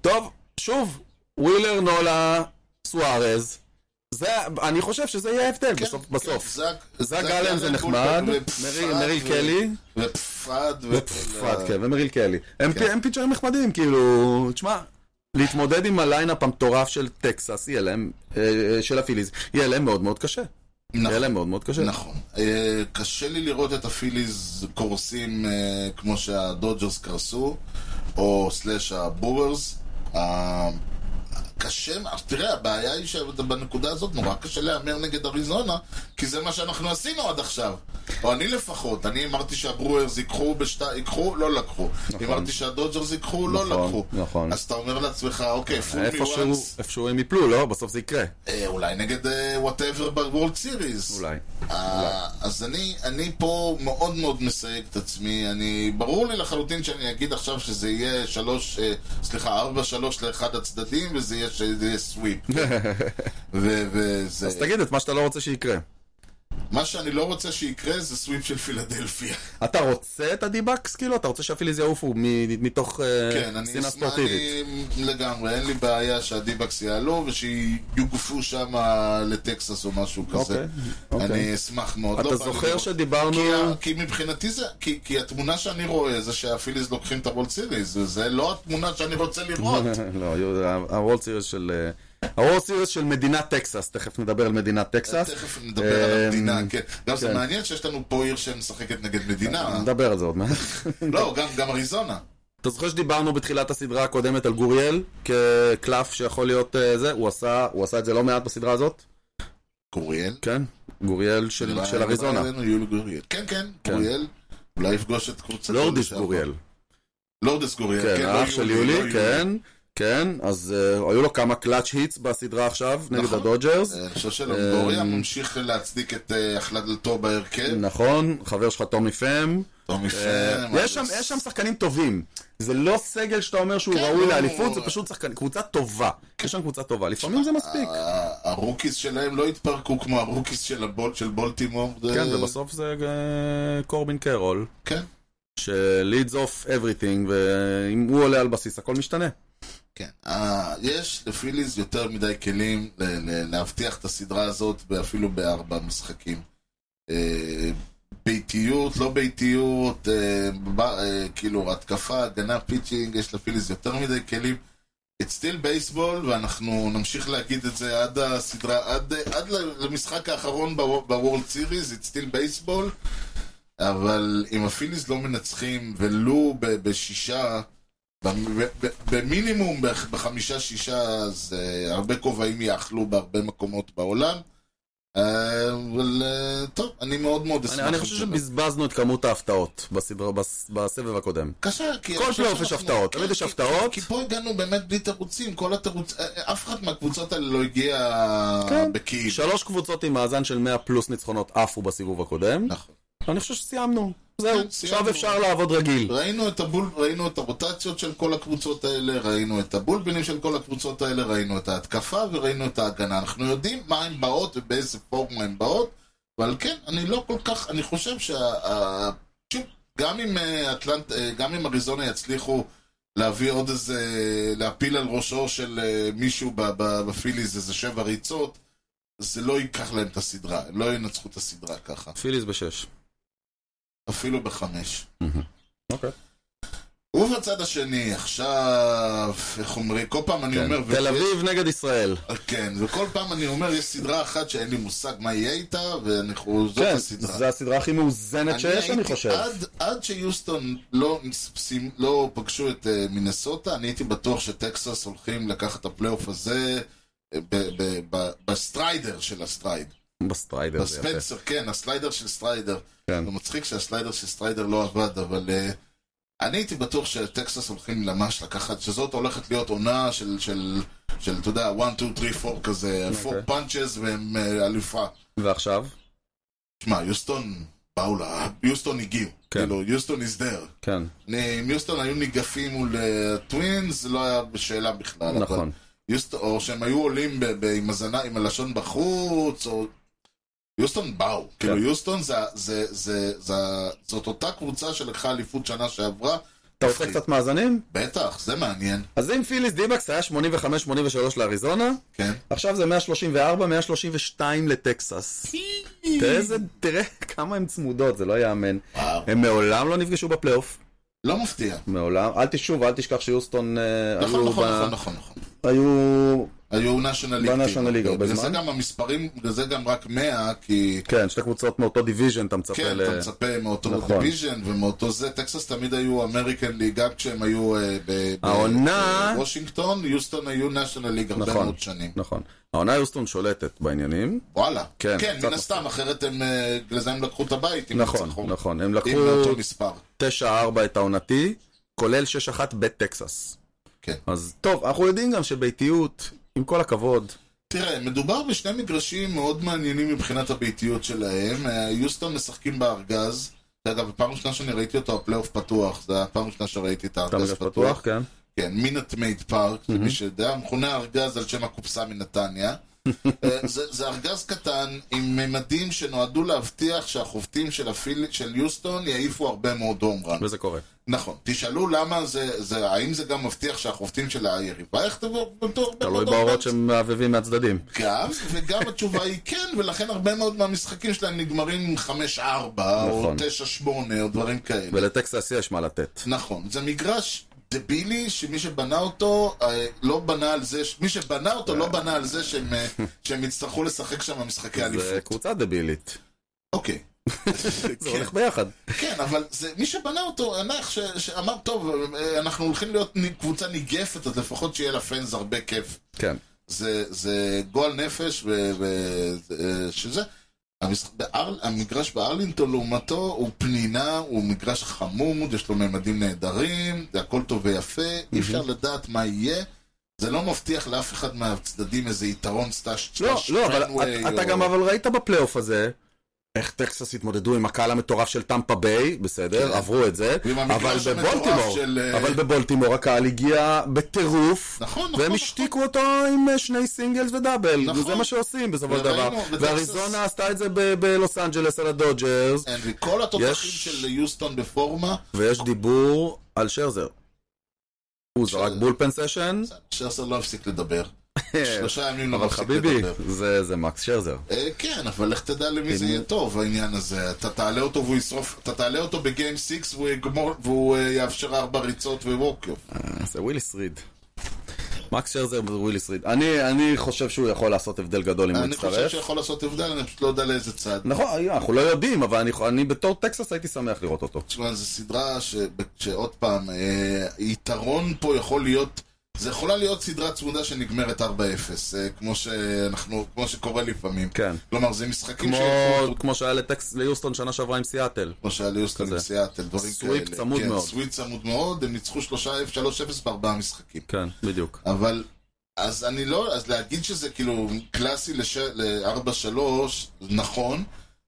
[SPEAKER 2] טוב, שוב, ווילר, נולה, סוארז. זה, אני חושב שזה יהיה ההבדל כן,
[SPEAKER 1] כן,
[SPEAKER 2] בסוף- בסוף.
[SPEAKER 1] זאק
[SPEAKER 2] זאק גלן זה נחמד, מריל- מריל קלי.
[SPEAKER 1] ופפד
[SPEAKER 2] ופפרד, כן, ומריל קלי. הם פי- הם פיצ'רים נחמדים, כאילו, תשמע, להתמודד עם הליינאפ המטורף של טקסס, יהיה להם, אה, אה, של הפיליז, יהיה להם מאוד מאוד קשה. יהיה להם מאוד מאוד קשה.
[SPEAKER 1] נכון. אה, קשה לי לראות את הפיליז קורסים אה, כמו שהדודג'רס קרסו, או סלאש הבוברס. אה, קשה, אז תראה, הבעיה היא שבנקודה הזאת נורא קשה להמר נגד אריזונה, כי זה מה שאנחנו עשינו עד עכשיו. או אני לפחות, אני אמרתי שהברוארס ייקחו, בשת... ייקחו, לא לקחו. אמרתי שהדודג'רס ייקחו, לא
[SPEAKER 2] נכון,
[SPEAKER 1] לקחו.
[SPEAKER 2] נכון.
[SPEAKER 1] אז אתה אומר לעצמך, אוקיי, פול מי
[SPEAKER 2] אה, איפשהו- איפשהו הם יפלו, לא? בסוף זה יקרה.
[SPEAKER 1] אה, אולי נגד וואטאבר בוולד סיריס.
[SPEAKER 2] אולי.
[SPEAKER 1] אה, אז אני, אני פה מאוד מאוד מסייג את עצמי. אני, ברור לי לחלוטין שאני אגיד עכשיו שזה יהיה שלוש, אה, סליחה, ארבע שלוש לאחד הצדדים, וזה יהיה, שזה יהיה סוויפ. ו- וזה...
[SPEAKER 2] אז תגיד את מה שאתה לא רוצה שיקרה.
[SPEAKER 1] מה שאני לא רוצה שיקרה זה סוויפ של פילדלפיה.
[SPEAKER 2] אתה רוצה את הדיבקס, כאילו? אתה רוצה שהפיליז יעופו מ- מתוך אה,
[SPEAKER 1] כן, אני
[SPEAKER 2] שנאה
[SPEAKER 1] אשמח,
[SPEAKER 2] ספורטיבית?
[SPEAKER 1] אני- לגמרי, אין לי בעיה שהדיבקס יעלו ושיוגפו שם לטקסס או משהו כזה.
[SPEAKER 2] אוקיי, אוקיי.
[SPEAKER 1] אני אשמח מאוד. לא
[SPEAKER 2] אתה
[SPEAKER 1] בא לי
[SPEAKER 2] זוכר
[SPEAKER 1] לראות.
[SPEAKER 2] שדיברנו...
[SPEAKER 1] כי, ה- כי מבחינתי זה, כי, כי התמונה שאני רואה זה שהפיליז לוקחים את הוולד סיריס, וזה לא התמונה שאני רוצה לראות.
[SPEAKER 2] לא, הוולד סיריוס של... הוולד סיריוס של מדינת טקסס, תכף נדבר על מדינת טקסס.
[SPEAKER 1] תכף נדבר על
[SPEAKER 2] אמ,
[SPEAKER 1] המדינה, כן. גם זה
[SPEAKER 2] כן.
[SPEAKER 1] מעניין שיש לנו פה עיר שמשחקת נגד מדינה.
[SPEAKER 2] נדבר על זה עוד מעט.
[SPEAKER 1] לא, גם- גם אריזונה.
[SPEAKER 2] אתה זוכר שדיברנו בתחילת הסדרה הקודמת על גוריאל כקלף שיכול להיות אה, זה? הוא עשה, הוא עשה את זה לא מעט בסדרה הזאת?
[SPEAKER 1] גוריאל.
[SPEAKER 2] כן. גוריאל של,
[SPEAKER 1] לא
[SPEAKER 2] של אריזונה.
[SPEAKER 1] אלינו, יולי גוריאל. כן, כן,
[SPEAKER 2] כן.
[SPEAKER 1] גוריאל. אולי יפגוש את קבוצת...
[SPEAKER 2] לורדיס גוריאל.
[SPEAKER 1] לורדיס גוריאל, כן.
[SPEAKER 2] כן,
[SPEAKER 1] לא
[SPEAKER 2] האח של
[SPEAKER 1] לא
[SPEAKER 2] יולי, כן. כן, אז אה, היו לו כמה קלאץ' היטס בסדרה עכשיו, נגד
[SPEAKER 1] נכון.
[SPEAKER 2] הדודג'רס.
[SPEAKER 1] אני חושב שלונגוריה
[SPEAKER 2] אמ,
[SPEAKER 1] ממשיך להצדיק את אה, החלטתו בהרכב.
[SPEAKER 2] נכון, חבר שלך טומי פם.
[SPEAKER 1] טומי פן,
[SPEAKER 2] אה, יש שם-
[SPEAKER 1] אלכס.
[SPEAKER 2] יש שם שחקנים טובים. זה לא סגל שאתה אומר שהוא
[SPEAKER 1] כן,
[SPEAKER 2] ראוי
[SPEAKER 1] הוא-
[SPEAKER 2] לאליפות, זה פשוט שחקנים, קבוצה טובה. יש שם קבוצה טובה, לפעמים זה מספיק.
[SPEAKER 1] ה- הרוקיס שלהם לא התפרקו כמו הרוקיס של, הבול, של בולטימור.
[SPEAKER 2] כן,
[SPEAKER 1] זה-
[SPEAKER 2] ובסוף זה אה, קורבין קרול.
[SPEAKER 1] כן,
[SPEAKER 2] שלידס אוף אבריטינג, ואם הוא עולה על בסיס הכל משתנה.
[SPEAKER 1] כן. אה, יש לפיליז יותר מדי כלים ל- ל- להבטיח את הסדרה הזאת אפילו בארבע משחקים. אה, ביתיות, לא ביתיות, אה, ב- אה, כאילו התקפה, הגנה, פיצ'ינג, יש לפיליז יותר מדי כלים. It's still baseball, ואנחנו נמשיך להגיד את זה עד הסדרה, עד, אה, עד למשחק האחרון בוורלד סיריס, It's still baseball. אבל אם הפיליז לא מנצחים, ולו ב- בשישה, במ- ב- ב- במינימום בח- בחמישה-שישה, אז אה, הרבה כובעים יאכלו בהרבה מקומות בעולם. אה, אבל אה, טוב, אני מאוד מאוד אשמח.
[SPEAKER 2] אני, אני חושב
[SPEAKER 1] אם זה לא-
[SPEAKER 2] שבזבזנו את כמות ההפתעות בסדרה, בס, בסבב הקודם.
[SPEAKER 1] קשה, כי... אני
[SPEAKER 2] כל
[SPEAKER 1] חושב
[SPEAKER 2] פלייאוף יש
[SPEAKER 1] שאנחנו-
[SPEAKER 2] הפתעות,
[SPEAKER 1] כן,
[SPEAKER 2] תמיד יש
[SPEAKER 1] כי-
[SPEAKER 2] הפתעות.
[SPEAKER 1] כי פה הגענו באמת בלי תירוצים, כל התירוץ... אה, אה, אף אחת מהקבוצות האלה לא הגיעה
[SPEAKER 2] כן.
[SPEAKER 1] בכאילו.
[SPEAKER 2] שלוש קבוצות עם מאזן של 100 פלוס ניצחונות עפו בסיבוב הקודם.
[SPEAKER 1] נכון.
[SPEAKER 2] אני חושב שסיימנו. זהו,
[SPEAKER 1] כן, סיימנו.
[SPEAKER 2] עכשיו אפשר לעבוד רגיל.
[SPEAKER 1] ראינו את, הבול, ראינו את הרוטציות של כל הקבוצות האלה, ראינו את הבולבנים של כל הקבוצות האלה, ראינו את ההתקפה וראינו את ההגנה. אנחנו יודעים מה הן באות ובאיזה פורמה הן באות, ועל כן, אני לא כל כך, אני חושב שה... ה- שוב, גם אם אה, אטלנט, אה, גם אם אריזונה יצליחו להביא עוד איזה, להפיל על ראשו של אה, מישהו ב- ב- בפיליז איזה שבע ריצות, זה לא ייקח להם את הסדרה, הם לא ינצחו את הסדרה ככה,
[SPEAKER 2] פיליס בשש.
[SPEAKER 1] אפילו בחמש.
[SPEAKER 2] אוקיי.
[SPEAKER 1] ובצד השני, עכשיו, איך אומרים, כל פעם אני אומר...
[SPEAKER 2] כן. תל אביב נגד ישראל.
[SPEAKER 1] כן, וכל פעם אני אומר, יש סדרה אחת שאין לי מושג מה יהיה איתה, ואנחנו... זאת
[SPEAKER 2] כן,
[SPEAKER 1] הסדרה.
[SPEAKER 2] זו הסדרה הכי מאוזנת שיש, אני
[SPEAKER 1] הייתי-
[SPEAKER 2] חושב.
[SPEAKER 1] עד, עד שיוסטון לא, נספסים- לא פגשו את אה, מינסוטה, אני הייתי בטוח שטקסס הולכים לקחת את הפלייאוף הזה אה, ב, ב, ב, בסטריידר של הסטרייד.
[SPEAKER 2] בסטריידר זה יפה.
[SPEAKER 1] בספנסר, כן, הסליידר של סטריידר.
[SPEAKER 2] כן.
[SPEAKER 1] זה מצחיק שהסליידר של סטריידר לא עבד, אבל... אה, אני הייתי בטוח שטקסס הולכים ממש לקחת, שזאת הולכת להיות עונה של, של, של אתה יודע, 1, 2, 3, 4 כזה,
[SPEAKER 2] אוקיי.
[SPEAKER 1] 4 punches והם אה, אלופה.
[SPEAKER 2] ועכשיו?
[SPEAKER 1] תשמע, יוסטון באו לה, יוסטון הגיעו.
[SPEAKER 2] כן.
[SPEAKER 1] כאילו, יוסטון is there.
[SPEAKER 2] כן,
[SPEAKER 1] אני- אם יוסטון היו ניגפים מול אה, טווינס, זה לא היה בשאלה בכלל. אבל
[SPEAKER 2] נכון.
[SPEAKER 1] יוסטון, או שהם היו עולים ב- ב- עם הזנה, עם הלשון בחוץ, או... יוסטון באו.
[SPEAKER 2] כן.
[SPEAKER 1] כאילו, יוסטון זה, זה, זה, זה, זאת אותה קבוצה שלקחה אליפות שנה שעברה.
[SPEAKER 2] אתה רוצה קצת מאזנים?
[SPEAKER 1] בטח, זה מעניין.
[SPEAKER 2] אז אם פיליס דיבקס היה 85-83 לאריזונה,
[SPEAKER 1] כן.
[SPEAKER 2] עכשיו זה 134-132 לטקסס. תראה איזה, תראה כמה הן צמודות, זה לא יאמן.
[SPEAKER 1] וואו.
[SPEAKER 2] הם מעולם לא נפגשו בפלייאוף,
[SPEAKER 1] אה, לא מפתיע.
[SPEAKER 2] מעולם. אל תשוב, אל תשכח שיוסטון אה,
[SPEAKER 1] נכון,
[SPEAKER 2] היו
[SPEAKER 1] נכון,
[SPEAKER 2] ב-
[SPEAKER 1] נכון, נכון, נכון.
[SPEAKER 2] היו...
[SPEAKER 1] היו נשיונל ליג.
[SPEAKER 2] בנשיונל ליג הרבה
[SPEAKER 1] בגלל זה
[SPEAKER 2] זמן.
[SPEAKER 1] גם המספרים, בגלל זה גם רק 100, כי...
[SPEAKER 2] כן, שתי קבוצות מאותו דיוויז'ן, אתה מצפה
[SPEAKER 1] כן,
[SPEAKER 2] ל...
[SPEAKER 1] אתה מצפה מאותו
[SPEAKER 2] נכון.
[SPEAKER 1] דיוויז'ן ומאותו זה. טקסס תמיד היו אמריקן ליג, גם כשהם היו אה, ב- ב-
[SPEAKER 2] העונה-
[SPEAKER 1] בוושינגטון, יוסטון היו נשיונל ליג הרבה
[SPEAKER 2] נכון.
[SPEAKER 1] מאוד שנים.
[SPEAKER 2] נכון. העונה יוסטון שולטת בעניינים.
[SPEAKER 1] וואלה.
[SPEAKER 2] כן,
[SPEAKER 1] כן,
[SPEAKER 2] קצת
[SPEAKER 1] מן הסתם, אחרת הם, אה, בגלל זה הם לקחו את הבית עם
[SPEAKER 2] נכון,
[SPEAKER 1] ניצחון.
[SPEAKER 2] נכון. הם
[SPEAKER 1] עם אותו
[SPEAKER 2] לקחו
[SPEAKER 1] מספר.
[SPEAKER 2] 9-4 את העונתי, כולל 6-1 בטקסס.
[SPEAKER 1] כן.
[SPEAKER 2] אז טוב, אנחנו יודעים גם שביתיות, עם כל הכבוד,
[SPEAKER 1] תראה, מדובר בשני מגרשים מאוד מעניינים מבחינת הביתיות שלהם. אה, יוסטון משחקים בארגז. אגב, הפעם הראשונה שאני ראיתי אותו, הפלייאוף פתוח. זו הפעם הראשונה שראיתי את
[SPEAKER 2] אתה
[SPEAKER 1] הארגז
[SPEAKER 2] מגרש
[SPEAKER 1] פתוח.
[SPEAKER 2] פתוח, כן.
[SPEAKER 1] כן, מינט מייד פארק, למי שיודע, מכונה ארגז על שם הקופסה מנתניה. אה, זה, זה ארגז קטן עם ממדים שנועדו להבטיח שהחובטים של, הפיל... של יוסטון יעיפו הרבה מאוד הומרן.
[SPEAKER 2] וזה קורה.
[SPEAKER 1] נכון, תשאלו למה זה, זה, האם זה גם מבטיח שהחובטים של היריבה יכתבו אותו הרבה
[SPEAKER 2] תלוי
[SPEAKER 1] מאוד
[SPEAKER 2] בהורות
[SPEAKER 1] הומרן?
[SPEAKER 2] שמעבבים מהצדדים.
[SPEAKER 1] גם, וגם התשובה היא כן, ולכן הרבה מאוד מהמשחקים שלהם נגמרים עם 5-4, או
[SPEAKER 2] נכון.
[SPEAKER 1] 9-8, או דברים כאלה.
[SPEAKER 2] ולטקסס יש מה לתת.
[SPEAKER 1] נכון, זה מגרש דבילי שמי שבנה אותו אה, לא בנה על זה, ש- מי שבנה אותו לא בנה על זה שהם, אה, שהם יצטרכו לשחק שם משחקי
[SPEAKER 2] זה
[SPEAKER 1] אליפות.
[SPEAKER 2] קבוצה דבילית.
[SPEAKER 1] אוקיי.
[SPEAKER 2] זה
[SPEAKER 1] כן,
[SPEAKER 2] הולך ביחד.
[SPEAKER 1] כן, אבל זה, מי שבנה אותו, הנח ש- שאמר, טוב, אה, אנחנו הולכים להיות נ- קבוצה ניגפת, אז לפחות שיהיה לפאנס הרבה כיף.
[SPEAKER 2] כן.
[SPEAKER 1] זה, זה גועל נפש, ו, ו, אה, שזה... המשח... באר... המגרש בארלינגטון לעומתו הוא פנינה, הוא מגרש חמוד, יש לו ממדים נהדרים, זה הכל טוב ויפה, אי אפשר לדעת מה יהיה. זה לא מבטיח לאף אחד מהצדדים איזה יתרון סטאש
[SPEAKER 2] לא,
[SPEAKER 1] סטאש
[SPEAKER 2] לא, אבל
[SPEAKER 1] טרנוויי
[SPEAKER 2] את- אתה
[SPEAKER 1] או-
[SPEAKER 2] גם אבל ראית בפלייאוף הזה. איך טקסס התמודדו עם הקהל המטורף של טמפה ביי, בסדר,
[SPEAKER 1] כן.
[SPEAKER 2] עברו את זה,
[SPEAKER 1] ועם
[SPEAKER 2] אבל
[SPEAKER 1] המגרש המטורף
[SPEAKER 2] בבולטימור,
[SPEAKER 1] של, אה,
[SPEAKER 2] אבל בבולטימור הקהל הגיע בטירוף,
[SPEAKER 1] נכון, נכון,
[SPEAKER 2] והם
[SPEAKER 1] נכון.
[SPEAKER 2] השתיקו אותו עם אה, שני סינגלס ודאבל,
[SPEAKER 1] נכון.
[SPEAKER 2] וזה מה שעושים בסופו של דבר,
[SPEAKER 1] וראינו, בטקסס-
[SPEAKER 2] ואריזונה עשתה את זה ב- בלוס אנג'לס על הדודג'רס,
[SPEAKER 1] אין, וכל התותחים
[SPEAKER 2] יש-
[SPEAKER 1] של יוסטון בפורמה,
[SPEAKER 2] ויש דיבור על שרזר. הוא זרק בולפן סשן,
[SPEAKER 1] שרסר לא הפסיק לדבר. שלושה ימים לא
[SPEAKER 2] אה, אבל
[SPEAKER 1] מפסיק
[SPEAKER 2] חביבי,
[SPEAKER 1] לדבר.
[SPEAKER 2] זה זה מקס שרזר.
[SPEAKER 1] אה, כן, אבל לך תדע למי זה יהיה טוב, העניין הזה. אתה תעלה אותו והוא ישרוף, אתה תעלה אותו בגיים 6 והוא יגמור, והוא אה, יאפשר ארבע ריצות ווקיו.
[SPEAKER 2] זה וויליס ריד. מקס שרזר וויליס ריד. אני, אני חושב שהוא יכול לעשות הבדל גדול אם הוא
[SPEAKER 1] אני חושב
[SPEAKER 2] יצטרף.
[SPEAKER 1] שיכול לעשות הבדל, אני פשוט לא יודע לאיזה צד.
[SPEAKER 2] נכון, אנחנו לא יודעים, אבל אני, אני בתור טקסס הייתי שמח לראות אותו.
[SPEAKER 1] תשמע, זו סדרה ש- שעוד פעם, אה, יתרון פה יכול להיות, זה יכולה להיות סדרה צמודה שנגמרת 4-0, אה, כמו שאנחנו, כמו שקורה לפעמים.
[SPEAKER 2] כן.
[SPEAKER 1] כלומר, זה משחקים
[SPEAKER 2] כמו,
[SPEAKER 1] שילכו-
[SPEAKER 2] כמו שהיה לטקס, ליוסטון שנה שעברה עם סיאטל.
[SPEAKER 1] כמו שהיה ליוסטון
[SPEAKER 2] כזה.
[SPEAKER 1] עם סיאטל, דברים כאלה.
[SPEAKER 2] סוויפ צמוד
[SPEAKER 1] כן,
[SPEAKER 2] מאוד.
[SPEAKER 1] סוויפ צמוד מאוד, הם ניצחו 3-0 בארבעה משחקים.
[SPEAKER 2] כן, בדיוק.
[SPEAKER 1] אבל, אז אני לא, אז להגיד שזה כאילו קלאסי לש- ל-4-3, נכון,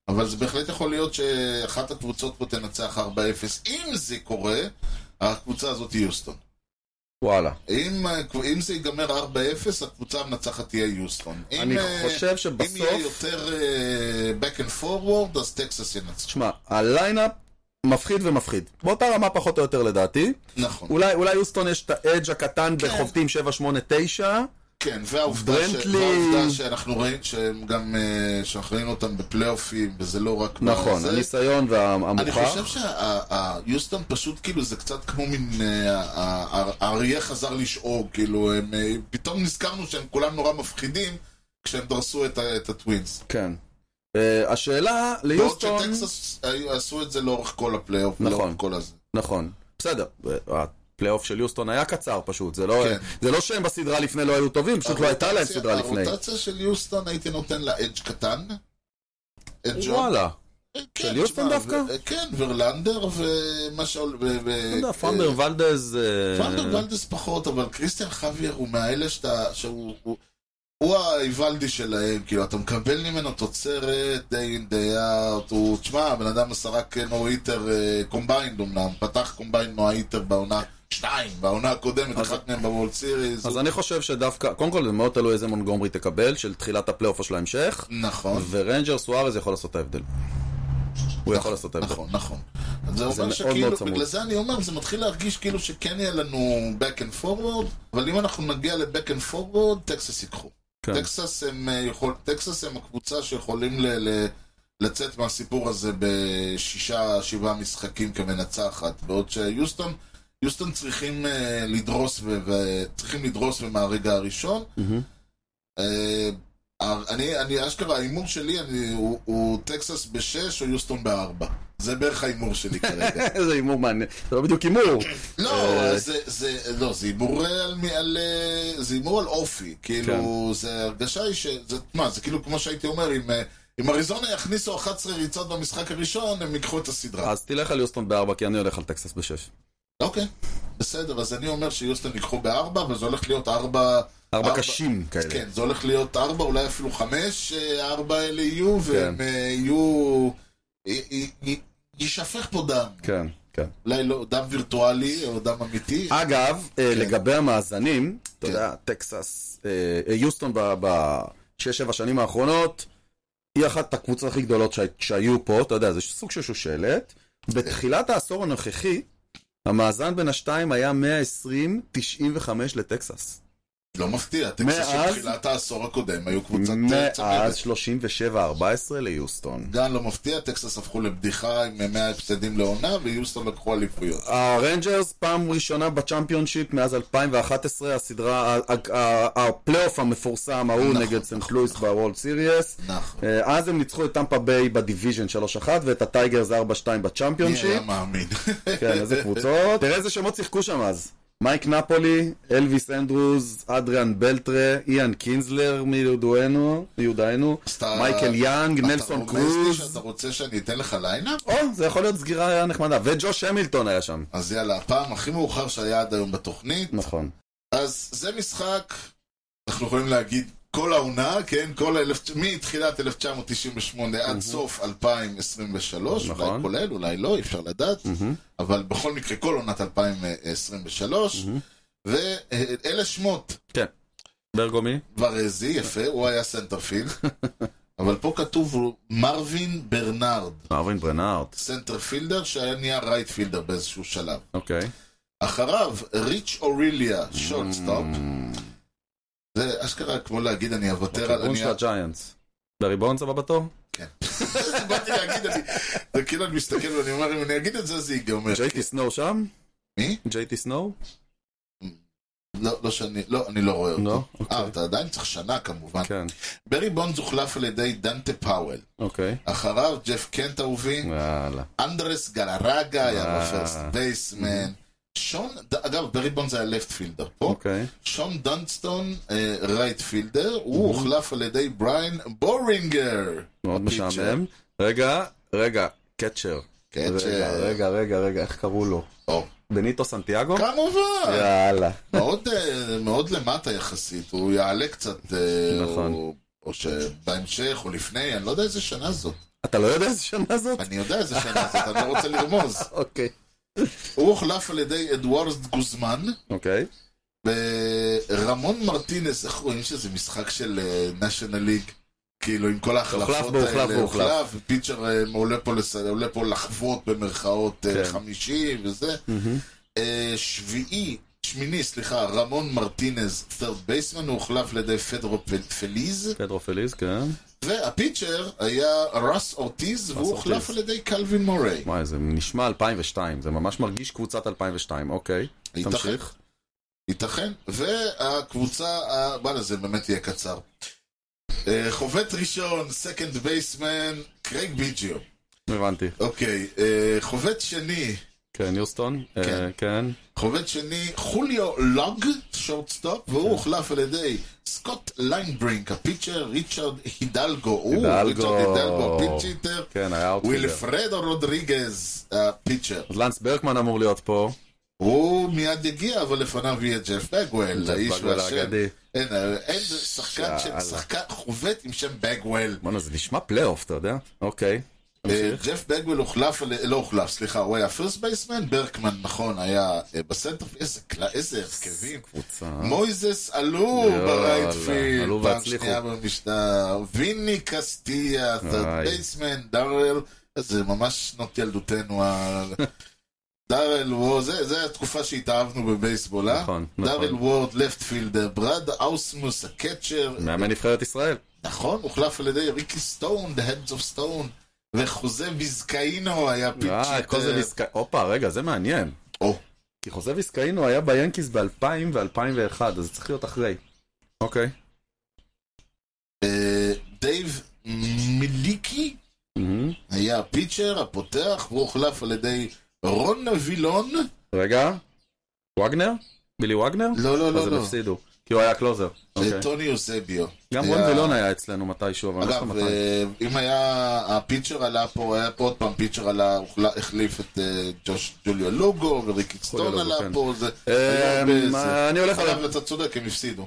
[SPEAKER 1] אבל זה בהחלט יכול להיות שאחת הקבוצות פה תנצח 4-0. אם זה קורה, הקבוצה הזאת היא יוסטון.
[SPEAKER 2] וואלה.
[SPEAKER 1] אם, אה, אם זה ייגמר 4-0, הקבוצה המנצחת תהיה יוסטון. אם,
[SPEAKER 2] אני
[SPEAKER 1] אה,
[SPEAKER 2] חושב
[SPEAKER 1] אם יהיה
[SPEAKER 2] שבסוף,
[SPEAKER 1] יותר אה, back and forward, אז טקסס ינצחו.
[SPEAKER 2] תשמע, הליינאפ מפחיד ומפחיד. באותה רמה פחות או יותר לדעתי.
[SPEAKER 1] נכון.
[SPEAKER 2] אולי, אולי יוסטון יש את האדג' הקטן בחובטים 7-8-9.
[SPEAKER 1] כן, והעובדה, ש...
[SPEAKER 2] ברנטלי-
[SPEAKER 1] והעובדה שאנחנו ראינו שהם גם, אה, שאנחנו ראינו אותם בפלייאופים, וזה לא רק...
[SPEAKER 2] נכון,
[SPEAKER 1] בזה.
[SPEAKER 2] הניסיון
[SPEAKER 1] אני
[SPEAKER 2] והמוכח.
[SPEAKER 1] חושב שהיוסטון פשוט כאילו זה קצת כמו מין אה, ה- ה- האריה חזר לשאוג, כאילו הם, אה, פתאום נזכרנו שהם כולם נורא מפחידים כשהם דרסו את ה- את הטווינס.
[SPEAKER 2] כן. אה, השאלה
[SPEAKER 1] בעוד
[SPEAKER 2] ליוסטון...
[SPEAKER 1] שטקסס היו- עשו את זה לאורך כל הפלייאוף,
[SPEAKER 2] נכון.
[SPEAKER 1] לאורך כל הזה.
[SPEAKER 2] נכון, בסדר. הפלייאוף של יוסטון היה קצר פשוט, זה לא,
[SPEAKER 1] כן.
[SPEAKER 2] זה לא שהם בסדרה לפני לא היו טובים, פשוט לא הייתה להם
[SPEAKER 1] הרוטציה-
[SPEAKER 2] סדרה לפני.
[SPEAKER 1] הרוטציה של יוסטון הייתי נותן לה אדג' קטן. אדג'
[SPEAKER 2] וואלה,
[SPEAKER 1] כן,
[SPEAKER 2] של יוסטון
[SPEAKER 1] תשמע,
[SPEAKER 2] דווקע?
[SPEAKER 1] ו- כן, ורלנדר ומה ש...
[SPEAKER 2] אתה לא
[SPEAKER 1] אה,
[SPEAKER 2] יודע, פנדר ולדז... אה,
[SPEAKER 1] פנדר ולדס פחות, אבל קריסטיאן חוויר הוא מהאלה שאתה... שהוא... הוא- הוא האיוולדי שלהם, כאילו, אתה מקבל ממנו תוצרת, day in day out, הוא, תשמע, הבן אדם עשרה נו היטר קומביינד אה, אמנם, פתח קומביינד נו היטר בעונה, שתיים, בעונה הקודמת,
[SPEAKER 2] אז-
[SPEAKER 1] אחת מהם בוולד סיריז,
[SPEAKER 2] אז אני חושב שדווקא, קודם כל זה מאוד תלוי איזה מונגומרי תקבל, של תחילת הפלייאוף או של ההמשך,
[SPEAKER 1] נכון.
[SPEAKER 2] ורנג'ר סוארז יכול לעשות את ההבדל. הוא יכול לעשות את ההבדל.
[SPEAKER 1] נכון, נכון. אז זה אומר
[SPEAKER 2] מאוד
[SPEAKER 1] שכאילו,
[SPEAKER 2] מאוד צמוד.
[SPEAKER 1] בגלל זה אני אומר, זה מתחיל להרגיש כאילו שכן יהיה לנו back and forward, אבל אם אנחנו נגיע ל-back and forward, טקסס ייקחו.
[SPEAKER 2] כן.
[SPEAKER 1] טקסס הם, אה, יכול, טקסס הם הקבוצה שיכולים ל, ל, לצאת מהסיפור הזה בשישה, שבעה משחקים כמנצחת, בעוד שיוסטון, יוסטון צריכים אה, לדרוס, ו, ו, צריכים לדרוס ומהרגע הראשון.
[SPEAKER 2] מהמם.
[SPEAKER 1] אה, אני, אני אשכרה, ההימור שלי אני, הוא, הוא טקסס בשש או יוסטון בארבע. זה בערך ההימור שלי כרגע.
[SPEAKER 2] איזה הימור מעניין, זה לא בדיוק הימור.
[SPEAKER 1] לא,
[SPEAKER 2] אה.
[SPEAKER 1] זה, זה, לא, זה הימור על, מי- על, אה, זה הימור על אופי.
[SPEAKER 2] כן.
[SPEAKER 1] כאילו, זה הרגשה היא ש... זה, מה, זה כאילו כמו שהייתי אומר, אם, אה, אם אריזונה יכניסו 11 ריצות במשחק הראשון, הם ייקחו את הסדרה.
[SPEAKER 2] אז תלך על יוסטון בארבע, כי אני הולך על טקסס בשש.
[SPEAKER 1] אוקיי, בסדר, אז אני אומר שיוסטון ייקחו בארבע, וזה הולך להיות ארבע...
[SPEAKER 2] ארבע קשים כאלה.
[SPEAKER 1] כן, זה הולך להיות ארבע, אולי אפילו חמש, אה, הארבע האלה יהיו, והם
[SPEAKER 2] כן.
[SPEAKER 1] אה, יהיו... י- י- י- יישפך פה דם.
[SPEAKER 2] כן, כן.
[SPEAKER 1] אולי לא דם וירטואלי או דם אמיתי.
[SPEAKER 2] אגב, אה,
[SPEAKER 1] כן.
[SPEAKER 2] לגבי המאזנים, אתה יודע, טקסס, אה, אה, יוסטון בשש-שבע שנים האחרונות, היא אחת הקבוצות הכי גדולות שהי- שהיו פה, אתה יודע, זה סוג של שושלת.
[SPEAKER 1] כן.
[SPEAKER 2] בתחילת העשור הנוכחי, המאזן בין השתיים היה 120-95 לטקסס.
[SPEAKER 1] לא מפתיע, טקסס של
[SPEAKER 2] מאז-
[SPEAKER 1] תחילת העשור הקודם היו קבוצת אה,
[SPEAKER 2] מאז
[SPEAKER 1] צמרת.
[SPEAKER 2] 37-14 ליוסטון.
[SPEAKER 1] גם לא מפתיע, טקסס הפכו לבדיחה עם 100 הפסדים לעונה, ויוסטון לקחו אליפויות.
[SPEAKER 2] הרנג'רס פעם ראשונה בצ'מפיונשיפ מאז 2011, הסדרה, ה- ה- ה- הפלייאוף המפורסם ההוא
[SPEAKER 1] נכון,
[SPEAKER 2] נגד סנט לואיס בוולד סיריאס.
[SPEAKER 1] נכון.
[SPEAKER 2] אה, אז הם ניצחו את טמפה ביי בדיוויז'ן 3-1 ואת הטייגרס 4-2
[SPEAKER 1] מי היה
[SPEAKER 2] בצ'מפיונשיפ.
[SPEAKER 1] מאמין?
[SPEAKER 2] כן, איזה קבוצות. תראה איזה שמות שיחקו שם אז. מייק נפולי, אלוויס אנדרוז, אדריאן בלטרה, איאן קינזלר מיודענו, יודענו,
[SPEAKER 1] אז אתה-
[SPEAKER 2] מייקל יאנג,
[SPEAKER 1] אתה
[SPEAKER 2] נלסון
[SPEAKER 1] רומז לי שאתה
[SPEAKER 2] קרוז.
[SPEAKER 1] רוצה שאני אתן לך ליינאפ?
[SPEAKER 2] או, זה יכול להיות סגירה נחמדה. וג'וש המילטון היה שם.
[SPEAKER 1] אז יאללה, הפעם הכי מאוחר שהיה עד היום בתוכנית.
[SPEAKER 2] נכון.
[SPEAKER 1] אז זה משחק, אנחנו יכולים להגיד כל העונה, כן? כל האלף, מתחילת 1998 עד סוף 2023, אולי
[SPEAKER 2] נכון.
[SPEAKER 1] כולל, אולי לא, אי אפשר לדעת, אבל בכל מקרה כל עונת 2023, ואלה שמות,
[SPEAKER 2] כן. ברגומי?
[SPEAKER 1] ברזי, יפה, הוא היה סנטרפילד, אבל פה כתוב הוא מרווין ברנרד,
[SPEAKER 2] ארווין ברנארט.
[SPEAKER 1] סנטרפילדר שהיה נהיה רייטפילדר באיזשהו שלב.
[SPEAKER 2] אוקיי. Mm,
[SPEAKER 1] אחריו, ריץ' אוריליה, שורטסטופ. זה אשכרה כמו להגיד, אני אוותר על...
[SPEAKER 2] הכיוון
[SPEAKER 1] אני-
[SPEAKER 2] של הג'יינטס. ברי בונדס הבא בתור?
[SPEAKER 1] כן. זה באתי להגיד, אני... זה כאילו אני מסתכל ואני אומר, אם אני אגיד את זה, זה ייגמר.
[SPEAKER 2] ג'יי.טי סנואו שם?
[SPEAKER 1] מי?
[SPEAKER 2] ג'יי.טי סנואו?
[SPEAKER 1] לא, לא שאני... לא, אני לא רואה
[SPEAKER 2] לא?
[SPEAKER 1] אותו. אה,
[SPEAKER 2] אוקיי.
[SPEAKER 1] אתה עדיין צריך שנה כמובן.
[SPEAKER 2] כן.
[SPEAKER 1] ברי בונדס הוחלף על ידי דנטה פאוול.
[SPEAKER 2] אוקיי.
[SPEAKER 1] אחריו, ג'ף קנט אהובי.
[SPEAKER 2] וואלה.
[SPEAKER 1] אנדרס גלרגה היה
[SPEAKER 2] אה.
[SPEAKER 1] בפרסט בייסמן. שון, אגב, ברי בונדס היה לפט פילדר פה.
[SPEAKER 2] אוקיי.
[SPEAKER 1] שון דנסטון, אה, רייט פילדר, הוא
[SPEAKER 2] Mm-hmm.
[SPEAKER 1] הוחלף על ידי בריין בורינגר.
[SPEAKER 2] מאוד
[SPEAKER 1] הפיצ'ר.
[SPEAKER 2] משעמם. רגע, רגע, קצ'ר.
[SPEAKER 1] קצ'ר.
[SPEAKER 2] רגע, רגע, רגע, רגע, איך קראו לו?
[SPEAKER 1] או,
[SPEAKER 2] בניטו סנטיאגו?
[SPEAKER 1] כמובן,
[SPEAKER 2] יאללה.
[SPEAKER 1] מאוד, אה, מאוד למטה יחסית, הוא יעלה קצת, אה,
[SPEAKER 2] נכון.
[SPEAKER 1] או- או שבהמשך או לפני, אני לא יודע איזה שנה זאת.
[SPEAKER 2] אתה לא יודע איזה שנה זאת?
[SPEAKER 1] אני יודע איזה שנה זאת, אני לא רוצה לרמוז.
[SPEAKER 2] אוקיי.
[SPEAKER 1] הוא הוחלף על ידי אדוארד גוזמן,
[SPEAKER 2] אוקיי.
[SPEAKER 1] ורמון מרטינס, איך רואים שזה משחק של נשיונל ליג? אה, כאילו, עם כל ההחלפות
[SPEAKER 2] בו, הוחלף
[SPEAKER 1] האלה,
[SPEAKER 2] בו, הוחלף.
[SPEAKER 1] פיצ'ר אה, עולה פה, לס... עולה פה לחוות במרכאות
[SPEAKER 2] כן.
[SPEAKER 1] כן. 50 וזה. אה, שביעי, שמיני, סליחה, רמון מרטינז, third baseman, הוא הוחלף על ידי פדרו פל- פליז,
[SPEAKER 2] פדרו פליז, כן.
[SPEAKER 1] והפיצ'ר היה רס אורטיז, והוא
[SPEAKER 2] אורטיז.
[SPEAKER 1] הוחלף על ידי קלווין מוריי.
[SPEAKER 2] וואי, זה נשמע 2002, זה ממש מרגיש קבוצת 2002, אוקיי.
[SPEAKER 1] ייתכן.
[SPEAKER 2] תמשיך.
[SPEAKER 1] ייתכן. והקבוצה, ה- וואלה, זה באמת יהיה קצר. אה, חובט ראשון, סקנד בייסמן, קרייג ביג'יו.
[SPEAKER 2] הבנתי.
[SPEAKER 1] אוקיי, אה, חובט שני,
[SPEAKER 2] כן, יוסטון? אה, כן.
[SPEAKER 1] חובט שני, חוליו לוג, שורטסטופ,
[SPEAKER 2] כן.
[SPEAKER 1] והוא הוחלף על ידי סקוט ליינברינק, הפיצ'ר, ריצ'רד הידלגו, הוא,
[SPEAKER 2] הידלגו.
[SPEAKER 1] ריצ'רד הידלגו, פיצ'יטר,
[SPEAKER 2] כן, היה אאוטפילר.
[SPEAKER 1] ווילפרדו רודריגז, הפיצ'ר.
[SPEAKER 2] אז לנס ברקמן אמור להיות פה.
[SPEAKER 1] הוא מיד יגיע, אבל לפניו יהיה ג'ף בגוול,
[SPEAKER 2] ג'ף
[SPEAKER 1] האיש
[SPEAKER 2] בגוול
[SPEAKER 1] והשם.
[SPEAKER 2] האגדי.
[SPEAKER 1] אין, אה, אין שחקן שם,
[SPEAKER 2] שאלה.
[SPEAKER 1] שחקן חובט עם שם בגוול.
[SPEAKER 2] בואנה, זה נשמע פלייאוף, אתה יודע? אוקיי.
[SPEAKER 1] אה,
[SPEAKER 2] תמשיך.
[SPEAKER 1] ג'ף בגוול הוחלף, על- לא הוחלף, סליחה, הוא היה פרסט בייסמן, ברקמן, נכון, היה אה, בסנטר, איזה קלה- איזה הרכבים.
[SPEAKER 2] קבוצה.
[SPEAKER 1] מויזס עלו
[SPEAKER 2] יאללה,
[SPEAKER 1] ברייטפילד,
[SPEAKER 2] אה? עלו
[SPEAKER 1] פעם
[SPEAKER 2] והצליחו.
[SPEAKER 1] שנייה במשטר, ויני קסטיה,
[SPEAKER 2] איי.
[SPEAKER 1] בייסמן, דארל, זה ממש שנות ילדותנו, ה- דארל וורד, זה, זה התקופה שהתאהבנו בבייסבול, אה?
[SPEAKER 2] נכון, נכון.
[SPEAKER 1] דארל וורד, לפטפילדר, ברד אוסמוס, הקצ'ר,
[SPEAKER 2] מאמן נבחרת ישראל.
[SPEAKER 1] נכון, הוחלף על ידי ריקי סטון, The Heads of Stone, וחוזה ויזקאינו היה
[SPEAKER 2] אה,
[SPEAKER 1] פיצ'יט,
[SPEAKER 2] כל זה ויסקאי... הופה, רגע, זה מעניין.
[SPEAKER 1] או,
[SPEAKER 2] כי חוזה ויסקאינו היה ביאנקיס ב-2000 ו-2001, אז זה צריך להיות אחרי. אוקיי.
[SPEAKER 1] אה, דייב מיליקי,
[SPEAKER 2] מהמם.
[SPEAKER 1] היה הפיצ'ר, הפותח, והוא הוחלף על ידי רון וילון.
[SPEAKER 2] רגע. וגנר? בילי וגנר?
[SPEAKER 1] לא, לא,
[SPEAKER 2] אז
[SPEAKER 1] לא,
[SPEAKER 2] הם
[SPEAKER 1] לא.
[SPEAKER 2] הפסידו. כי הוא היה קלוזר. אוקיי.
[SPEAKER 1] זה טוני יוסביו.
[SPEAKER 2] גם
[SPEAKER 1] היה-
[SPEAKER 2] רון וילון היה אצלנו מתישהו, אבל אני לא זוכר
[SPEAKER 1] אגב,
[SPEAKER 2] מתי.
[SPEAKER 1] אה, אם היה הפיצ'ר עלה פה, היה פה עוד פעם פיצ'ר עלה, הוחלה- החליף את אה, ג'וש ג'וליו לוגו, וריקי סטון
[SPEAKER 2] לוגו,
[SPEAKER 1] עלה
[SPEAKER 2] כן.
[SPEAKER 1] פה, זה...
[SPEAKER 2] אה,
[SPEAKER 1] היה הרבה
[SPEAKER 2] מה,
[SPEAKER 1] זה.
[SPEAKER 2] אני הולך על-
[SPEAKER 1] אבל אתה צודק, הם הפסידו.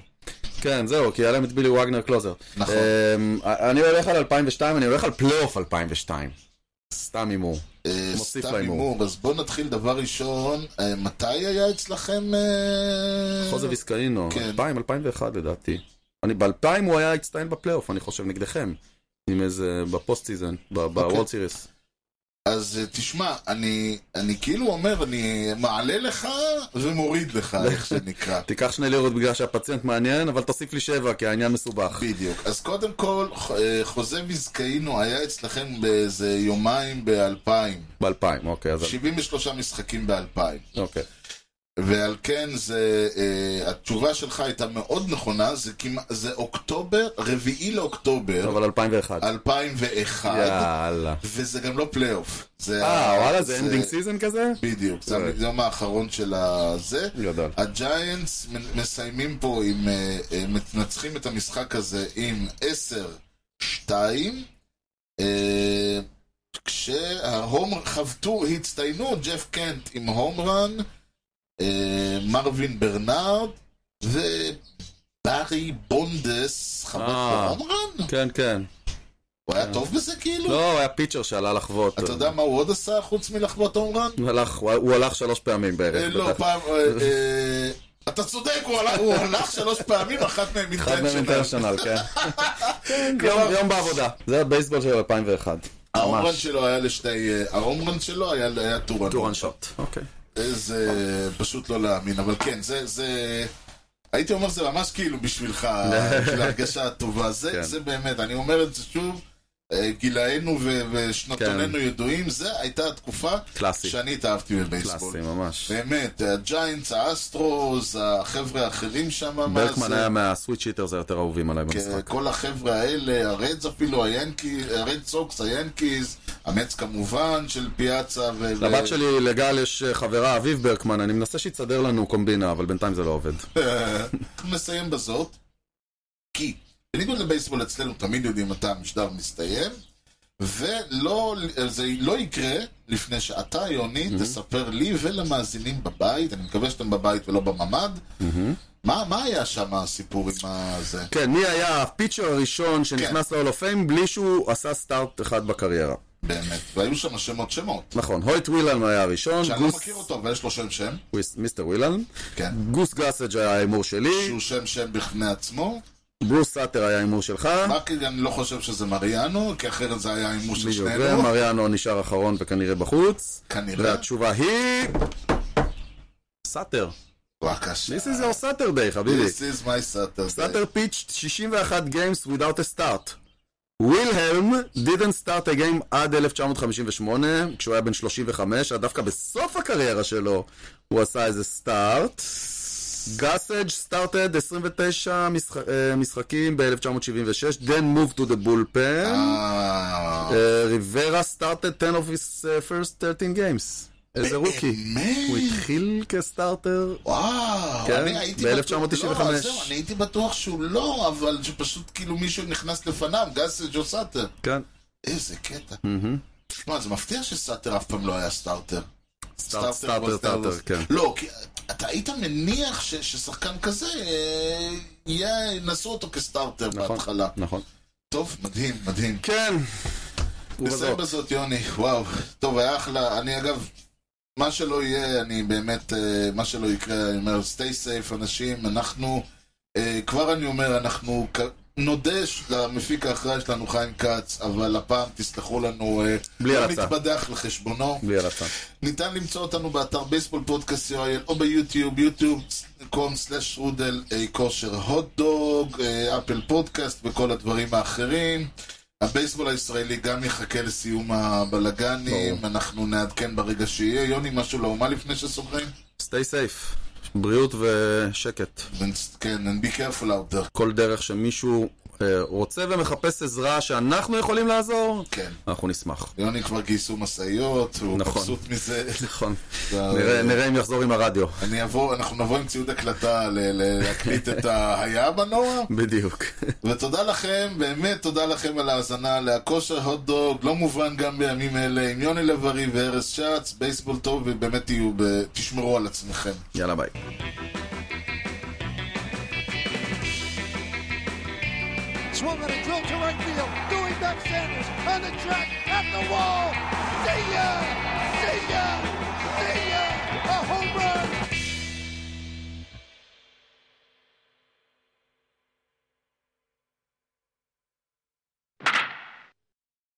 [SPEAKER 2] כן, זהו, כי היה להם את בילי וגנר קלוזר.
[SPEAKER 1] נכון.
[SPEAKER 2] אמ, אני הולך על 2002, אני הולך על פלייאוף 2002. סתם הימור.
[SPEAKER 1] אה,
[SPEAKER 2] מוסיף
[SPEAKER 1] סתם
[SPEAKER 2] להימור.
[SPEAKER 1] הימור, אז בואו נתחיל דבר ראשון, אה, מתי היה אצלכם... אה,
[SPEAKER 2] חוזה ויסקאינו,
[SPEAKER 1] כן.
[SPEAKER 2] 2000, 2001 לדעתי. אני ב-2000 הוא היה הצטיין בפלייאוף, אני חושב, נגדכם. עם איזה, בפוסט סיזן,
[SPEAKER 1] אוקיי.
[SPEAKER 2] בוולד סיריס.
[SPEAKER 1] אז אה, תשמע, אני, אני כאילו אומר, אני מעלה לך ומוריד לך, איך שנקרא.
[SPEAKER 2] תיקח שני לירות בגלל שהפציינט מעניין, אבל תוסיף לי שבע, כי העניין מסובך.
[SPEAKER 1] בדיוק. אז קודם כל, ח- אה, חוזה ויזקאינו היה אצלכם באיזה יומיים ב-2000.
[SPEAKER 2] ב-2000, אוקיי, אז...
[SPEAKER 1] 73 משחקים ב-2000.
[SPEAKER 2] אוקיי.
[SPEAKER 1] ועל כן, זה, אה, התשובה שלך הייתה מאוד נכונה, זה, כמע, זה אוקטובר, רביעי לאוקטובר,
[SPEAKER 2] אבל 2001.
[SPEAKER 1] אה, 2001,
[SPEAKER 2] יאללה.
[SPEAKER 1] וזה גם לא פלייאוף. זה
[SPEAKER 2] אה,
[SPEAKER 1] ה-
[SPEAKER 2] וואלה, זה אנדינג סיזן כזה?
[SPEAKER 1] בדיוק, זה
[SPEAKER 2] אוי.
[SPEAKER 1] היום האחרון של הזה.
[SPEAKER 2] גדול.
[SPEAKER 1] הג'יינטס מ- מסיימים פה עם, אה, אה, מנצחים את המשחק הזה עם 10-2, אה, כשההום, חבטו, הצטיינו ג'ף קנט עם הום רן, אה, מרווין ברנארד, וברי בונדס חבט
[SPEAKER 2] אה.
[SPEAKER 1] הום רן?
[SPEAKER 2] כן, כן.
[SPEAKER 1] הוא היה טוב בזה כאילו?
[SPEAKER 2] לא, הוא היה פיצ'ר שעלה לחוות.
[SPEAKER 1] אתה יודע מה הוא עוד עשה חוץ מלחבוט הום רן?
[SPEAKER 2] הוא הלך, הוא הוא הלך שלוש פעמים
[SPEAKER 1] אה,
[SPEAKER 2] בערך.
[SPEAKER 1] לא,
[SPEAKER 2] בטח.
[SPEAKER 1] פעם... אה, אה, אתה צודק, הוא הלך- הוא הלך שלוש פעמים, אחת מהן
[SPEAKER 2] אחד מהם
[SPEAKER 1] אינטרנשיונל.
[SPEAKER 2] אינטרנשיונל, כן.
[SPEAKER 1] כלומר- אה,
[SPEAKER 2] יום- יום בעבודה. זה הבייסבול של 2001.
[SPEAKER 1] ההומרן
[SPEAKER 2] ממש.
[SPEAKER 1] שלו היה לשתי... אה, ההומרן שלו היה- היה טורן.
[SPEAKER 2] טורן שוט. אוקיי.
[SPEAKER 1] אה, זה פשוט לא להאמין, אבל כן, זה... זה- הייתי אומר זה ממש כאילו בשבילך, בשביל ההרגשה הטובה. זה-
[SPEAKER 2] כן.
[SPEAKER 1] זה באמת, אני אומר את זה שוב, אה, גילאינו ו- ושנתוננו
[SPEAKER 2] כן.
[SPEAKER 1] ידועים, זו הייתה התקופה
[SPEAKER 2] קלאסי.
[SPEAKER 1] שאני התאהבתי בבייסבול.
[SPEAKER 2] קלאסי ממש.
[SPEAKER 1] באמת, הג'יינטס, האסטרוס, החבר'ה האחרים שם, מה
[SPEAKER 2] ברקמן
[SPEAKER 1] זה- כן,
[SPEAKER 2] היה מהסוויט שיטרס היותר אהובים עליי במשחק.
[SPEAKER 1] כל החבר'ה האלה, הרדס אפילו, היאנקי, הרד סוקס, היאנקיז, המץ כמובן של פיאצה ו...
[SPEAKER 2] לבת
[SPEAKER 1] ו-
[SPEAKER 2] שלי, לגל, יש אה, חברה, אביב ברקמן, אני מנסה שיצדר לנו קומבינה, אבל בינתיים זה לא עובד.
[SPEAKER 1] אנחנו נסיים בזאת, כי בניגוד לבייסבול אצלנו תמיד יודעים מתי המשדר מסתיים, ולא, זה לא יקרה לפני שאתה, יוני, תספר לי ולמאזינים בבית, אני מקווה שאתם בבית ולא בממ"ד, מה מה היה שם הסיפור עם הזה?
[SPEAKER 2] כן, מי היה הפיצ'ר הראשון
[SPEAKER 1] כן.
[SPEAKER 2] שנכנס ל-all of fame בלי שהוא עשה סטארט אחד בקריירה?
[SPEAKER 1] באמת, והיו שם שמות שמות.
[SPEAKER 2] נכון, הויט ווילן היה הראשון,
[SPEAKER 1] שאני לא
[SPEAKER 2] גוס-
[SPEAKER 1] מכיר אותו, אבל יש לו שם שם,
[SPEAKER 2] מיסטר ווילן,
[SPEAKER 1] כן.
[SPEAKER 2] גוס גסג' היה ההימור שלי,
[SPEAKER 1] שהוא שם שם בפני עצמו,
[SPEAKER 2] ברוס סאטר היה הימור שלך.
[SPEAKER 1] רק אני לא חושב שזה מריאנו, כי אחרת זה היה הימור של
[SPEAKER 2] בדיוק,
[SPEAKER 1] שנינו.
[SPEAKER 2] ומריאנו נשאר אחרון וכנראה בחוץ.
[SPEAKER 1] כנראה.
[SPEAKER 2] והתשובה היא... סאטר.
[SPEAKER 1] בבקשה.
[SPEAKER 2] This is your Saturday, חביבי.
[SPEAKER 1] This is my Saturday.
[SPEAKER 2] סאטר pitched 61 games without a start. וילהלם didn't start a game עד 1958, כשהוא היה בן 35, אז דווקא בסוף הקריירה שלו הוא עשה איזה סטארט. גאסג' סטארטד 29 משחק, אה, משחקים ב-1976, then moved to the bullpen.
[SPEAKER 1] אה,
[SPEAKER 2] ריברה סטארטד 10 of his uh, first 13 games. איזה רוקי. הוא
[SPEAKER 1] באמת?
[SPEAKER 2] התחיל כסטארטר,
[SPEAKER 1] וואו,
[SPEAKER 2] כן,
[SPEAKER 1] אני הייתי
[SPEAKER 2] ב-1995.
[SPEAKER 1] בטוח, לא, זהו, אני הייתי בטוח שהוא לא, אבל שפשוט כאילו מישהו נכנס לפניו, גס ג'ו סאטר.
[SPEAKER 2] כן,
[SPEAKER 1] איזה קטע. שמע, זה מפתיע שסאטר אף פעם לא היה סטארטר.
[SPEAKER 2] סטארט- סטארטר, סטארטר, כן.
[SPEAKER 1] לא, כי אתה היית מניח ש- ששחקן כזה, אה, יהיה- ינסו אותו כסטארטר
[SPEAKER 2] נכון,
[SPEAKER 1] בהתחלה.
[SPEAKER 2] נכון.
[SPEAKER 1] טוב, מדהים, מדהים.
[SPEAKER 2] כן.
[SPEAKER 1] נסיים בזאת, יוני, וואו. טוב, היה אחלה. אני אגב, מה שלא יהיה, אני באמת, אה, מה שלא יקרה, אני אומר, stay safe, אנשים, אנחנו, אה, כבר אני אומר, אנחנו כ- נודה ש- למפיק האחראי שלנו, חיים כץ, אבל הפעם תסלחו לנו, אה,
[SPEAKER 2] בלי
[SPEAKER 1] לא
[SPEAKER 2] הרצה.
[SPEAKER 1] נתבדח לחשבונו.
[SPEAKER 2] בלי הרצון.
[SPEAKER 1] ניתן למצוא אותנו באתר בייסבול פודקאסט יואל או ביוטיוב, יוטיוב.com/רודל כושר הוטדוג, אפל פודקאסט אה, וכל הדברים האחרים. הבייסבול הישראלי גם יחכה לסיום הבלגנים,
[SPEAKER 2] ברור.
[SPEAKER 1] אנחנו נעדכן ברגע שיהיה. יוני, משהו לאומה לפני שסוגרים?
[SPEAKER 2] stay safe, בריאות ושקט.
[SPEAKER 1] כן, and be careful out there.
[SPEAKER 2] כל דרך שמישהו אה, רוצה ומחפש עזרה שאנחנו יכולים לעזור,
[SPEAKER 1] כן.
[SPEAKER 2] אנחנו נשמח.
[SPEAKER 1] יוני כבר גייסו משאיות, הוא
[SPEAKER 2] נכון.
[SPEAKER 1] מבסוט מזה.
[SPEAKER 2] נכון.
[SPEAKER 1] זה-
[SPEAKER 2] נראה- נראה אם יחזור עם הרדיו.
[SPEAKER 1] אני אבוא, אנחנו נבוא עם ציוד הקלטה ל- ל- להקליט את ה"היה בנוער".
[SPEAKER 2] בדיוק.
[SPEAKER 1] ותודה לכם, באמת תודה לכם על ההאזנה להכושר הוטדוג, לא מובן גם בימים אלה, עם יוני לב-ארי וארז שץ, בייסבול טוב, ובאמת תהיו, ב... תשמרו על עצמכם.
[SPEAKER 2] יאללה ביי.
[SPEAKER 5] Swung on a drill to right field. Doing back Sanders on the track at the wall. See ya! See ya! See ya! A home run!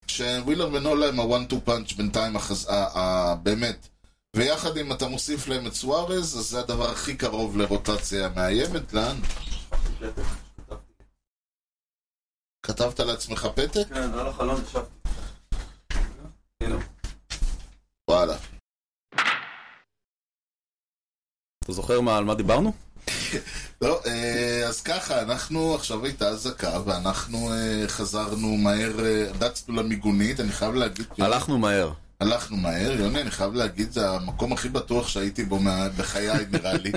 [SPEAKER 1] כשווילר ונולה הם הוואן טו פאנץ' בינתיים, החז... ה... ה... באמת. ויחד אם אתה מוסיף להם את סוארז, אז זה הדבר הכי קרוב לרוטציה מאיימת, לאן? כתבת לעצמך פתק?
[SPEAKER 2] כן, על החלון ישבתי.
[SPEAKER 1] וואלה.
[SPEAKER 2] אתה זוכר מה- על מה דיברנו?
[SPEAKER 1] לא, אה, אז ככה, אנחנו עכשיו הייתה אזעקה, ואנחנו אה, חזרנו מהר, אה, רצנו למיגונית, אני חייב להגיד,
[SPEAKER 2] הלכנו מהר.
[SPEAKER 1] הלכנו מהר, יוני, אני חייב להגיד, זה המקום הכי בטוח שהייתי בו מה- בחיי, נראה לי.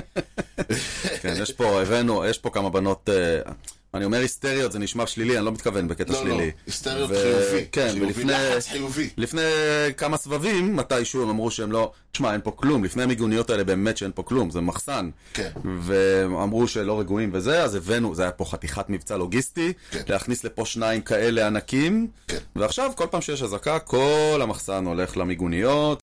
[SPEAKER 2] כן, יש פה, הבאנו, יש פה כמה בנות, אה, אני אומר היסטריות, זה נשמע שלילי, אני לא מתכוון בקטע
[SPEAKER 1] לא, לא,
[SPEAKER 2] שלילי.
[SPEAKER 1] היסטריות
[SPEAKER 2] ו-
[SPEAKER 1] חיובי.
[SPEAKER 2] כן,
[SPEAKER 1] חיובי,
[SPEAKER 2] ולפני-
[SPEAKER 1] לחץ חיובי.
[SPEAKER 2] לפני כמה סבבים, מתישהו הם אמרו שהם לא... תשמע, אין פה כלום. לפני המיגוניות האלה באמת שאין פה כלום, זה מחסן.
[SPEAKER 1] כן.
[SPEAKER 2] והם אמרו שלא רגועים וזה, אז הבאנו, זה היה פה חתיכת מבצע לוגיסטי,
[SPEAKER 1] כן.
[SPEAKER 2] להכניס לפה שניים כאלה ענקים,
[SPEAKER 1] כן.
[SPEAKER 2] ועכשיו כל פעם שיש אזעקה, כל המחסן הולך למיגוניות,